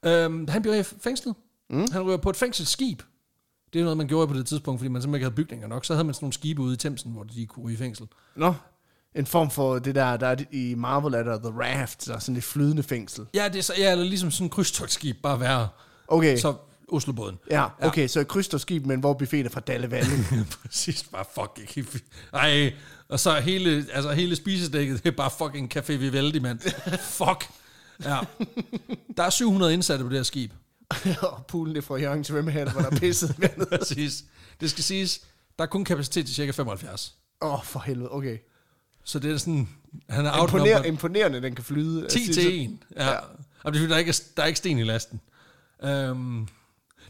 Speaker 2: Øhm, han bliver fængslet. Mm. Han ryger på et fængselsskib. Det er noget, man gjorde på det tidspunkt, fordi man simpelthen ikke havde bygninger nok. Så havde man sådan nogle skibe ude i Thamesen, hvor de kunne ryge i fængsel.
Speaker 1: Nå. En form for det der, der er i Marvel, er der The Raft, der er sådan et flydende fængsel.
Speaker 2: Ja, det er så, ja, eller ligesom sådan en krydstogsskib, bare værre.
Speaker 1: Okay,
Speaker 2: Okay.
Speaker 1: så,
Speaker 2: Så Oslobåden.
Speaker 1: ja, okay, så et krydstogsskib, men hvor buffeten er fra Dalle Valle.
Speaker 2: Præcis, bare fuck ikke. Ej, og så hele, altså hele spisestækket, det er bare fucking Café Vivaldi, mand. fuck. Ja. Der er 700 indsatte på det her skib.
Speaker 1: og poolen er fra Jørgen Svømmehal, hvor der er pisset vandet.
Speaker 2: Præcis. Det skal siges, der er kun kapacitet til cirka 75.
Speaker 1: Åh, oh, for helvede, okay.
Speaker 2: Så det er sådan, han er
Speaker 1: Imponer,
Speaker 2: outnumbered
Speaker 1: imponerende, den kan flyde. øh,
Speaker 2: 10 til 1. Ja. ja. Jamen, det er, fordi, der, er ikke, der er ikke sten i lasten. Øhm,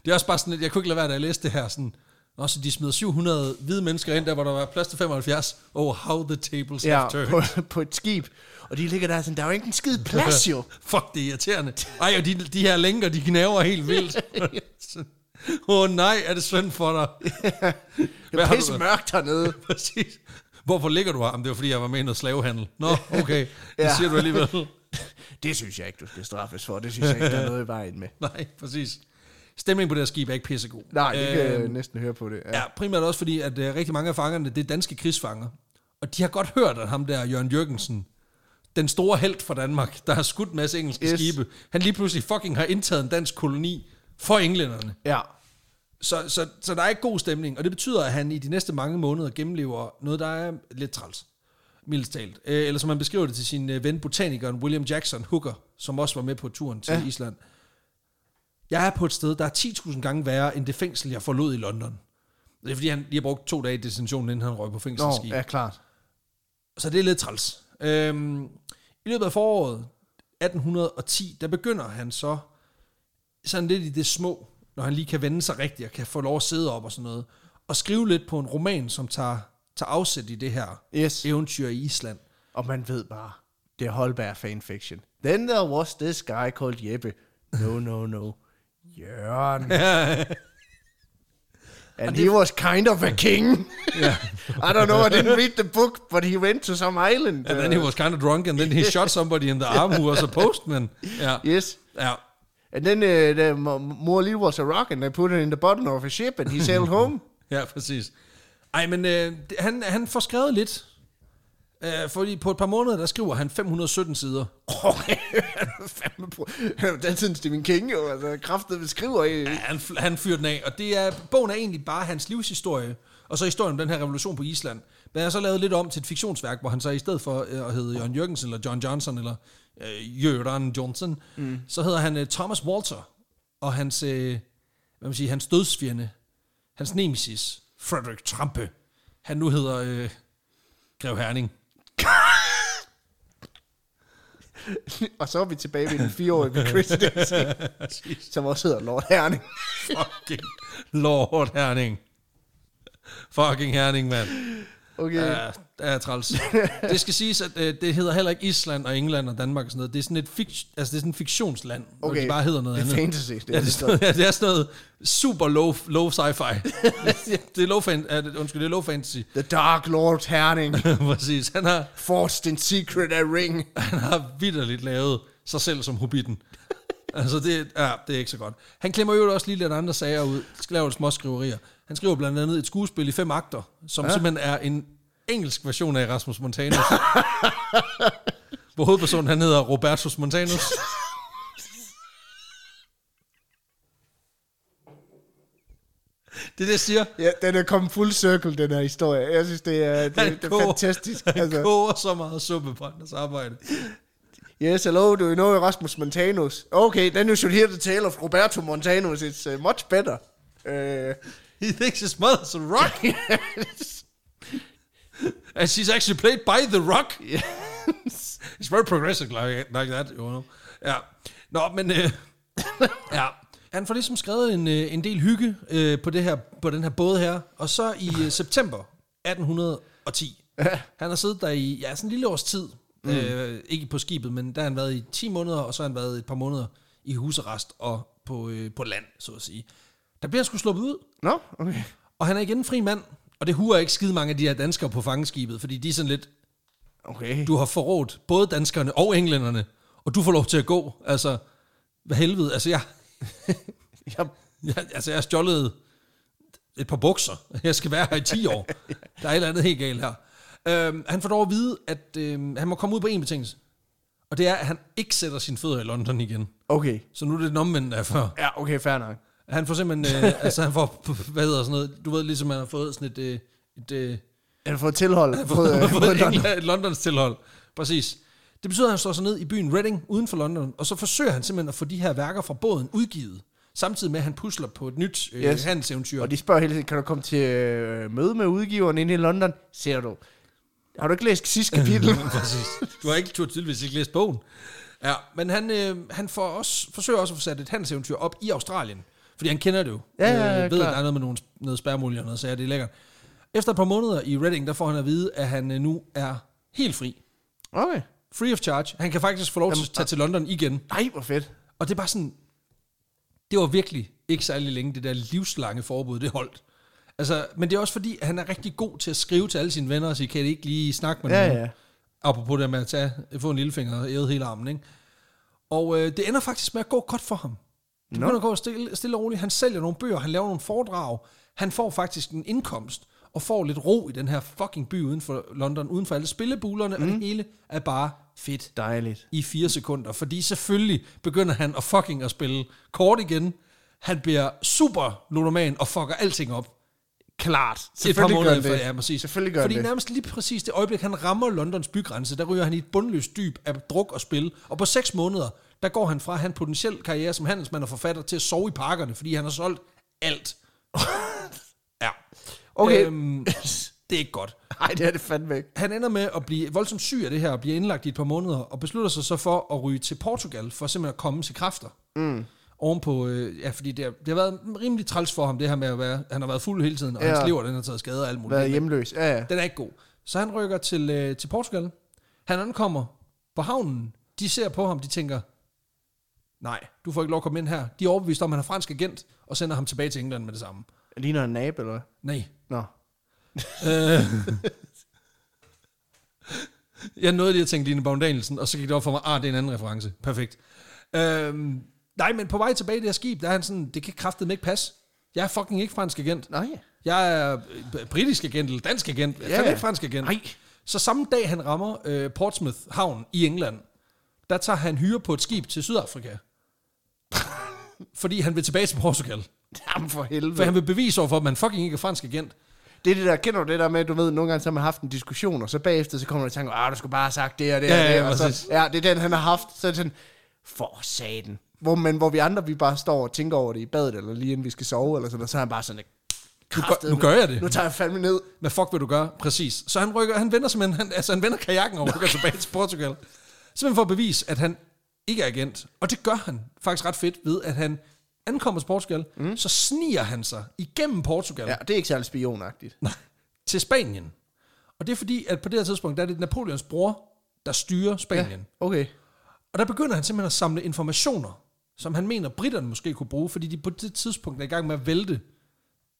Speaker 2: det er også bare sådan, at jeg kunne ikke lade være, da jeg læste det her, sådan, Nå, så de smider 700 hvide mennesker ind, der hvor der var plads til 75. Oh, how the tables
Speaker 1: Ja,
Speaker 2: have turned.
Speaker 1: på, på, et skib. Og de ligger der sådan, der er jo ikke en skid plads jo.
Speaker 2: Fuck, det er irriterende. Ej, og de, de her lænker, de gnaver helt vildt. Åh oh, nej, er det synd for dig.
Speaker 1: Det er
Speaker 2: har du
Speaker 1: pisse
Speaker 2: der?
Speaker 1: mørkt hernede.
Speaker 2: Præcis. Hvorfor ligger du her? Jamen, det var fordi, jeg var med i noget slavehandel. Nå, okay. Det
Speaker 1: Ja.
Speaker 2: siger du alligevel.
Speaker 1: Det synes jeg ikke, du skal straffes for. Det synes jeg ikke, der er noget i vejen med.
Speaker 2: Nej, præcis. Stemningen på det her skib er ikke pissegod.
Speaker 1: Nej, det kan
Speaker 2: Øhm,
Speaker 1: jeg næsten høre på det. Ja.
Speaker 2: Ja, primært også fordi, at øh, rigtig mange af fangerne, det er danske krigsfanger. Og de har godt hørt, at ham der, Jørgen Jørgensen, den store held fra Danmark, der har skudt en masse engelske
Speaker 1: Yes.
Speaker 2: yes. skibe, han lige pludselig fucking har indtaget en dansk koloni for englænderne.
Speaker 1: ja.
Speaker 2: Så, så, så der er ikke god stemning, og det betyder, at han i de næste mange måneder gennemlever noget, der er lidt træls, mildest talt. Øh, Eller som han beskriver det til sin øh, ven botanikeren William Jackson Hooker, som også var med på turen til ja. Island. Jeg er på et sted, der er 10.000 gange værre end det fængsel, jeg forlod i London. Det er fordi, han lige har brugt to dage i detentionen, inden han røg på
Speaker 1: Nå,
Speaker 2: fængselsskib.
Speaker 1: ja, klart.
Speaker 2: Så det er lidt træls. Øhm, I løbet af foråret 1810, der begynder han så sådan lidt i det små, når han lige kan vende sig rigtigt og kan få lov at sidde op og sådan noget, og skrive lidt på en roman, som tager, tager afsæt i det her
Speaker 1: Yes.
Speaker 2: eventyr i Island.
Speaker 1: Og man ved bare, det er Holberg fanfiction. Then there was this guy called Jeppe. No, no, no. Jørgen. And he was kind of a king. I don't know, I didn't read the book, but he went to some island.
Speaker 2: And then he was kind of drunk, and then he shot somebody in the arm who was a postman. Ja,
Speaker 1: Yes.
Speaker 2: ja.
Speaker 1: And then uh, the m- more Lille was a rock, and they put it in the bottom of a ship, and he sailed home.
Speaker 2: ja præcis. Ej, men øh, det- han, han får skrevet lidt, øh, fordi på et par måneder, der skriver han 517 sider.
Speaker 1: Okay, han er fandme på. Han er jo datidens Stephen King, jo. Altså, kraftet beskriver i...
Speaker 2: Ja, han, han fyrte den af, og det er, bogen er egentlig bare hans livshistorie, og så historien om den her revolution på Island. Men jeg har så lavet lidt om til et fiktionsværk, hvor han så i stedet for øh, at hedde Jørgen Jørgensen, eller John Johnson, eller øh, Jørgen Johnson, mm. så hedder han øh, Thomas Walter, og hans, øh, hvad man siger, hans dødsfjende, hans nemesis, Frederik Trampe, han nu hedder øh, Grev Herning.
Speaker 1: Og så er vi tilbage ved den fireårige ved Christensen, som også hedder Lord Herning.
Speaker 2: Fucking Lord Herning. Fucking Herning, mand.
Speaker 1: Okay.
Speaker 2: Ja, det er træls. det skal siges, at øh, det hedder heller ikke Island og England og Danmark og sådan noget. Det er sådan et, fik, altså, det er sådan et fiktionsland, okay. hvor
Speaker 1: Okay.
Speaker 2: de bare hedder noget
Speaker 1: det er
Speaker 2: andet.
Speaker 1: fantasy. Det er
Speaker 2: Ja, det, er
Speaker 1: det,
Speaker 2: sådan, ja, det er sådan noget super low, low sci-fi. det er low, fan, ja, det- undskyld, det er low fantasy.
Speaker 1: The Dark Lord Herning
Speaker 2: Præcis. Han har,
Speaker 1: forged in secret a ring.
Speaker 2: han har vidderligt lavet sig selv som hobbiten. altså, det, ja, det er ikke så godt. Han klemmer jo også lige lidt andre sager ud. Skal lave lidt små skriverier. Han skriver blandt andet et skuespil i fem akter, som ja. simpelthen er en engelsk version af Rasmus Montanus. hvor hovedpersonen han hedder Robertus Montanus. Det er det, jeg siger.
Speaker 1: Ja, den er kommet full circle, den her historie. Jeg synes, det er, det,
Speaker 2: Han
Speaker 1: det er
Speaker 2: koger-
Speaker 1: fantastisk.
Speaker 2: Han
Speaker 1: Altså,
Speaker 2: koger så meget suppe på andres arbejde.
Speaker 1: Yes, hello, do you know Erasmus Montanus? Okay, then you should hear the tale of Roberto Montanus. It's uh, much better. Uh,
Speaker 2: He thinks his mother's a rock. and she's actually played by The Rock.
Speaker 1: yes.
Speaker 2: It's very progressive like, like that, you know. Ja. Nå, men... Øh, ja. Han får ligesom skrevet en, øh, en del hygge øh, på, det her, på den her båd her. Og så i øh, september 1810. Han har siddet der i ja, sådan en lille års tid. Mm. Øh, ikke på skibet, men der har han været i 10 måneder, og så har han været et par måneder i husarrest og på, øh, på land, så at sige. Der bliver han sgu sluppet ud.
Speaker 1: Nå, okay.
Speaker 2: Og han er igen en fri mand, og det huer ikke skide mange af de her danskere på fangeskibet, fordi de er sådan lidt,
Speaker 1: Okay.
Speaker 2: du har forrådt både danskerne og englænderne, og du får lov til at gå. Altså, hvad helvede, altså jeg,
Speaker 1: Jeg,
Speaker 2: jeg altså jeg har stjålet et par bukser. Jeg skal være her i 10 år. Der er et eller andet helt galt her. Øhm, han får dog at vide, at øhm, han må komme ud på en betingelse. Og det er, at han ikke sætter sine fødder i London igen.
Speaker 1: okay.
Speaker 2: Så nu er det den omvendte af før.
Speaker 1: Ja, okay, fair nok.
Speaker 2: Han får simpelthen, øh, altså han får, hvad hedder sådan noget, du ved ligesom, han har fået sådan et, øh, et, øh,
Speaker 1: Jeg har fået tilhold. Jeg har fået,
Speaker 2: fået,
Speaker 1: øh, fået London.
Speaker 2: England, Londons tilhold. Præcis. Det betyder, at han slår sig ned i byen Reading uden for London, og så forsøger han simpelthen at få de her værker fra båden udgivet, samtidig med, at han pusler på et nyt øh, yes.
Speaker 1: Yes.
Speaker 2: handelseventyr.
Speaker 1: Og de spørger hele tiden, kan du komme til øh, møde med udgiveren inde i London? Ser du. Har du ikke læst sidste kapitel?
Speaker 2: Præcis. Du har ikke du har tydeligvis ikke læst bogen. Ja, men han, øh, han får også, forsøger også at få sat et handelseventyr op i Australien, fordi han kender det jo.
Speaker 1: Ja, ja, ja,
Speaker 2: øh, ved, at
Speaker 1: klart.
Speaker 2: der er noget med nogle, noget spærremulige og noget, så ja, det er lækkert. Efter et par måneder i Reading, der får han at vide, at han øh, nu er helt fri.
Speaker 1: okay.
Speaker 2: Free of charge. Han kan faktisk få lov til at tage til London igen.
Speaker 1: Nej, hvor fedt.
Speaker 2: Og det er bare sådan, det var virkelig ikke særlig længe, det der livslange forbud, det holdt. Altså, men det er også fordi, at han er rigtig god til at skrive til alle sine venner og sige, kan I ikke lige snakke med
Speaker 1: Ja,
Speaker 2: nogen?
Speaker 1: ja.
Speaker 2: Apropos det med at tage, få en lillefinger og æde hele armen, ikke? Og øh, det ender faktisk med at gå godt for ham. Det begynder at gå stille, stille og roligt. Han sælger nogle bøger, han laver nogle foredrag. Han får faktisk en indkomst og får lidt ro i den her fucking by uden for London, uden for alle spillebulerne, mm.
Speaker 1: Mhm.
Speaker 2: og det hele er bare fedt
Speaker 1: Dejligt.
Speaker 2: i fire sekunder, fordi selvfølgelig begynder han at fucking at spille kort igen. Han bliver super ludoman og fucker alting op.
Speaker 1: Klart.
Speaker 2: Et par
Speaker 1: Selvfølgelig gør
Speaker 2: måneder
Speaker 1: han
Speaker 2: efter,
Speaker 1: det.
Speaker 2: ja, præcis.
Speaker 1: Selvfølgelig gør
Speaker 2: Fordi
Speaker 1: han det.
Speaker 2: nærmest lige præcis det øjeblik, han rammer Londons bygrænse, der ryger han i et bundløst dyb af druk og spil. Og på seks måneder, der går han fra han potentiel karriere som handelsmand og forfatter til at sove i parkerne, fordi han har solgt alt. ja.
Speaker 1: Okay.
Speaker 2: Øhm, det er ikke godt.
Speaker 1: Nej, det er det fandme ikke.
Speaker 2: Han ender med at blive voldsomt syg af det her, og bliver indlagt i et par måneder, og beslutter sig så for at ryge til Portugal, for simpelthen at komme til kræfter. Mm. Ovenpå, øh, ja, fordi det, har- det har været rimelig træls for ham, det her med at være, han har været fuld hele tiden, og ja.
Speaker 1: Ja.
Speaker 2: hans lever, den har taget skade og alt muligt.
Speaker 1: Været hjemløs. Ja, ja.
Speaker 2: Den er ikke god. Så han rykker til, øh, til Portugal. Han ankommer på havnen. De ser på ham, de tænker, nej, du får ikke lov at komme ind her. De er overbevist om, at han er fransk agent, og sender ham tilbage til England med det samme.
Speaker 1: Ligner en nab, eller hvad?
Speaker 2: Nej,
Speaker 1: Nå.
Speaker 2: Øh. jeg nåede lige at tænke Line Baum Danielsen, og så gik det op for mig, ah, det er en anden reference. Perfekt. Øhm, nej, men på vej tilbage i det her skib, der er han sådan, det kan kraftedeme ikke passe. Jeg er fucking ikke fransk agent.
Speaker 1: Nej.
Speaker 2: Jeg er øh, britisk agent, eller dansk agent. Jeg er
Speaker 1: Ja.
Speaker 2: fandme ikke fransk agent.
Speaker 1: Nej.
Speaker 2: Så samme dag, han rammer øh, Portsmouth havn i England, der tager han hyre på et skib til Sydafrika. fordi han vil tilbage til Portugal.
Speaker 1: Jamen for
Speaker 2: For
Speaker 1: helvede.
Speaker 2: han vil bevise overfor, at man fucking ikke er fransk agent.
Speaker 1: Det er det der, kender du det der med, du ved, nogle gange så har man haft en diskussion, og så bagefter, så kommer der i tanke, ah, du skulle bare have sagt det og det
Speaker 2: Ja,
Speaker 1: og det.
Speaker 2: ja,
Speaker 1: og
Speaker 2: præcis.
Speaker 1: så, ja, det er den, han har haft. Så er det sådan, for satan. Hvor, men hvor vi andre, vi bare står og tænker over det i badet, eller lige inden vi skal sove, eller sådan, og så er han bare sådan,
Speaker 2: Nu gør, nu gør jeg det.
Speaker 1: nu tager jeg fandme ned.
Speaker 2: Hvad fuck vil du gøre? Præcis. Så han rykker, han vender simpelthen, han, altså han vender kajakken og rykker tilbage til Portugal. Simpelthen for at bevise, at han ikke er agent. Og det gør han faktisk ret fedt ved, at han ankommer til Portugal, mm. så sniger han sig igennem Portugal
Speaker 1: Ja,
Speaker 2: ja.
Speaker 1: det er ikke særlig spionagtigt.
Speaker 2: til Spanien. Og det er fordi, at på det her tidspunkt, der er det Napoleons bror, der styrer Spanien. Ja.
Speaker 1: Okay.
Speaker 2: Og der begynder han simpelthen at samle informationer, som han mener, britterne måske kunne bruge, fordi de på det tidspunkt er i gang med at vælte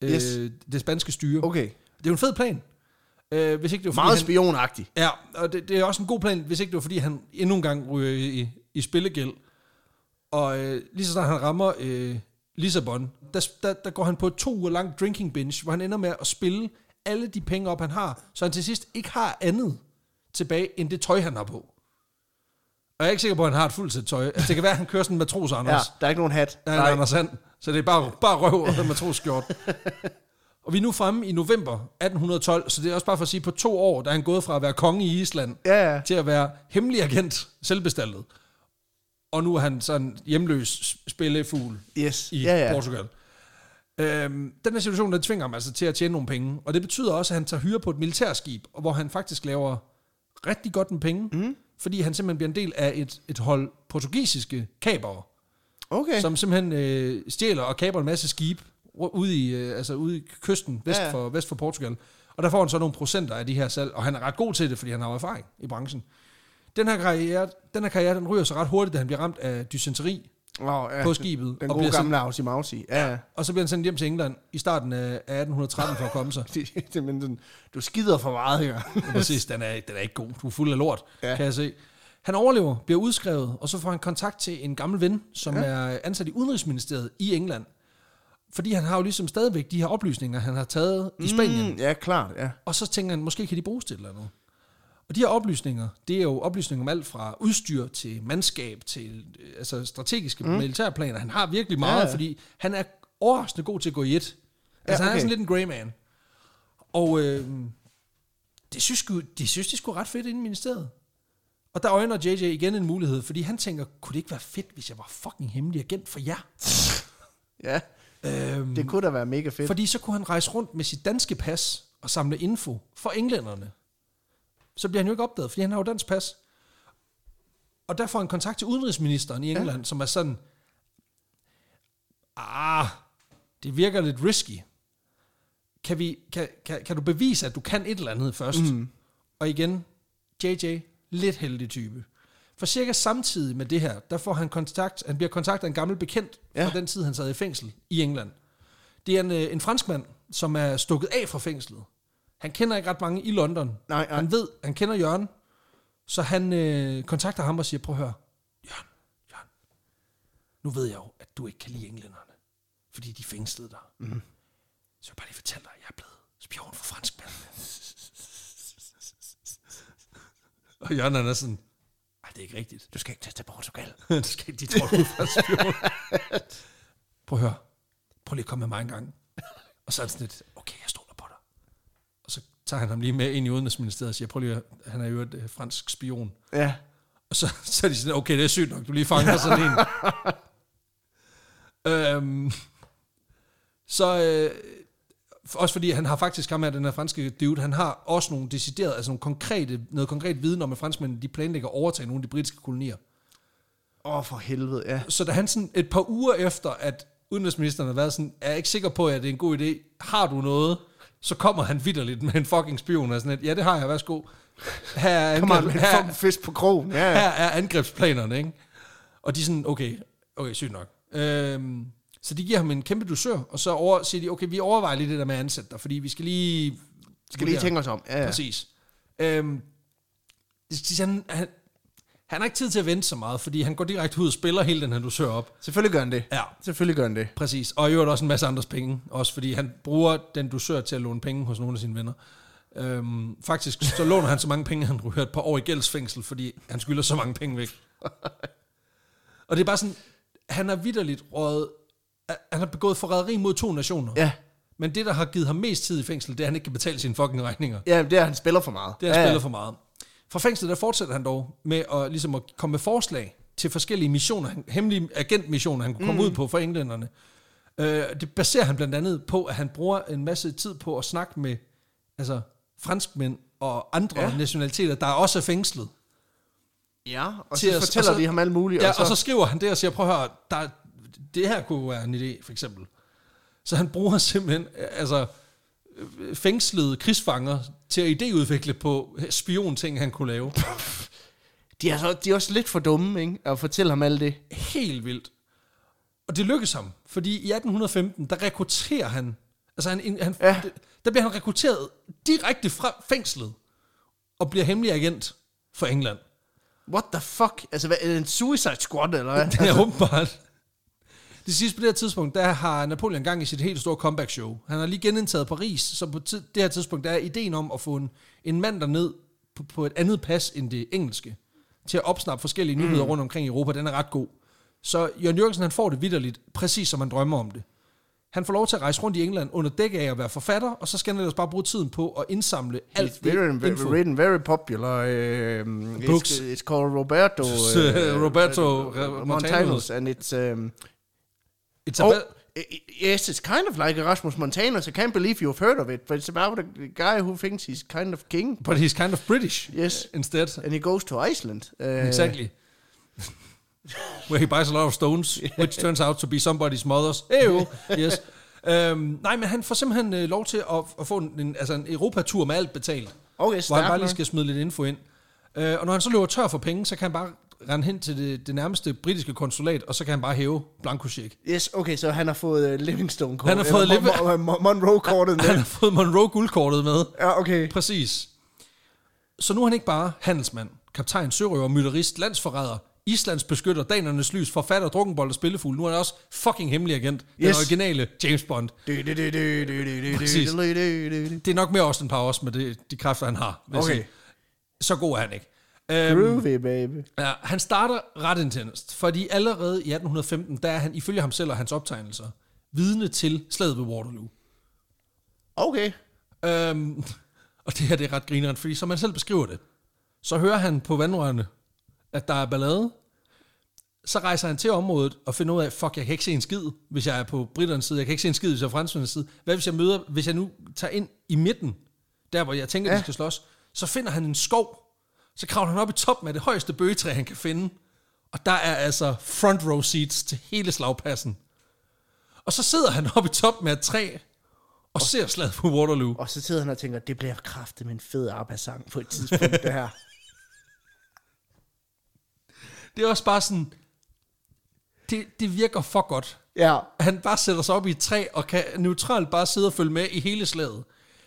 Speaker 2: øh,
Speaker 1: Yes.
Speaker 2: det spanske styre.
Speaker 1: Okay.
Speaker 2: Det er jo en fed plan. Øh, hvis ikke det var, fordi
Speaker 1: Meget
Speaker 2: han-
Speaker 1: spionagtigt.
Speaker 2: Ja, og det, det er også en god plan, hvis ikke det var, fordi han endnu en gang ryger i, i spillegæld. Og øh, lige så snart han rammer øh, Lissabon, der, der, der går han på et to uger langt drinking binge, hvor han ender med at spille alle de penge op, han har, så han til sidst ikke har andet tilbage, end det tøj, han har på. Og jeg er ikke sikker på, at han har et fuldt sæt tøj. Altså, det kan være, at han kører sådan en matros, Anders.
Speaker 1: Ja, der er ikke nogen hat.
Speaker 2: Der er en Anders Sand. Så det er bare, bare røv og en matroskjort. Og vi er nu fremme i november 1812, så det er også bare for at sige, at på to år, der er han gået fra at være konge i Island,
Speaker 1: Ja, ja.
Speaker 2: til at være hemmelig agent, selvbestaltet. Og nu er han sådan hjemløs spillefugl
Speaker 1: Yes.
Speaker 2: i
Speaker 1: ja, ja.
Speaker 2: Portugal. Øhm, den her situation, den tvinger ham altså til at tjene nogle penge, og det betyder også, at han tager hyre på et militærskib, og hvor han faktisk laver rigtig godt med penge, mm. fordi han simpelthen bliver en del af et, et hold portugisiske kabere,
Speaker 1: Okay.
Speaker 2: okay. som simpelthen øh, stjæler og kaber en masse skibe ru- ude i, øh, altså ude i kysten vest,
Speaker 1: Ja,
Speaker 2: ja.
Speaker 1: ja.
Speaker 2: for, vest for Portugal. Og der får han så nogle procenter af de her salg, og han er ret god til det, fordi han har jo erfaring i branchen. Den her karriere, den, her karriere, den ryger så ret hurtigt, da han bliver ramt af dysenteri
Speaker 1: Nå, ja.
Speaker 2: på skibet.
Speaker 1: Den
Speaker 2: og,
Speaker 1: gode
Speaker 2: bliver sendt,
Speaker 1: gamle Ausi Mausi. Ja, ja.
Speaker 2: og så bliver han sendt hjem til England i starten af 1813 for at komme sig.
Speaker 1: Det, det, er men sådan, du skider for meget her.
Speaker 2: Ja, Præcis, den er, den er ikke god. Du er fuld af lort,
Speaker 1: Ja.
Speaker 2: ja. kan jeg se. Han overlever, bliver udskrevet, og så får han kontakt til en gammel ven, som ja. er ansat i Udenrigsministeriet i England. Fordi han har jo ligesom stadigvæk de her oplysninger, han har taget i Spanien.
Speaker 1: Mm, ja, klart, ja.
Speaker 2: Og så tænker han, måske kan de bruges til et eller andet. Og de her oplysninger, det er jo oplysninger om alt fra udstyr til mandskab til øh, altså strategiske mm. militærplaner. Han har virkelig meget,
Speaker 1: Ja,
Speaker 2: ja,
Speaker 1: ja.
Speaker 2: ja. fordi han er overraskende god til at gå i et. Altså ja, okay. han
Speaker 1: okay.
Speaker 2: er sådan lidt en grey man. Og øh, det synes, sgu, de synes, det skulle ret fedt inde i ministeriet. Og der øjner JJ igen en mulighed, fordi han tænker, kunne det ikke være fedt, hvis jeg var fucking hemmelig agent for jer?
Speaker 1: Ja,
Speaker 2: Øhm,
Speaker 1: det kunne da være mega fedt.
Speaker 2: fordi så kunne han rejse rundt med sit danske pas og samle info for englænderne. Så bliver han jo ikke opdaget, fordi han har jo dansk pas. Og der får han kontakt til udenrigsministeren i England, ja. som er sådan, ah, det virker lidt risky. Kan, vi, kan, kan, kan du bevise, at du kan et eller andet først? Mm. Og igen, JJ, lidt heldig type. For cirka samtidig med det her, der får han kontakt, han bliver kontaktet af en gammel bekendt
Speaker 1: Ja.
Speaker 2: ja. fra den tid, han sad i fængsel i England. Det er en, øh, en franskmand, som er stukket af fra fængslet. Han kender ikke ret mange i London.
Speaker 1: Nej, nej.
Speaker 2: Han ved, han kender Jørgen, så han øh, kontakter ham og siger, prøv at høre, Jørgen, Jørgen, nu ved jeg jo, at du ikke kan lide englænderne, fordi de fængslede dig. Mm. Så jeg vil bare lige fortælle dig, at jeg er blevet spion for franskmændene. og Jørgen han er sådan, nej, det er ikke rigtigt.
Speaker 1: Du skal ikke tage til Portugal.
Speaker 2: Du skal ikke, de tror, du er fransk spion. prøv at høre. Prøv lige at komme med mig en gang. Og så er det sådan lidt, okay, jeg stoler på dig. Og så tager han ham lige med ind i Udenrigsministeriet og siger, prøv lige at, han er jo et øh, fransk spion.
Speaker 1: Ja.
Speaker 2: Og så, så er de sådan, okay, det er sygt nok, du lige fanger sådan en. øhm, så øh, også fordi han har faktisk ham her, den her franske dude, han har også nogle deciderede, altså nogle konkrete, noget konkret viden om, at franskmændene de planlægger at overtage nogle af de britiske kolonier.
Speaker 1: Åh, oh, for helvede, ja.
Speaker 2: Så da han sådan et par uger efter, at udenrigsministeren har været sådan, er jeg ikke sikker på, at det er en god idé, har du noget? Så kommer han vidderligt med en fucking spion og sådan et, ja det har jeg, værsgo. Her er,
Speaker 1: Kom on,
Speaker 2: angreb,
Speaker 1: med en
Speaker 2: her,
Speaker 1: fucking fisk på krogen. Ja, ja.
Speaker 2: her er angrebsplanerne, ikke? Og de er sådan, okay, okay, sygt nok. Øhm, så de giver ham en kæmpe dusør, og så over, siger de, okay, vi overvejer lige det der med at ansætte dig, fordi vi skal lige...
Speaker 1: Skal lige
Speaker 2: vurdere.
Speaker 1: tænke os om. Ja, ja.
Speaker 2: Præcis. Øhm, de siger, han, han, han har ikke tid til at vente så meget, fordi han går direkte ud og spiller hele den her dusør op.
Speaker 1: Selvfølgelig gør han det.
Speaker 2: Ja,
Speaker 1: Selvfølgelig gør han det.
Speaker 2: præcis. Og i øvrigt også en masse andres penge. Også fordi han bruger den dusør til at låne penge hos nogle af sine venner. Øhm, faktisk så låner han så mange penge, han ryger et par år i gældsfængsel, fordi han skylder så mange penge væk. Og det er bare sådan, han har vidderligt røget, han har begået forræderi mod to nationer.
Speaker 1: Ja.
Speaker 2: Men det, der har givet ham mest tid i fængsel, det er, at han ikke kan betale sine fucking regninger.
Speaker 1: Ja, det er, han spiller for meget.
Speaker 2: Det har
Speaker 1: ja,
Speaker 2: spillet for meget. Fra fængslet, der fortsætter han dog med at, ligesom at komme med forslag til forskellige missioner, han- hemmelige agentmissioner, han kunne komme mm. ud på for englænderne. Øh, det baserer han blandt andet på, at han bruger en masse tid på at snakke med altså, franskmænd og andre
Speaker 1: Ja.
Speaker 2: ja. nationaliteter, der også er fængslet.
Speaker 1: Ja, og så
Speaker 2: Til at-
Speaker 1: fortæller
Speaker 2: og så-
Speaker 1: de ham alt muligt.
Speaker 2: Ja, og så skriver han det og siger, prøv at høre, der, det her kunne være en idé, for eksempel. Så han bruger simpelthen øh, altså, øh, fængslede krigsfanger til at idéudvikle på øh, spionting, han kunne lave.
Speaker 1: de, er så, de er også lidt for dumme, ikke? At fortælle ham alt det.
Speaker 2: helt vildt. Og det lykkes ham, fordi i 1815, der rekrutterer han, altså han, han
Speaker 1: Ja.
Speaker 2: ja. der bliver han rekrutteret direkte fra fængslet, og bliver hemmelig agent for England.
Speaker 1: What the fuck? Altså, hvad, er det en suicide squad, eller hvad?
Speaker 2: Det er åbenbart. Altså- Det sidste på det her tidspunkt, der har Napoleon gang i sit helt store comeback show. Han har lige genindtaget Paris, så på tid, det her tidspunkt, der er ideen om at få en, en mand derned på, på et andet pas end det engelske, til at opsnappe forskellige nyheder rundt omkring i Europa, den er ret god. Så Jørgen Jørgensen, han får det vidderligt, præcis som han drømmer om det. Han får lov til at rejse rundt i England under dæk af at være forfatter, og så skal han ellers bare bruge tiden på at indsamle
Speaker 1: It's
Speaker 2: alt det
Speaker 1: written, very,
Speaker 2: info.
Speaker 1: written very popular. Um,
Speaker 2: Books.
Speaker 1: It's, it's called Roberto. øh,
Speaker 2: Uh, Roberto Re- Montanos.
Speaker 1: Montanos, and it's um,
Speaker 2: It's
Speaker 1: oh,
Speaker 2: about,
Speaker 1: i- i- yes, it's kind of like Erasmus Montanus. I can't believe you've heard of it, but it's about a guy who thinks he's kind of king,
Speaker 2: but he's kind of British
Speaker 1: Yes.
Speaker 2: instead.
Speaker 1: and he goes to Iceland. Uh,
Speaker 2: Exactly. Where he buys a lot of stones, which turns out to be somebody's mother's. Ew, yes. Um, nej, men han får simpelthen øh, lov til at, at få en, en, altså en Europatur med alt betalt.
Speaker 1: Okay,
Speaker 2: Hvor han
Speaker 1: stærkt
Speaker 2: bare lige
Speaker 1: nok.
Speaker 2: skal smide lidt info ind. Øh, og når han så løber tør for penge, så kan han bare rende hen til det, det nærmeste britiske konsulat, og så kan han bare hæve blankocheck.
Speaker 1: Yes, okay, så han har fået uh, Livingstone
Speaker 2: Han har fået Liv-
Speaker 1: Monroe-kortet
Speaker 2: Han
Speaker 1: med.
Speaker 2: har fået Monroe guldkortet med.
Speaker 1: Ja, okay.
Speaker 2: Præcis. Så nu er han ikke bare handelsmand, kaptajn, sørøver, mytterist, landsforræder, Islands beskytter, danernes lys, forfatter, drukkenbold og spillefugl. Nu er han også fucking hemmelig agent. Den
Speaker 1: Yes.
Speaker 2: originale James Bond. Præcis. Det er nok mere Austin Powers med det, de kræfter, han har. vil jeg
Speaker 1: Okay.
Speaker 2: sige. Så god er han ikke. Øhm,
Speaker 1: Groovy, baby.
Speaker 2: Ja, han starter ret intenst, fordi allerede i 1815, der er han ifølge ham selv og hans optegnelser, vidne til slaget ved Waterloo.
Speaker 1: Okay.
Speaker 2: Øhm, og det her det er ret grineren, fordi som han selv beskriver det, så hører han på vandrørene, at der er ballade. Så rejser han til området og finder ud af, fuck, jeg kan ikke se en skid, hvis jeg er på britternes side. Jeg kan ikke se en skid, hvis jeg er på franskernes side. Hvad hvis jeg møder, hvis jeg nu tager ind i midten, der hvor jeg tænker, ja. de skal slås. Så finder han en skov. Så kravler han op i toppen af det højeste bøgetræ, han kan finde. Og der er altså front row seats til hele slagpassen. Og så sidder han oppe i toppen af et træ, og ser slaget på Waterloo.
Speaker 1: Og så sidder han og tænker, det bliver kraftet med en fed ABBA-sang på et tidspunkt, det her.
Speaker 2: Det er også bare sådan, det, det virker for godt.
Speaker 1: Ja.
Speaker 2: Han bare sætter sig op i et træ, og kan neutralt bare sidde og følge med i hele slaget.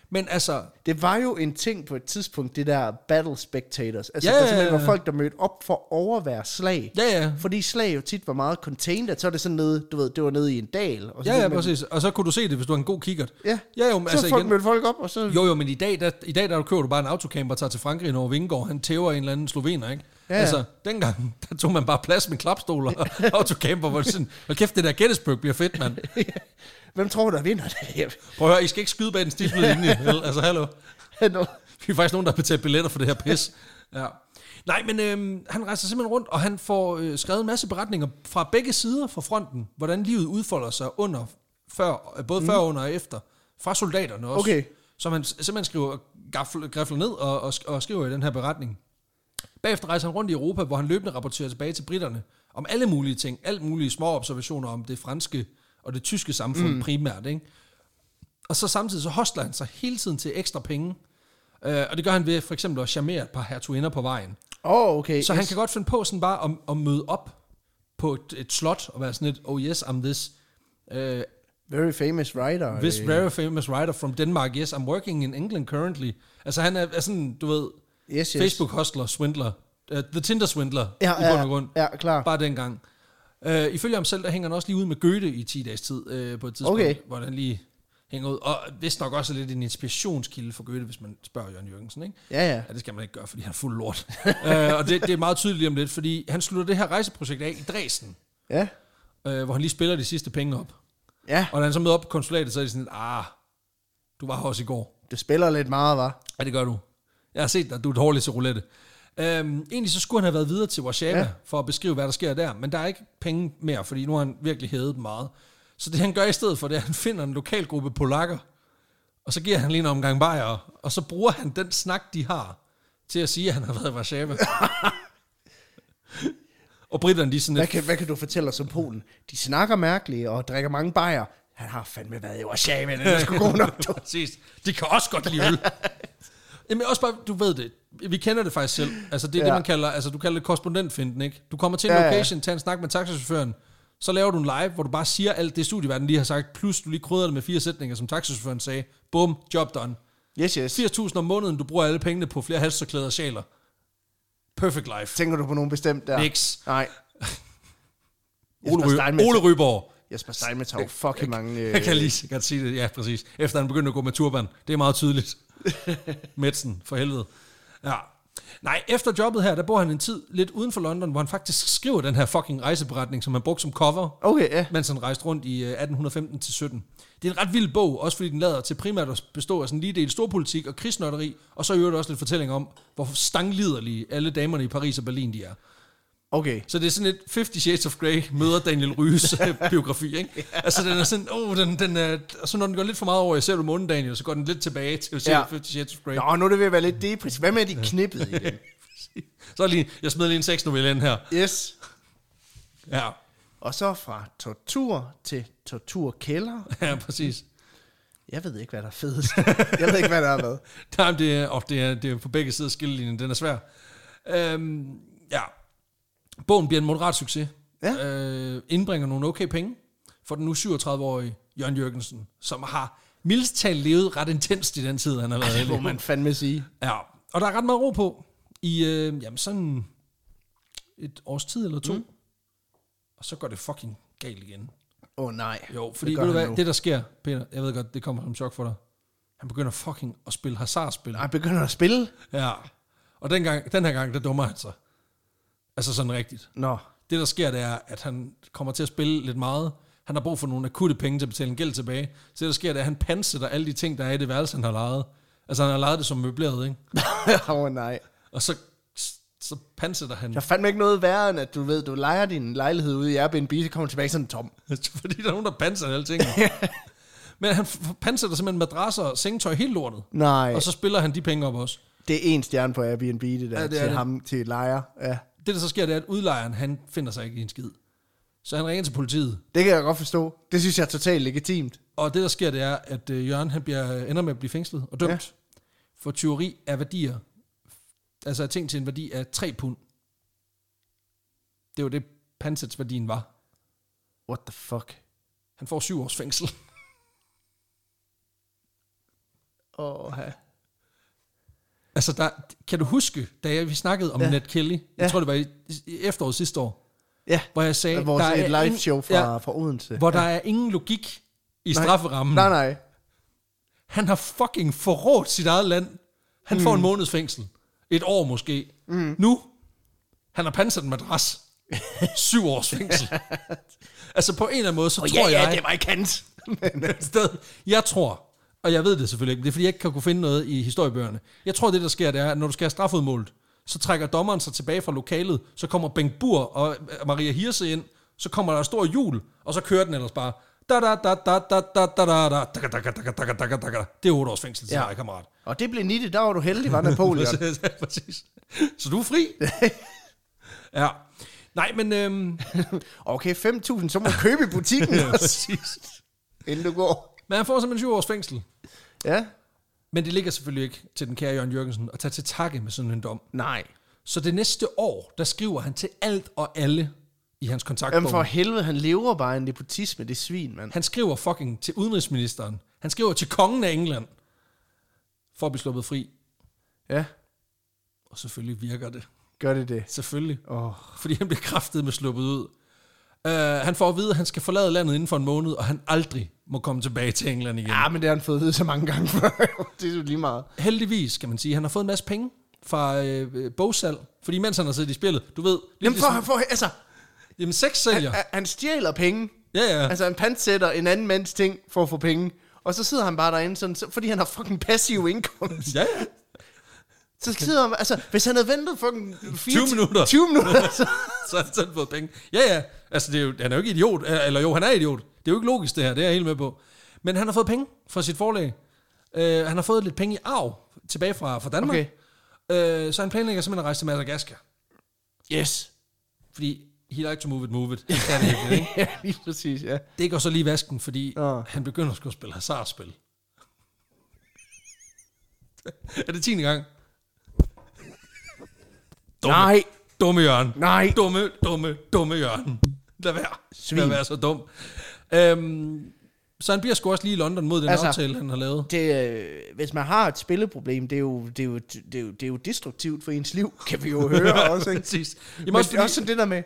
Speaker 2: Men altså,
Speaker 1: Det var jo en ting på et tidspunkt, det der battle spectators. Altså,
Speaker 2: Ja,
Speaker 1: yeah. der
Speaker 2: ja,
Speaker 1: simpelthen var
Speaker 2: ja.
Speaker 1: folk, der mødte op for at overvære slag.
Speaker 2: ja ja,
Speaker 1: Fordi slag jo tit var meget contained, at så er det sådan nede, du ved, det var nede i en dal. Og så
Speaker 2: ja ja,
Speaker 1: det, men-
Speaker 2: præcis. Og så kunne du se det, hvis du har en god kikkert.
Speaker 1: Ja,
Speaker 2: Ja jo, men
Speaker 1: så
Speaker 2: altså
Speaker 1: altså folk
Speaker 2: igen.
Speaker 1: igen. mødte folk op, og så...
Speaker 2: Jo jo, men i dag, der, i dag der kører du bare en autocamper og tager til Frankrig over Vingård. Han tæver en eller anden slovener, ikke?
Speaker 1: Ja,
Speaker 2: Ja.
Speaker 1: ja.
Speaker 2: Altså, dengang, der tog man bare plads med klapstoler og autocamper, hvor det sådan, hold kæft, det der Gettysburg bliver fedt, mand.
Speaker 1: Hvem tror du, der vinder det her?
Speaker 2: Prøv at høre, I skal ikke skyde bag den stiflede linje, vel? Altså, hallo. Vi er faktisk nogen, der har betalt billetter for det her pis. Ja. Nej, men øhm, han rejser simpelthen rundt, og han får øh, skrevet en masse beretninger fra begge sider fra fronten, hvordan livet udfolder sig under, før, øh, både mm. før, under og efter, fra soldaterne også.
Speaker 1: Okay.
Speaker 2: Som han s- simpelthen skriver, gafler, grafler ned og, og, sk- og skriver i den her beretning. Bagefter rejser han rundt i Europa, hvor han løbende rapporterer tilbage til britterne om alle mulige ting, alt mulige små observationer om det franske og det tyske samfund mm. primært. Ikke? Og så samtidig så hostler han sig hele tiden til ekstra penge. Øh, og det gør han ved for eksempel at charmere et par hertuginder på vejen.
Speaker 1: Åh, oh, okay.
Speaker 2: Så han kan godt finde på sådan bare at, at møde op på et, et slot og være sådan et, oh yes, I'm this. Uh,
Speaker 1: Very famous writer.
Speaker 2: this
Speaker 1: øh,
Speaker 2: very famous writer from Denmark, yes, I'm working in England currently. Altså han er, er sådan, du ved,
Speaker 1: yes, yes.
Speaker 2: Facebook-hostler, swindler, uh, the Tinder-swindler
Speaker 1: Ja,
Speaker 2: i bund
Speaker 1: ja,
Speaker 2: og grund.
Speaker 1: ja, klar.
Speaker 2: Bare dengang. Uh, ifølge ham selv, der hænger han også lige ud med Goethe i 10 dages tid uh, på et tidspunkt,
Speaker 1: Okay.
Speaker 2: hvor han lige hænger ud. Og vist nok også er lidt en inspirationskilde for Goethe, hvis man spørger Jørgen Jørgensen, ikke?
Speaker 1: Ja, ja.
Speaker 2: Ja, det skal man ikke gøre, fordi han er fuld lort. uh, og det, det er meget tydeligt lige om lidt, fordi han slutter det her rejseprojekt af i Dresden,
Speaker 1: Ja.
Speaker 2: uh, hvor han lige spiller de sidste penge op.
Speaker 1: Ja,
Speaker 2: Og når han så møder op på konsulatet, så er det sådan, ah, du var her også i går.
Speaker 1: du spiller lidt meget, var.
Speaker 2: Ja, det gør du. Jeg har set dig, du er dårlig til roulette. Øhm, egentlig så skulle han have været videre til Warszawa
Speaker 1: Ja.
Speaker 2: ja. for at beskrive, hvad der sker der, men der er ikke penge mere, fordi nu har han virkelig hævet dem meget. Så det han gør i stedet for, det er, at han finder en lokal gruppe polakker, og så giver han lige en omgang bajer, og så bruger han den snak, de har, til at sige, at han har været i Warszawa. og britterne, de er sådan
Speaker 1: Hvad
Speaker 2: lidt,
Speaker 1: kan, hvad kan du fortælle os om Polen? De snakker mærkeligt og drikker mange bajer. Han har fandme været i Warszawa, den er sgu god nok. du.
Speaker 2: Præcis. De kan også godt lide øl. Jamen også bare, du ved det. Vi kender det faktisk selv. Altså det er ja.
Speaker 1: Ja.
Speaker 2: det, man kalder, altså du kalder det korrespondentfinden, ikke? Du kommer til en
Speaker 1: Ja,
Speaker 2: ja,
Speaker 1: ja.
Speaker 2: location, tager en snak med taxachaufføren, så laver du en live, hvor du bare siger alt det studieverden lige har sagt, plus du lige krydrer det med fire sætninger, som taxachaufføren sagde. Bum, job done.
Speaker 1: Yes, yes.
Speaker 2: 80.000 om måneden, du bruger alle pengene på flere halsterklæder og sjaler. Perfect life.
Speaker 1: Tænker du på nogen bestemt der?
Speaker 2: Nix.
Speaker 1: Nej.
Speaker 2: Ole,
Speaker 1: Jesper
Speaker 2: Ry-
Speaker 1: Steinmetz,
Speaker 2: Ole Ryborg.
Speaker 1: Jesper Steinmetz har jo fucking mange... Øh,
Speaker 2: Jeg kan lige så godt sige det, ja, præcis. Efter han begyndte at gå med turban. Det er meget tydeligt. Metsen, for helvede. Ja. Nej, efter jobbet her, der bor han en tid lidt uden for London, hvor han faktisk skriver den her fucking rejseberetning, som han brugte som cover,
Speaker 1: Okay, ja.
Speaker 2: mens han rejste rundt i øh, 1815-17. Det er en ret vild bog, også fordi den lader til primært at bestå af sådan en lige del storpolitik og krigsnotteri, og så i øvrigt også lidt fortælling om, hvor stangliderlige alle damerne i Paris og Berlin de er.
Speaker 1: Okay.
Speaker 2: Så det er sådan et 50 Shades of Grey møder Daniel Ryges øh, biografi, ikke? Altså den er sådan, åh, oh, den, den er, og så når den går lidt for meget over, jeg ser du månen, Daniel, så går den lidt tilbage til ja.
Speaker 1: Ja.
Speaker 2: 50 Shades of Grey.
Speaker 1: Nå, nu er det ved at være lidt depressivt. Hvad med, at de knippede igen?
Speaker 2: Så er lige, jeg smider lige en sexnovelle ind her.
Speaker 1: Yes.
Speaker 2: Ja,
Speaker 1: Og så fra tortur til torturkælder.
Speaker 2: ja præcis.
Speaker 1: Jeg ved ikke, hvad der er fedest. Jeg ved ikke, hvad der er hvad.
Speaker 2: Nej, men det er, og det er, det er på begge sider af skillelinjen, den er svær. Øhm, ja. Bogen bliver en moderat succes.
Speaker 1: Ja.
Speaker 2: Øh, indbringer nogle okay penge for den nu 37-årige Jørgen Jørgensen, som har mildest talt levet ret intenst i den tid, han har været
Speaker 1: Det må
Speaker 2: heldig.
Speaker 1: man fandme sige.
Speaker 2: Ja, og der er ret meget ro på i øh, jamen sådan et års tid eller to. Mm. Og så går det fucking galt igen.
Speaker 1: Åh oh, nej.
Speaker 2: Jo, fordi
Speaker 1: gør
Speaker 2: det ved du
Speaker 1: han
Speaker 2: hvad,
Speaker 1: nu.
Speaker 2: det der sker, Peter, jeg ved godt, det kommer som chok for dig. Han begynder fucking at spille hasardspil.
Speaker 1: Jeg begynder at spille.
Speaker 2: Ja. Og den, gang, den her gang, der dummer han sig. Altså sådan rigtigt.
Speaker 1: Nå.
Speaker 2: Det, der sker, det er, at han kommer til at spille lidt meget. Han har brug for nogle akutte penge til at betale en gæld tilbage. Så det, der sker, det er, at han pansætter alle de ting, der er i det værelse, han har lejet. Altså, han har lejet det som møbleret, ikke?
Speaker 1: Åh oh, nej.
Speaker 2: Og så, så pansætter han,
Speaker 1: Der er fandme ikke noget værre, end at du ved, du leger din lejlighed ude i Airbnb, så kommer du tilbage sådan tom.
Speaker 2: fordi der er nogen, der pansætter alle tingene. Men han f- pansætter simpelthen madrasser og sengetøj helt lortet.
Speaker 1: Nej,
Speaker 2: Og så spiller han de penge op også.
Speaker 1: det er en stjerne på Airbnb, det der,
Speaker 2: Ja,
Speaker 1: ja,
Speaker 2: det
Speaker 1: det
Speaker 2: er
Speaker 1: til
Speaker 2: det.
Speaker 1: ham, til lejer. Ja.
Speaker 2: Det, der så sker, det er, at udlejeren, han finder sig ikke i en skid. Så han ringer til politiet.
Speaker 1: Det kan jeg godt forstå. Det synes jeg er totalt legitimt.
Speaker 2: Og det, der sker, det er, at øh, Jørgen han bliver, ender med at blive fængslet og dømt ja. for tyveri af værdier. Altså af ting til en værdi af 3 pund. Det var det, pansets værdien var.
Speaker 1: What the fuck?
Speaker 2: Han får syv års fængsel.
Speaker 1: Åh, ja.
Speaker 2: Altså, der, kan du huske, da jeg, vi snakkede om ja.
Speaker 1: Ja.
Speaker 2: Nat Kelly, jeg ja.
Speaker 1: Ja.
Speaker 2: tror, det var i, i efteråret sidste år,
Speaker 1: Ja,
Speaker 2: hvor jeg sagde,
Speaker 1: der vores
Speaker 2: der
Speaker 1: et live show
Speaker 2: ingen-
Speaker 1: fra, ja. fra Odense.
Speaker 2: hvor der er ingen logik i
Speaker 1: Nej.
Speaker 2: strafferammen.
Speaker 1: Nej, nej.
Speaker 2: Han har fucking forrådt sit eget land. Han mm. får en måneds fængsel. Et år måske. Mm. Nu, han har pansat en madras. Syv års fængsel. altså på en eller anden måde, så oh, tror jeg...
Speaker 1: var ikke hans.
Speaker 2: Sted. Jeg tror, og jeg ved det selvfølgelig ikke, men det er fordi, jeg ikke kan kunne finde noget i historiebøgerne. Jeg tror, det der sker, det er, at når du skal have strafudmålet, så trækker dommeren sig tilbage fra lokalet, så kommer Bengt Bur og øh, Maria Hirse ind, så kommer der en stor jul, og så kører den ellers bare. Da da da da da da da da da da da da da da da da da Det er otte års fængsel til
Speaker 1: Ja.
Speaker 2: dig, kammerat.
Speaker 1: Og det blev nittet, der var du heldig, var Napoleon.
Speaker 2: Præcis, Præcis. Så du er fri. Ja. Nej, men... Øhm,
Speaker 1: Okay, 5.000, så må du købe i butikken også,
Speaker 2: præcis.
Speaker 1: inden du går.
Speaker 2: Men han får simpelthen syv års fængsel.
Speaker 1: Ja?
Speaker 2: Men det ligger selvfølgelig ikke til den kære Jørgen Jørgensen at tage til takke med sådan en dom.
Speaker 1: Nej.
Speaker 2: Så det næste år, der skriver han til alt og alle i hans kontaktbog.
Speaker 1: Jamen for helvede, han lever bare af en nepotisme, det svin, mand.
Speaker 2: Han skriver fucking til udenrigsministeren. Han skriver til kongen af England. For at blive sluppet fri.
Speaker 1: Ja,
Speaker 2: Og selvfølgelig virker det.
Speaker 1: gør det det.
Speaker 2: Selvfølgelig.
Speaker 1: Åh,
Speaker 2: Fordi han bliver kraftet med sluppet ud. Uh, han får at vide, at han skal forlade landet inden for en måned, og han aldrig må komme tilbage til England igen.
Speaker 1: Ja, Ah, men det har han fået at vide så mange gange før. det er jo lige meget.
Speaker 2: Heldigvis, skal man sige, han har fået en masse penge fra øh, øh, bogsal. Fordi mens han har siddet i spillet, du ved... Lige
Speaker 1: Jamen, for, for, altså,
Speaker 2: jamen sex sælger.
Speaker 1: a- han stjæler penge.
Speaker 2: Ja, ja.
Speaker 1: Altså, han pansætter en anden mands ting for at få penge. Og så sidder han bare derinde, sådan, så, fordi han har fucking passiv indkomst.
Speaker 2: Ja, ja.
Speaker 1: Så sidder han, altså, hvis han havde ventet fucking...
Speaker 2: 20 minutter.
Speaker 1: 20 minutter, så...
Speaker 2: så har han selv fået penge. Ja, ja. Altså, det er jo, han er jo ikke idiot. Eh, Eller jo, han er idiot. Det er jo ikke logisk, det her. Det er jeg helt med på. Men han har fået penge fra sit forlag. Uh, han har fået lidt penge i arv tilbage fra, fra Danmark. Okay. Uh, så han planlægger simpelthen at rejse til Madagaskar.
Speaker 1: Yes.
Speaker 2: Fordi he like to move it, move it. Han kan det, ikke, ikke?
Speaker 1: ja, lige præcis, ja.
Speaker 2: det går så lige i vasken, fordi
Speaker 1: Nå.
Speaker 2: han begynder at skulle spille hasardspil. er det tiende gang? Dumme.
Speaker 1: Nej,
Speaker 2: Dumme Jørgen.
Speaker 1: nej.
Speaker 2: Dumme, dumme, dumme Jørgen. Lad være. Svin.
Speaker 1: Svin.
Speaker 2: Lad være så dum. Øhm, så han bliver sgu også lige i London mod den altså,
Speaker 1: Altså,
Speaker 2: aftale, han har lavet.
Speaker 1: Det, øh, hvis man har et spilleproblem, det er, jo, det, er jo, det, er jo, det er jo destruktivt for ens liv, kan vi jo høre også, ikke?
Speaker 2: Præcis. Jamen
Speaker 1: Men
Speaker 2: også
Speaker 1: også,
Speaker 2: fordi,
Speaker 1: også sådan det der med...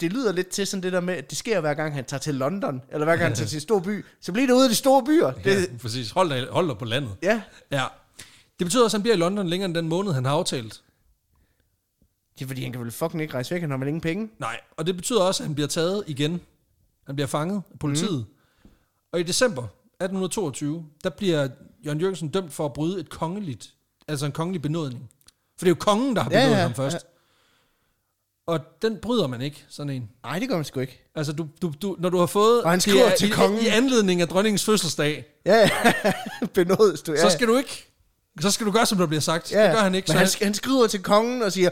Speaker 1: Det lyder lidt til sådan det der med, at det sker hver gang han tager til London, eller hver gang han tager til en stor by, så bliver det ude af de store byer. Det,
Speaker 2: ja, præcis. Hold dig, hold dig på landet.
Speaker 1: ja.
Speaker 2: Ja. Det betyder også, at han bliver i London længere end den måned, han har aftalt.
Speaker 1: Det er fordi, han kan vel fucking ikke rejse væk, han har vel ingen penge.
Speaker 2: Nej, og det betyder også, at han bliver taget igen. Han bliver fanget af politiet. Mm.
Speaker 1: Mhm.
Speaker 2: Og i december 1822, der bliver Jørgen Jørgensen dømt for at bryde et kongeligt, altså en kongelig benådning. For det er jo kongen, der har
Speaker 1: Ja,
Speaker 2: benådet ja,
Speaker 1: ja,
Speaker 2: ja, ham først. Ja. Og den bryder man ikke, sådan en.
Speaker 1: Nej, det gør man sgu ikke.
Speaker 2: Altså, du, du, du, når du har fået...
Speaker 1: Og han
Speaker 2: det
Speaker 1: skriver
Speaker 2: er
Speaker 1: til
Speaker 2: i,
Speaker 1: kongen.
Speaker 2: I anledning af dronningens fødselsdag,
Speaker 1: Ja, ja. benådes du. Ja,
Speaker 2: ja. så skal du ikke... Så skal du gøre, som der bliver sagt.
Speaker 1: ja.
Speaker 2: Ja, det gør han ikke.
Speaker 1: Men
Speaker 2: Så
Speaker 1: han, sk- han skriver til kongen og siger,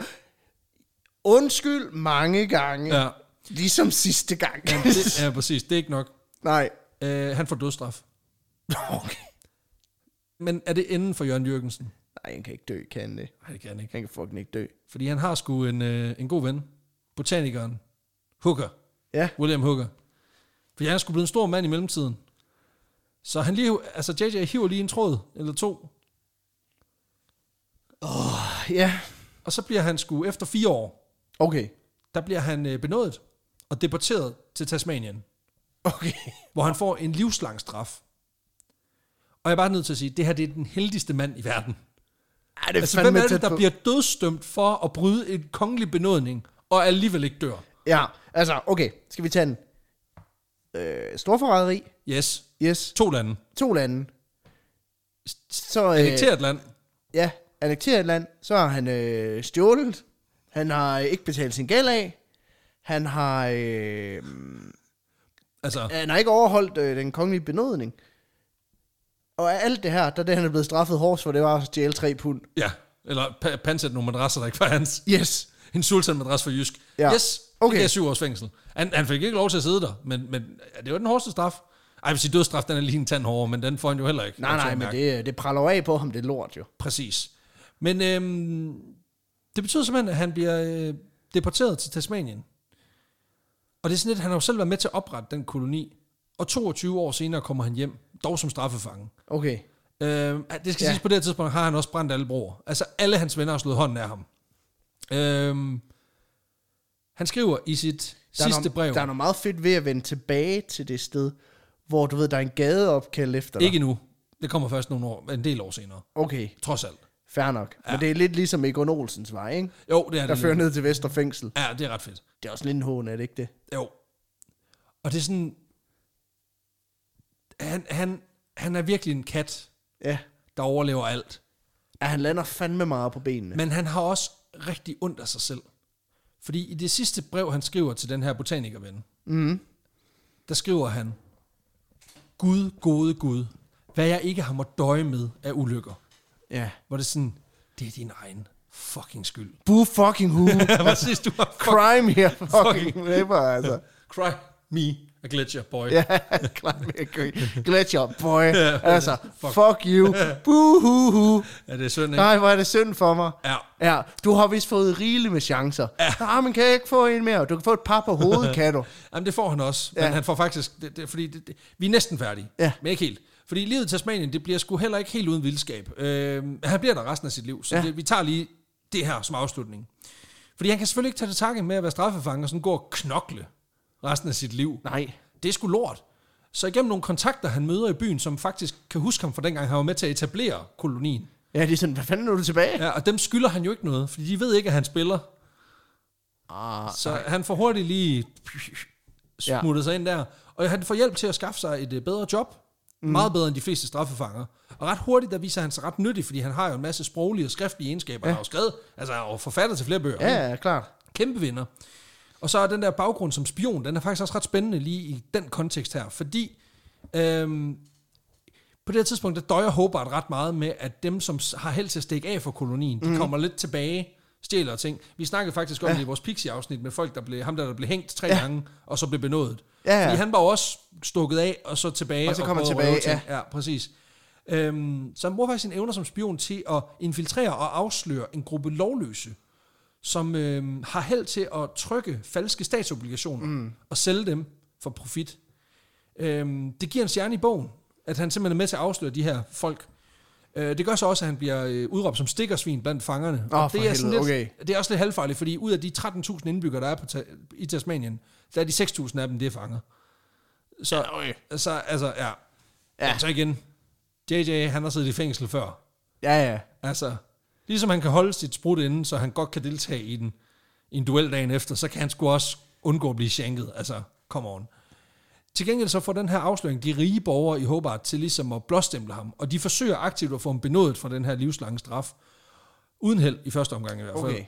Speaker 1: undskyld mange gange, ja.
Speaker 2: ja,
Speaker 1: ligesom sidste gang. Ja,
Speaker 2: det, ja, præcis. Det er ikke nok.
Speaker 1: Nej.
Speaker 2: Uh, han får dødsstraf.
Speaker 1: Okay.
Speaker 2: Men er det enden for Jørgen Jørgensen?
Speaker 1: Nej, han kan ikke dø, kan han det?
Speaker 2: Nej, det kan han ikke.
Speaker 1: Han kan fucking ikke dø.
Speaker 2: Fordi han har sgu en, øh, en god ven. Botanikeren. Hooker.
Speaker 1: Ja.
Speaker 2: William Hooker. Fordi han er sgu blevet en stor mand i mellemtiden. Så han lige, altså JJ hiver lige en tråd, eller to.
Speaker 1: Ja.
Speaker 2: Og så bliver han sgu, efter fire år,
Speaker 1: Okay.
Speaker 2: der bliver han øh, benådet og deporteret til Tasmanien.
Speaker 1: Okay.
Speaker 2: Hvor han får en livslang straf. Og jeg er bare nødt til at sige, det her det er den heldigste mand i verden.
Speaker 1: Ej, det er
Speaker 2: Altså,
Speaker 1: fandme
Speaker 2: hvem er det,
Speaker 1: tæt
Speaker 2: der
Speaker 1: på.
Speaker 2: bliver dødsdømt for at bryde en kongelig benådning, og alligevel ikke dør?
Speaker 1: Ja, altså, okay. Skal vi tage den? Øh, storforræderi.
Speaker 2: Yes.
Speaker 1: Yes.
Speaker 2: To lande.
Speaker 1: To lande. Så, øh,
Speaker 2: Annekteret land.
Speaker 1: Ja, annekteret et land. Så har han øh, stjålet. Han har øh, ikke betalt sin gæld af. Han har, øh,
Speaker 2: Altså,
Speaker 1: han har ikke overholdt øh, den kongelige benådning. Og af alt det her, der er det, han er blevet straffet hårdest for, det var at stjæle tre pund.
Speaker 2: Ja, eller pa- pansætte nogle madrasser, der ikke var hans.
Speaker 1: Yes.
Speaker 2: En sultanmadras for Jysk.
Speaker 1: Ja.
Speaker 2: Ja. Yes, okay.
Speaker 1: Okay.
Speaker 2: det er syv års fængsel. Han, han fik ikke lov til at sidde der, men, men ja, det var den hårdeste straf. Ej, jeg vil sige, dødsstraf, den er lige en tand hårdere, men den får han jo heller ikke.
Speaker 1: Nej,
Speaker 2: lov til
Speaker 1: nej,
Speaker 2: at
Speaker 1: men
Speaker 2: mærke.
Speaker 1: det, det praller jo af på ham, det er lort jo.
Speaker 2: Præcis. Men øhm, det betyder simpelthen, at han bliver øh, deporteret til Tasmanien. Og det er sådan lidt, han har jo selv været med til at oprette den koloni. Og 22 år senere kommer han hjem, dog som straffefange.
Speaker 1: Okay.
Speaker 2: Øh, det skal ja.
Speaker 1: Ja.
Speaker 2: siges, på det her tidspunkt har han også brændt alle broer. Altså alle hans venner har slået hånden af ham. Øh, han skriver i sit
Speaker 1: Der
Speaker 2: sidste
Speaker 1: er
Speaker 2: brev,
Speaker 1: noget, Der er noget meget fedt ved at vende tilbage til det sted, hvor du ved, der er en gade opkaldt efter dig.
Speaker 2: ikke nu, det kommer først nogle år, en del år senere,
Speaker 1: Okay,
Speaker 2: trods alt.
Speaker 1: fair nok. Ja. Men det er lidt ligesom Egon Olsens vej, ikke?
Speaker 2: Jo, det er
Speaker 1: Der
Speaker 2: det.
Speaker 1: fører
Speaker 2: lidt.
Speaker 1: ned til Vesterfængsel.
Speaker 2: Ja, det er ret fedt.
Speaker 1: Det er også lidt en hån, er det ikke det?
Speaker 2: Jo. Og det er sådan, han, han, han er virkelig en kat,
Speaker 1: Ja.
Speaker 2: der overlever alt.
Speaker 1: ja han lander fandme meget på benene. Men,
Speaker 2: Men han har også rigtig ondt af sig selv. Fordi i det sidste brev, han skriver til den her botanikerven, mm. der skriver han, Gud, gode Gud, hvad jeg ikke har måttet døje med af ulykker.
Speaker 1: ja.
Speaker 2: Hvor det er sådan, det er din egen fucking skyld.
Speaker 1: Boo fucking who?
Speaker 2: Præcis, du har fuck,
Speaker 1: Crime here fucking river, altså.
Speaker 2: cry me a glitcher, boy.
Speaker 1: Ja, climb here, Gletscher, boy.
Speaker 2: Ja,
Speaker 1: altså,
Speaker 2: fuck.
Speaker 1: fuck, fuck you. Boo hoo hoo.
Speaker 2: Er det sådan, ikke?
Speaker 1: Nej, hvor er det synd for mig.
Speaker 2: Ja.
Speaker 1: Ja, du har vist fået rigeligt med chancer. Ja. Ah, men kan jeg ikke få en mere? Du kan få et par på hovedet, kan du?
Speaker 2: Jamen, det får han også, men
Speaker 1: Ja.
Speaker 2: han får faktisk, det, det, fordi det, det, vi er næsten færdige,
Speaker 1: Ja.
Speaker 2: men ikke helt. Fordi livet i Tasmanien, det bliver sgu heller ikke helt uden vildskab. Øh, han bliver der resten af sit liv, så ja.
Speaker 1: Ja.
Speaker 2: det, vi tager lige det her som afslutning. Fordi han kan selvfølgelig ikke tage til takke med at være straffefange og sådan gå og knokle resten af sit liv.
Speaker 1: Nej.
Speaker 2: Det er sgu lort. Så igennem nogle kontakter, han møder i byen, som faktisk kan huske ham fra dengang, han var med til at etablere kolonien.
Speaker 1: Ja, det er sådan, hvad fanden er du tilbage?
Speaker 2: Ja, og dem skylder han jo ikke noget, fordi de ved ikke, at han spiller.
Speaker 1: Ah,
Speaker 2: Så han får hurtigt lige smuttet ja. sig ind der. Og han får hjælp til at skaffe sig et øh, bedre job. Mm. Meget bedre end de fleste straffefanger. Og ret hurtigt, der viser han sig ret nyttig, fordi han har jo en masse sproglige og skriftlige egenskaber. Ja. Han har jo skrevet, altså han har jo forfattet til flere bøger. ikke?
Speaker 1: ja, ja, klart.
Speaker 2: Kæmpe vinder. Og så er den der baggrund som spion, den er faktisk også ret spændende lige i den kontekst her, fordi øhm, på det her tidspunkt, der døjer Hobart ret meget med, at dem, som s- har held til at stikke af for kolonien, de kommer lidt tilbage, stjæler ting. Vi snakkede faktisk om Mhm. ja. det i vores Pixie-afsnit med folk, der blev, ham der, der blev hængt tre ja. gange, og så blev benådet.
Speaker 1: Ja, ja.
Speaker 2: Fordi han var jo også stukket af, og så tilbage.
Speaker 1: Og så kom han
Speaker 2: prøvede at røve
Speaker 1: tilbage,
Speaker 2: ting. ja. præcis. Øhm, så han bruger faktisk sine evner som spion til at infiltrere og afsløre en gruppe lovløse, som øh, har held til at trykke falske statsobligationer mm. og sælge dem for profit. Øh, det giver en stjerne i bogen, at han simpelthen er med til at afsløre de her folk. Øh, det gør så også, at han bliver øh, udråbt som stikkersvin blandt fangerne.
Speaker 1: Åh,
Speaker 2: Og det,
Speaker 1: for
Speaker 2: er sådan lidt,
Speaker 1: helvede,
Speaker 2: det er også lidt halvfarligt, fordi ud af de 13.000 indbyggere, der er på ta- i Tasmanien, der er de 6.000 af dem, det er fanger. Så, ja, okay. så altså, ja.
Speaker 1: Ja.
Speaker 2: ja. Så igen, JJ, han har siddet i fængsel før.
Speaker 1: Ja, ja.
Speaker 2: Altså, ligesom han kan holde sit sprut inden, så han godt kan deltage i den i en duel dagen efter, så kan han sgu også undgå at blive shanket. Altså, come on. Til gengæld så får den her afsløring de rige borgere i Hobart til ligesom at blåstemple ham, og de forsøger aktivt at få ham benådet fra den her livslange straf. Uden held i første omgang i hvert fald.
Speaker 1: Okay.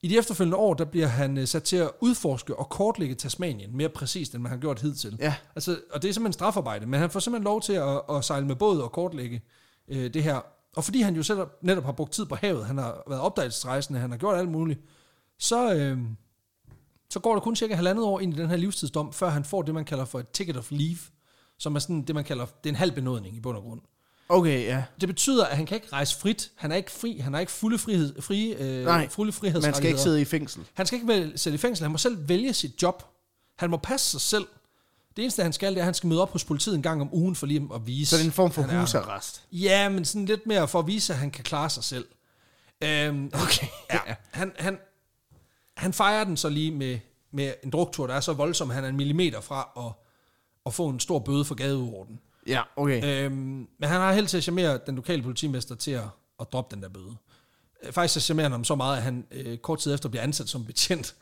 Speaker 2: I de efterfølgende år, der bliver han øh, sat til at udforske og kortlægge Tasmanien mere præcist, end man har gjort hidtil.
Speaker 1: Ja.
Speaker 2: Altså, og det er simpelthen strafarbejde, men han får simpelthen lov til at, at sejle med båd og kortlægge øh, det her. Og fordi han jo selv netop har brugt tid på havet, han har været opdagelsesrejsende, han har gjort alt muligt, så, øh, så går der kun cirka halvandet år ind i den her livstidsdom, før han får det, man kalder for et ticket of leave, som er sådan det, man kalder, det er en halv benådning i bund og grund.
Speaker 1: Okay, ja.
Speaker 2: Det betyder, at han kan ikke rejse frit, han er ikke fri, han har ikke fulde, frihed, frie, øh,
Speaker 1: Nej,
Speaker 2: fulde frihedsrettigheder.
Speaker 1: Man skal ikke sidde i fængsel.
Speaker 2: Han skal ikke vel- sætte i fængsel, han må selv vælge sit job. Han må passe sig selv. Det eneste, han skal, det er, at han skal møde op hos politiet en gang om ugen for lige at vise...
Speaker 1: Så det er en form for
Speaker 2: han er-
Speaker 1: husarrest.
Speaker 2: Ja, men sådan lidt mere for at vise, at han kan klare sig selv. Øhm, okay. Ja, han, han, han fejrer den så lige med, med en druktur, der er så voldsom, at han er en millimeter fra at, at få en stor bøde for gadeorden.
Speaker 1: Ja, okay.
Speaker 2: Øhm, men han har held til at charmere den lokale politimester til at, at droppe den der bøde. Øh, Faktisk så charmerer han ham så meget, at han øh, kort tid efter bliver ansat som betjent.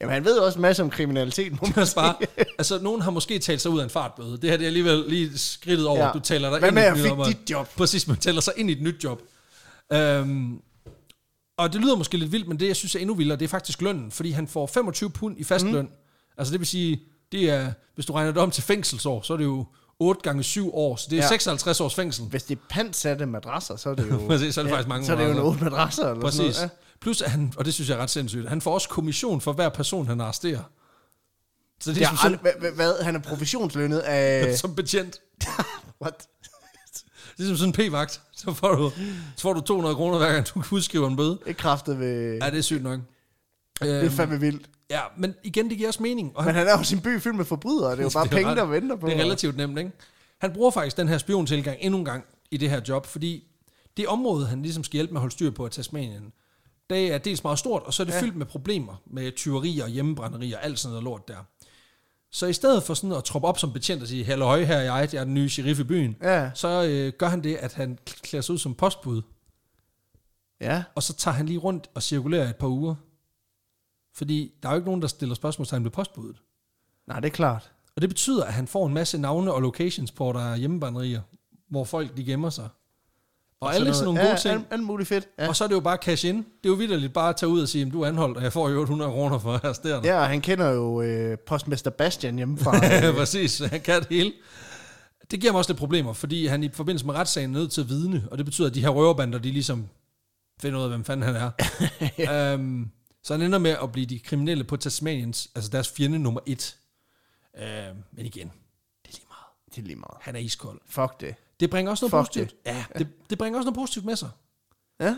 Speaker 1: Jamen, han ved også en masse om kriminalitet. må man
Speaker 2: Også bare, altså, nogen har måske talt sig ud af en fartbøde. Det her det er alligevel lige skridtet over, ja.
Speaker 1: Ja.
Speaker 2: du taler dig
Speaker 1: Hvad
Speaker 2: ind
Speaker 1: med,
Speaker 2: i
Speaker 1: at jeg
Speaker 2: nyt
Speaker 1: fik
Speaker 2: arbejde.
Speaker 1: dit job?
Speaker 2: Præcis, man taler sig ind i et nyt job. Øhm, og det lyder måske lidt vildt, men det, jeg synes er endnu vildere, det er faktisk lønnen, fordi han får 25 pund i fast mm. løn. Altså det vil sige, det er, hvis du regner det om til fængselsår, så er det jo 8 gange 7 år, så det er ja.
Speaker 1: Ja.
Speaker 2: 56 års fængsel.
Speaker 1: Hvis det er pantsatte madrasser, så er det jo...
Speaker 2: Præcis, så er det faktisk mange
Speaker 1: Så er det jo
Speaker 2: madrasser.
Speaker 1: en otte madrasser eller
Speaker 2: Præcis.
Speaker 1: sådan noget.
Speaker 2: Plus, at han, og det synes jeg er ret sindssygt, han får også kommission for hver person, han arresterer. Så det
Speaker 1: Ja. Jeg
Speaker 2: er, ligesom som,
Speaker 1: har aldrig, hvad, hvad, hvad, han er provisionslønnet af...
Speaker 2: sådan- som betjent.
Speaker 1: What?
Speaker 2: Det er som sådan en p-vagt. Så får du, så får du 200 kroner, hver gang du udskriver en bøde.
Speaker 1: Det er kraftet ved...
Speaker 2: Ja, det er sygt nok.
Speaker 1: Det er
Speaker 2: Øhm,
Speaker 1: fandme vildt.
Speaker 2: ja, men igen, det giver også mening. Og
Speaker 1: Men han er jo sin by fyldt med forbrydere. Det er jo bare
Speaker 2: Det er
Speaker 1: penge,
Speaker 2: ret-
Speaker 1: der venter på.
Speaker 2: Det er
Speaker 1: ham.
Speaker 2: relativt nemt, ikke? Han bruger faktisk den her spiontilgang endnu en gang i det her job, fordi det område, han ligesom skal hjælpe med at holde styr på i Tasmanien, det er dels meget stort, og så er det ja. fyldt med problemer med tyverier, hjemmebrænderier og alt sådan noget lort der. Så i stedet for sådan at troppe op som betjent og sige, halløj, her er jeg, jeg er den nye sheriff i byen,
Speaker 1: Ja.
Speaker 2: så øh, gør han det, at han klæder sig ud som postbud,
Speaker 1: Ja.
Speaker 2: og så tager han lige rundt og cirkulerer et par uger. Fordi der er jo ikke nogen, der stiller spørgsmålstegn ved postbuddet.
Speaker 1: Nej, det er klart.
Speaker 2: Og det betyder, at han får en masse navne og locations på, der er hjemmebanderier, hvor folk de gemmer sig. Og alle sådan nogle
Speaker 1: ja,
Speaker 2: gode ting.
Speaker 1: Alt, alt muligt fedt. Ja.
Speaker 2: Og så er det jo bare cash in. Det er jo vidderligt bare at tage ud og sige, at du er anholdt, og jeg får jo 800 kroner for at arrestere dig.
Speaker 1: ja, og han kender jo øh, postmester Bastian hjemmefra.
Speaker 2: Ja, præcis. Han kan det hele. Det giver ham også lidt problemer, fordi han i forbindelse med retssagen er nødt til at vidne, og det betyder, at de her røverbander, de ligesom finder ud af, hvem fanden han er. øhm, så han ender med at blive de kriminelle på Tasmaniens, altså deres fjende nummer et. Øhm, men igen, det er lige meget.
Speaker 1: det er lige meget.
Speaker 2: Han er iskold.
Speaker 1: Fuck det.
Speaker 2: Det bringer også noget
Speaker 1: Fuck
Speaker 2: positivt. Det. Ja, det, det bringer også noget positivt med sig.
Speaker 1: Ja?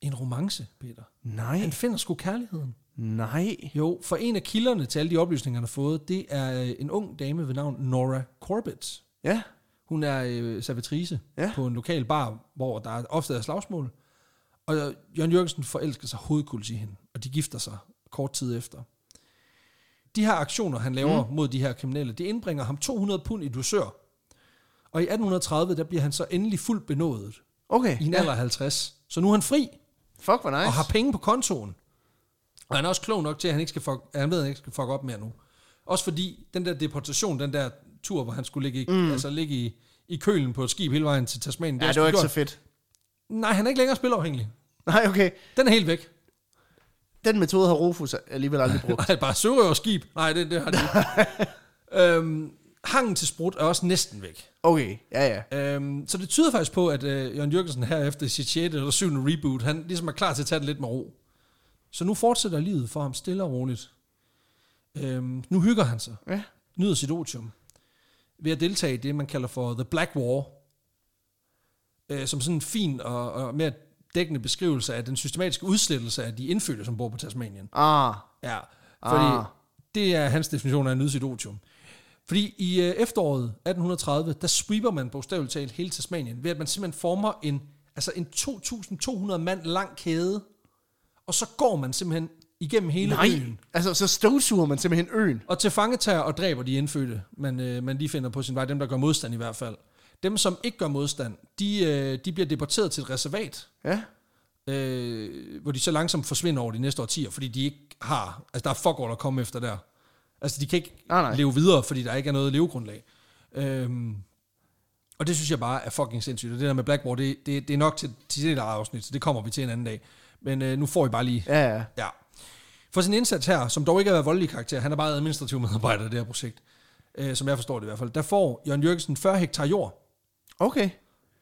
Speaker 2: En romance, Peter.
Speaker 1: Nej.
Speaker 2: Han finder sgu kærligheden.
Speaker 1: Nej.
Speaker 2: Jo, for en af kilderne til alle de oplysninger, han har fået, det er øh, en ung dame ved navn Nora Corbett.
Speaker 1: Ja.
Speaker 2: Hun er øh, servitrice ja.
Speaker 1: Ja.
Speaker 2: på en lokal bar, hvor der er ofte er slagsmål. Og øh, Jørgen Jørgensen forelsker sig hovedkuls i hende, og de gifter sig kort tid efter. De her aktioner, han laver mm. mod de her kriminelle, det indbringer ham 200 pund i dusør. Og i 1830, der bliver han så endelig fuldt benådet
Speaker 1: Okay.
Speaker 2: i en alder af 50. Så nu er han fri
Speaker 1: Fuck, hvor nice.
Speaker 2: og har penge på kontoen. Og han er også klog nok til, at han, ikke skal fuck, at han ved, at han ikke skal fuck op mere nu. Også fordi den der deportation, den der tur, hvor han skulle ligge i, mm. altså ligge i, i kølen på et skib hele vejen til Tasmanien.
Speaker 1: ja,
Speaker 2: er
Speaker 1: det var
Speaker 2: sgu
Speaker 1: ikke så
Speaker 2: gjort.
Speaker 1: fedt.
Speaker 2: Nej, han er ikke længere spilafhængig.
Speaker 1: Nej, okay.
Speaker 2: Den er helt væk.
Speaker 1: Den metode har Rufus alligevel aldrig brugt.
Speaker 2: Nej, bare sørøverskib. Nej, det, det har de ikke. øhm, hangen til sprut er også næsten væk.
Speaker 1: Okay, ja, ja.
Speaker 2: Øhm, så det tyder faktisk på, at øh, Jørgen Jørgensen her efter sit 6. eller 7. reboot, han ligesom er klar til at tage det lidt med ro. Så nu fortsætter livet for ham stille og roligt. Øhm, nu hygger han sig,
Speaker 1: Ja.
Speaker 2: nyder sit otium, ved at deltage i det, man kalder for The Black War, øh, som sådan en fin og, og mere dækkende beskrivelse af den systematiske udslettelse af de indfødte, som bor på Tasmanien.
Speaker 1: Ah,
Speaker 2: Ja, fordi ah.
Speaker 1: Ah.
Speaker 2: det er hans definition af at nyde sit otium. Fordi i øh, efteråret 1830, der sweeper man bogstaveligt talt hele Tasmanien, ved at man simpelthen former en, altså en 2.200 mand lang kæde, og så går man simpelthen igennem hele
Speaker 1: nej.
Speaker 2: øen,
Speaker 1: Altså, så støvsuger man simpelthen øen.
Speaker 2: og til fangetager og dræber de indfødte, man, øh, man lige finder på sin vej, dem der gør modstand i hvert fald. Dem, som ikke gør modstand, de, øh, de bliver deporteret til et reservat,
Speaker 1: Ja.
Speaker 2: øh, hvor de så langsomt forsvinder over de næste årtier, fordi de ikke har, altså der er fuck all at komme efter der. Altså de kan ikke
Speaker 1: Ah, Nej, nej.
Speaker 2: leve videre, fordi der ikke er noget levegrundlag. Øhm, og det synes jeg bare er fucking sindssygt. Og det der med Blackmore, det, det, det er nok til, til det der afsnit, så det kommer vi til en anden dag. Men øh, nu får I bare lige...
Speaker 1: Ja, ja.
Speaker 2: Ja. For sin indsats her, som dog ikke er været voldelig karakter, han er bare administrativ medarbejder i det her projekt, øh, som jeg forstår det i hvert fald, der får Jørgen Jørgensen 40 hektar jord.
Speaker 1: Okay.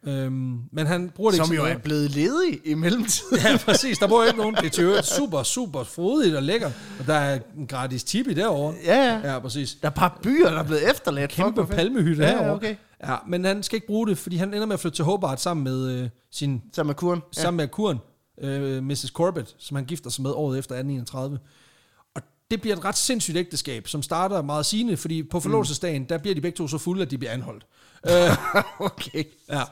Speaker 2: Øhm, men han bruger det ikke
Speaker 1: Som
Speaker 2: til
Speaker 1: jo
Speaker 2: noget.
Speaker 1: er blevet ledig i mellemtiden.
Speaker 2: Ja, præcis. Der bor ikke nogen. Det er til øvrigt super, super frodigt og lækker. Og der er en gratis tipi derovre.
Speaker 1: ja, ja.
Speaker 2: Ja, præcis.
Speaker 1: Der er bare byer, der er blevet efterladt. Fuck, hvor
Speaker 2: Kæmpe
Speaker 1: fedt.
Speaker 2: palmehytte
Speaker 1: Ja, ja,
Speaker 2: herovre.
Speaker 1: okay.
Speaker 2: Ja, men han skal ikke bruge det, fordi han ender med at flytte til Hobart sammen med øh, sin
Speaker 1: Sammen med kuren.
Speaker 2: ja. sammen med kuren, øh, Mrs. Corbett, som han gifter sig med året efter 1831. Og det bliver et ret sindssygt ægteskab, som starter meget sigende, fordi på forlovelsesdagen,
Speaker 1: Mm.
Speaker 2: der bliver de begge to så fulde, at de bliver anholdt. Øh,
Speaker 1: okay.
Speaker 2: Ja.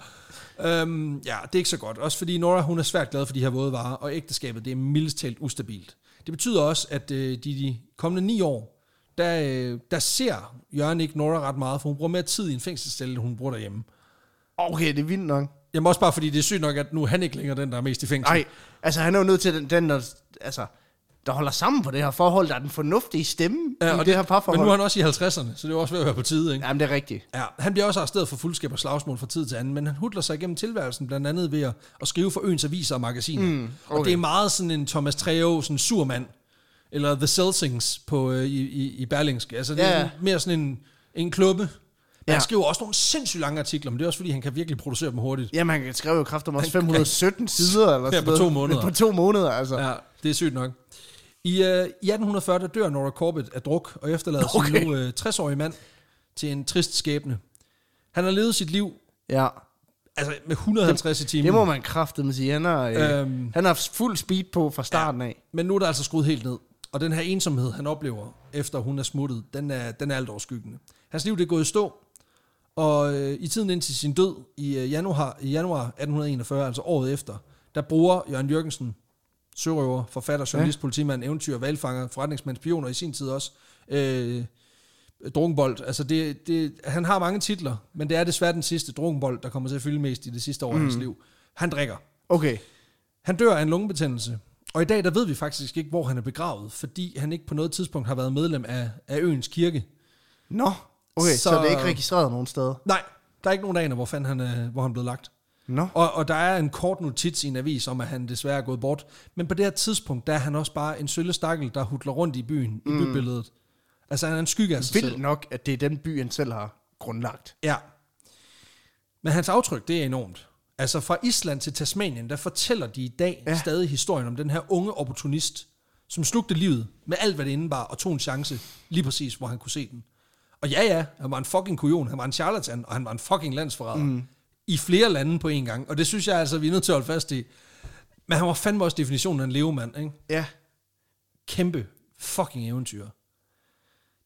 Speaker 2: Øhm, ja, det er ikke så godt. Også fordi Nora, hun er svært glad for de her våde varer, og ægteskabet, det er mildest talt ustabilt. Det betyder også, at øh, de, de kommende ni år, der, øh, der ser Jørgen ikke Nora ret meget, for hun bruger mere tid i en fængselscelle, end hun bruger derhjemme.
Speaker 1: Okay, det er vildt nok.
Speaker 2: Jamen også bare fordi, det er sygt nok, at nu er han ikke længere den, der er mest i fængsel.
Speaker 1: Nej, altså han er jo nødt til den, den der, altså, der holder sammen på det her forhold, der er den fornuftige stemme ja, i det, det her parforhold.
Speaker 2: Men nu er han også i 50'erne, så det er jo også ved at være på tide, ikke?
Speaker 1: Jamen, det er rigtigt.
Speaker 2: Ja, han bliver også arresteret for fuldskab og slagsmål fra tid til anden, men han hudler sig igennem tilværelsen, blandt andet ved at, at skrive for øens aviser og magasiner. Mm, okay. Og det er meget sådan en Thomas Treo, sådan sur mand, eller The Selsings på, øh, i, i, i Berlingske. Altså det
Speaker 1: Ja.
Speaker 2: er sådan- mere sådan en, en klubbe. Men
Speaker 1: Ja.
Speaker 2: Han skriver også nogle sindssygt lange artikler, men det er også fordi, han kan virkelig producere dem hurtigt.
Speaker 1: Jamen, han skrev jo kraft om også 517 sider eller
Speaker 2: Ja,
Speaker 1: sådan
Speaker 2: på
Speaker 1: noget.
Speaker 2: to måneder.
Speaker 1: På to måneder, altså. Ja.
Speaker 2: Ja, det er sygt nok. I, øh, I 1840 der dør Nora Corbett af druk og efterlader okay.
Speaker 1: Okay.
Speaker 2: sin nu øh, 60-årige mand til en trist skæbne. Han har levet sit liv
Speaker 1: ja.
Speaker 2: altså med 150 i timen.
Speaker 1: Det må man kraftedeme sige. Han har, øh,
Speaker 2: Øhm.
Speaker 1: han har haft fuld speed på fra starten af.
Speaker 2: Men nu er der altså skruet helt ned. Og den her ensomhed, han oplever, efter hun er smuttet, den er, den er alt overskyggende. Hans liv det er gået i stå, og øh, i tiden indtil sin død i, øh, januar, i januar 1841, altså året efter, der bruger Jørgen Jørgensen, sørøver, forfatter, journalist, ja. politimand, eventyr, valgfanger, forretningsmand, spioner i sin tid også, øh, drunkenbold. Altså det, det, han har mange titler, men det er desværre den sidste drunkenbold, der kommer til at fylde mest i det sidste år mm. af hans liv. Han drikker.
Speaker 1: Okay.
Speaker 2: Han dør af en lungebetændelse, og i dag der ved vi faktisk ikke, hvor han er begravet, fordi han ikke på noget tidspunkt har været medlem af, af øens kirke.
Speaker 1: Nå. Okay, så,
Speaker 2: Så-
Speaker 1: så det er ikke registreret nogen steder.
Speaker 2: Nej, der er ikke nogen aner, hvor, fanden han, er, hvor han blev lagt.
Speaker 1: Nå.
Speaker 2: Og, og der er en kort notits i en avis om, at han desværre er gået bort. Men på det her tidspunkt, der er han også bare en sølle stakkel, der hudler rundt i byen, mm. i bybilledet. Altså han er en skygge af sig selv.
Speaker 1: Vildt nok, at det er den by, han selv har grundlagt.
Speaker 2: Ja. Men hans aftryk, det er enormt. Altså fra Island til Tasmanien, der fortæller de i dag ja. stadig historien om den her unge opportunist, som slugte livet med alt, hvad det indebar, og tog en chance lige præcis, hvor han kunne se den. Og ja, ja, han var en fucking kujon, han var en charlatan, og han var en fucking landsforræder. Mm. I flere lande på én gang. Og det synes jeg altså, vi er nødt til at holde fast i. Men han var fandme også definitionen af en levemand, ikke?
Speaker 1: Ja,
Speaker 2: Kæmpe fucking eventyr.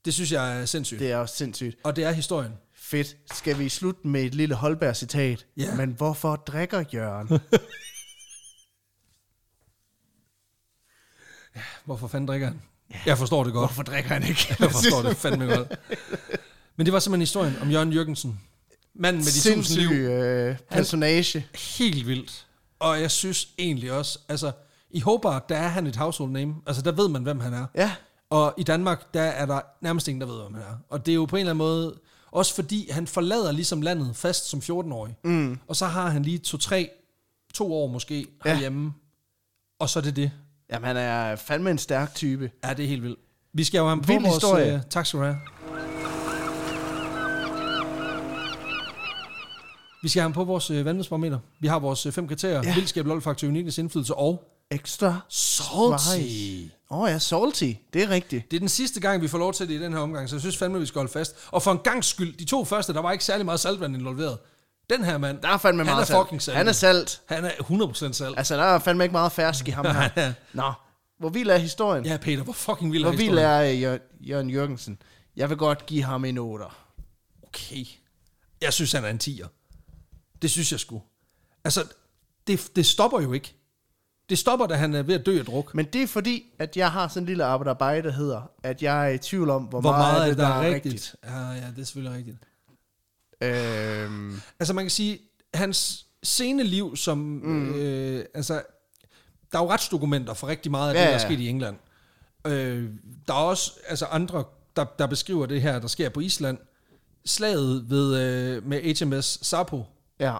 Speaker 2: Det synes jeg er sindssygt. Det.
Speaker 1: det er også sindssygt.
Speaker 2: Og det er historien.
Speaker 1: Fedt. Skal vi slutte med et lille Holberg-citat?
Speaker 2: Ja.
Speaker 1: Men hvorfor drikker Jørgen?
Speaker 2: Hvorfor fanden drikker han? Jeg forstår det godt.
Speaker 1: hvorfor drikker han ikke?
Speaker 2: Jeg forstår det fandme godt. Men det var simpelthen historien om Jørgen Jørgensen. Manden med de tusind
Speaker 1: Sindssyg
Speaker 2: liv.
Speaker 1: øh, personage.
Speaker 2: Helt vildt. Og jeg synes egentlig også, altså i Hobart, der er han et household name. Altså der ved man, hvem han er.
Speaker 1: Ja.
Speaker 2: Og i Danmark, der er der nærmest ingen, der ved, hvem han er. Og det er jo på en eller anden måde, også fordi han forlader ligesom landet fast som 14-årig. Mm. Og så har han lige to-tre, to år måske herhjemme. Og så er det det.
Speaker 1: Jamen, han er fandme en stærk type.
Speaker 2: Ja, det er helt vildt. Vi skal jo have ham på
Speaker 1: Vild
Speaker 2: vores...
Speaker 1: historie.
Speaker 2: øh, tak skal du have. Vi skal have ham på vores øh, vandvidsbarometer. Vi har vores øh, fem kriterier. Ja. Vildskab, lolfaktor, unikkes indflydelse og...
Speaker 1: Ekstra.
Speaker 2: Salty.
Speaker 1: Åh oh, ja, salty. Det er rigtigt.
Speaker 2: Det er den sidste gang, vi får lov til det i den her omgang, så jeg synes fandme, vi skal holde fast. Og for en gang skyld, de to første, der var ikke særlig meget saltvand involveret. Den her mand,
Speaker 1: Der er fandme
Speaker 2: han
Speaker 1: meget
Speaker 2: er
Speaker 1: salt.
Speaker 2: fucking salt.
Speaker 1: Han er salt.
Speaker 2: han er 100% salt.
Speaker 1: Altså, der er fandme ikke meget fersk i ham her. Nå, hvor vild er historien?
Speaker 2: Ja, Peter, hvor fucking vild er
Speaker 1: hvor vild
Speaker 2: historien.
Speaker 1: er øh, Jør- Jørgen Jørgensen? Jeg vil godt give ham en 8'er.
Speaker 2: okay. Jeg synes, han er en tiger. Det synes jeg sgu. Altså, det, det stopper jo ikke. Det stopper, da han er ved at dø af druk.
Speaker 1: Men det er fordi, at jeg har sådan en lille arbejde, der hedder, at jeg er i tvivl om, hvor,
Speaker 2: Hvor
Speaker 1: meget,
Speaker 2: meget
Speaker 1: af
Speaker 2: er
Speaker 1: det,
Speaker 2: der er rigtigt?
Speaker 1: rigtigt.
Speaker 2: rigtigt? Ja, ja, det er selvfølgelig rigtigt.
Speaker 1: Øhm,
Speaker 2: Altså man kan sige, hans seneliv som... Mm. Øh, altså, der er jo retsdokumenter for rigtig meget af det,
Speaker 1: Ja,
Speaker 2: der er
Speaker 1: ja.
Speaker 2: sket i England. Øh, der er også altså andre, der, der beskriver det her, der sker på Island. Slaget ved, øh, med HMS Sapo
Speaker 1: ja.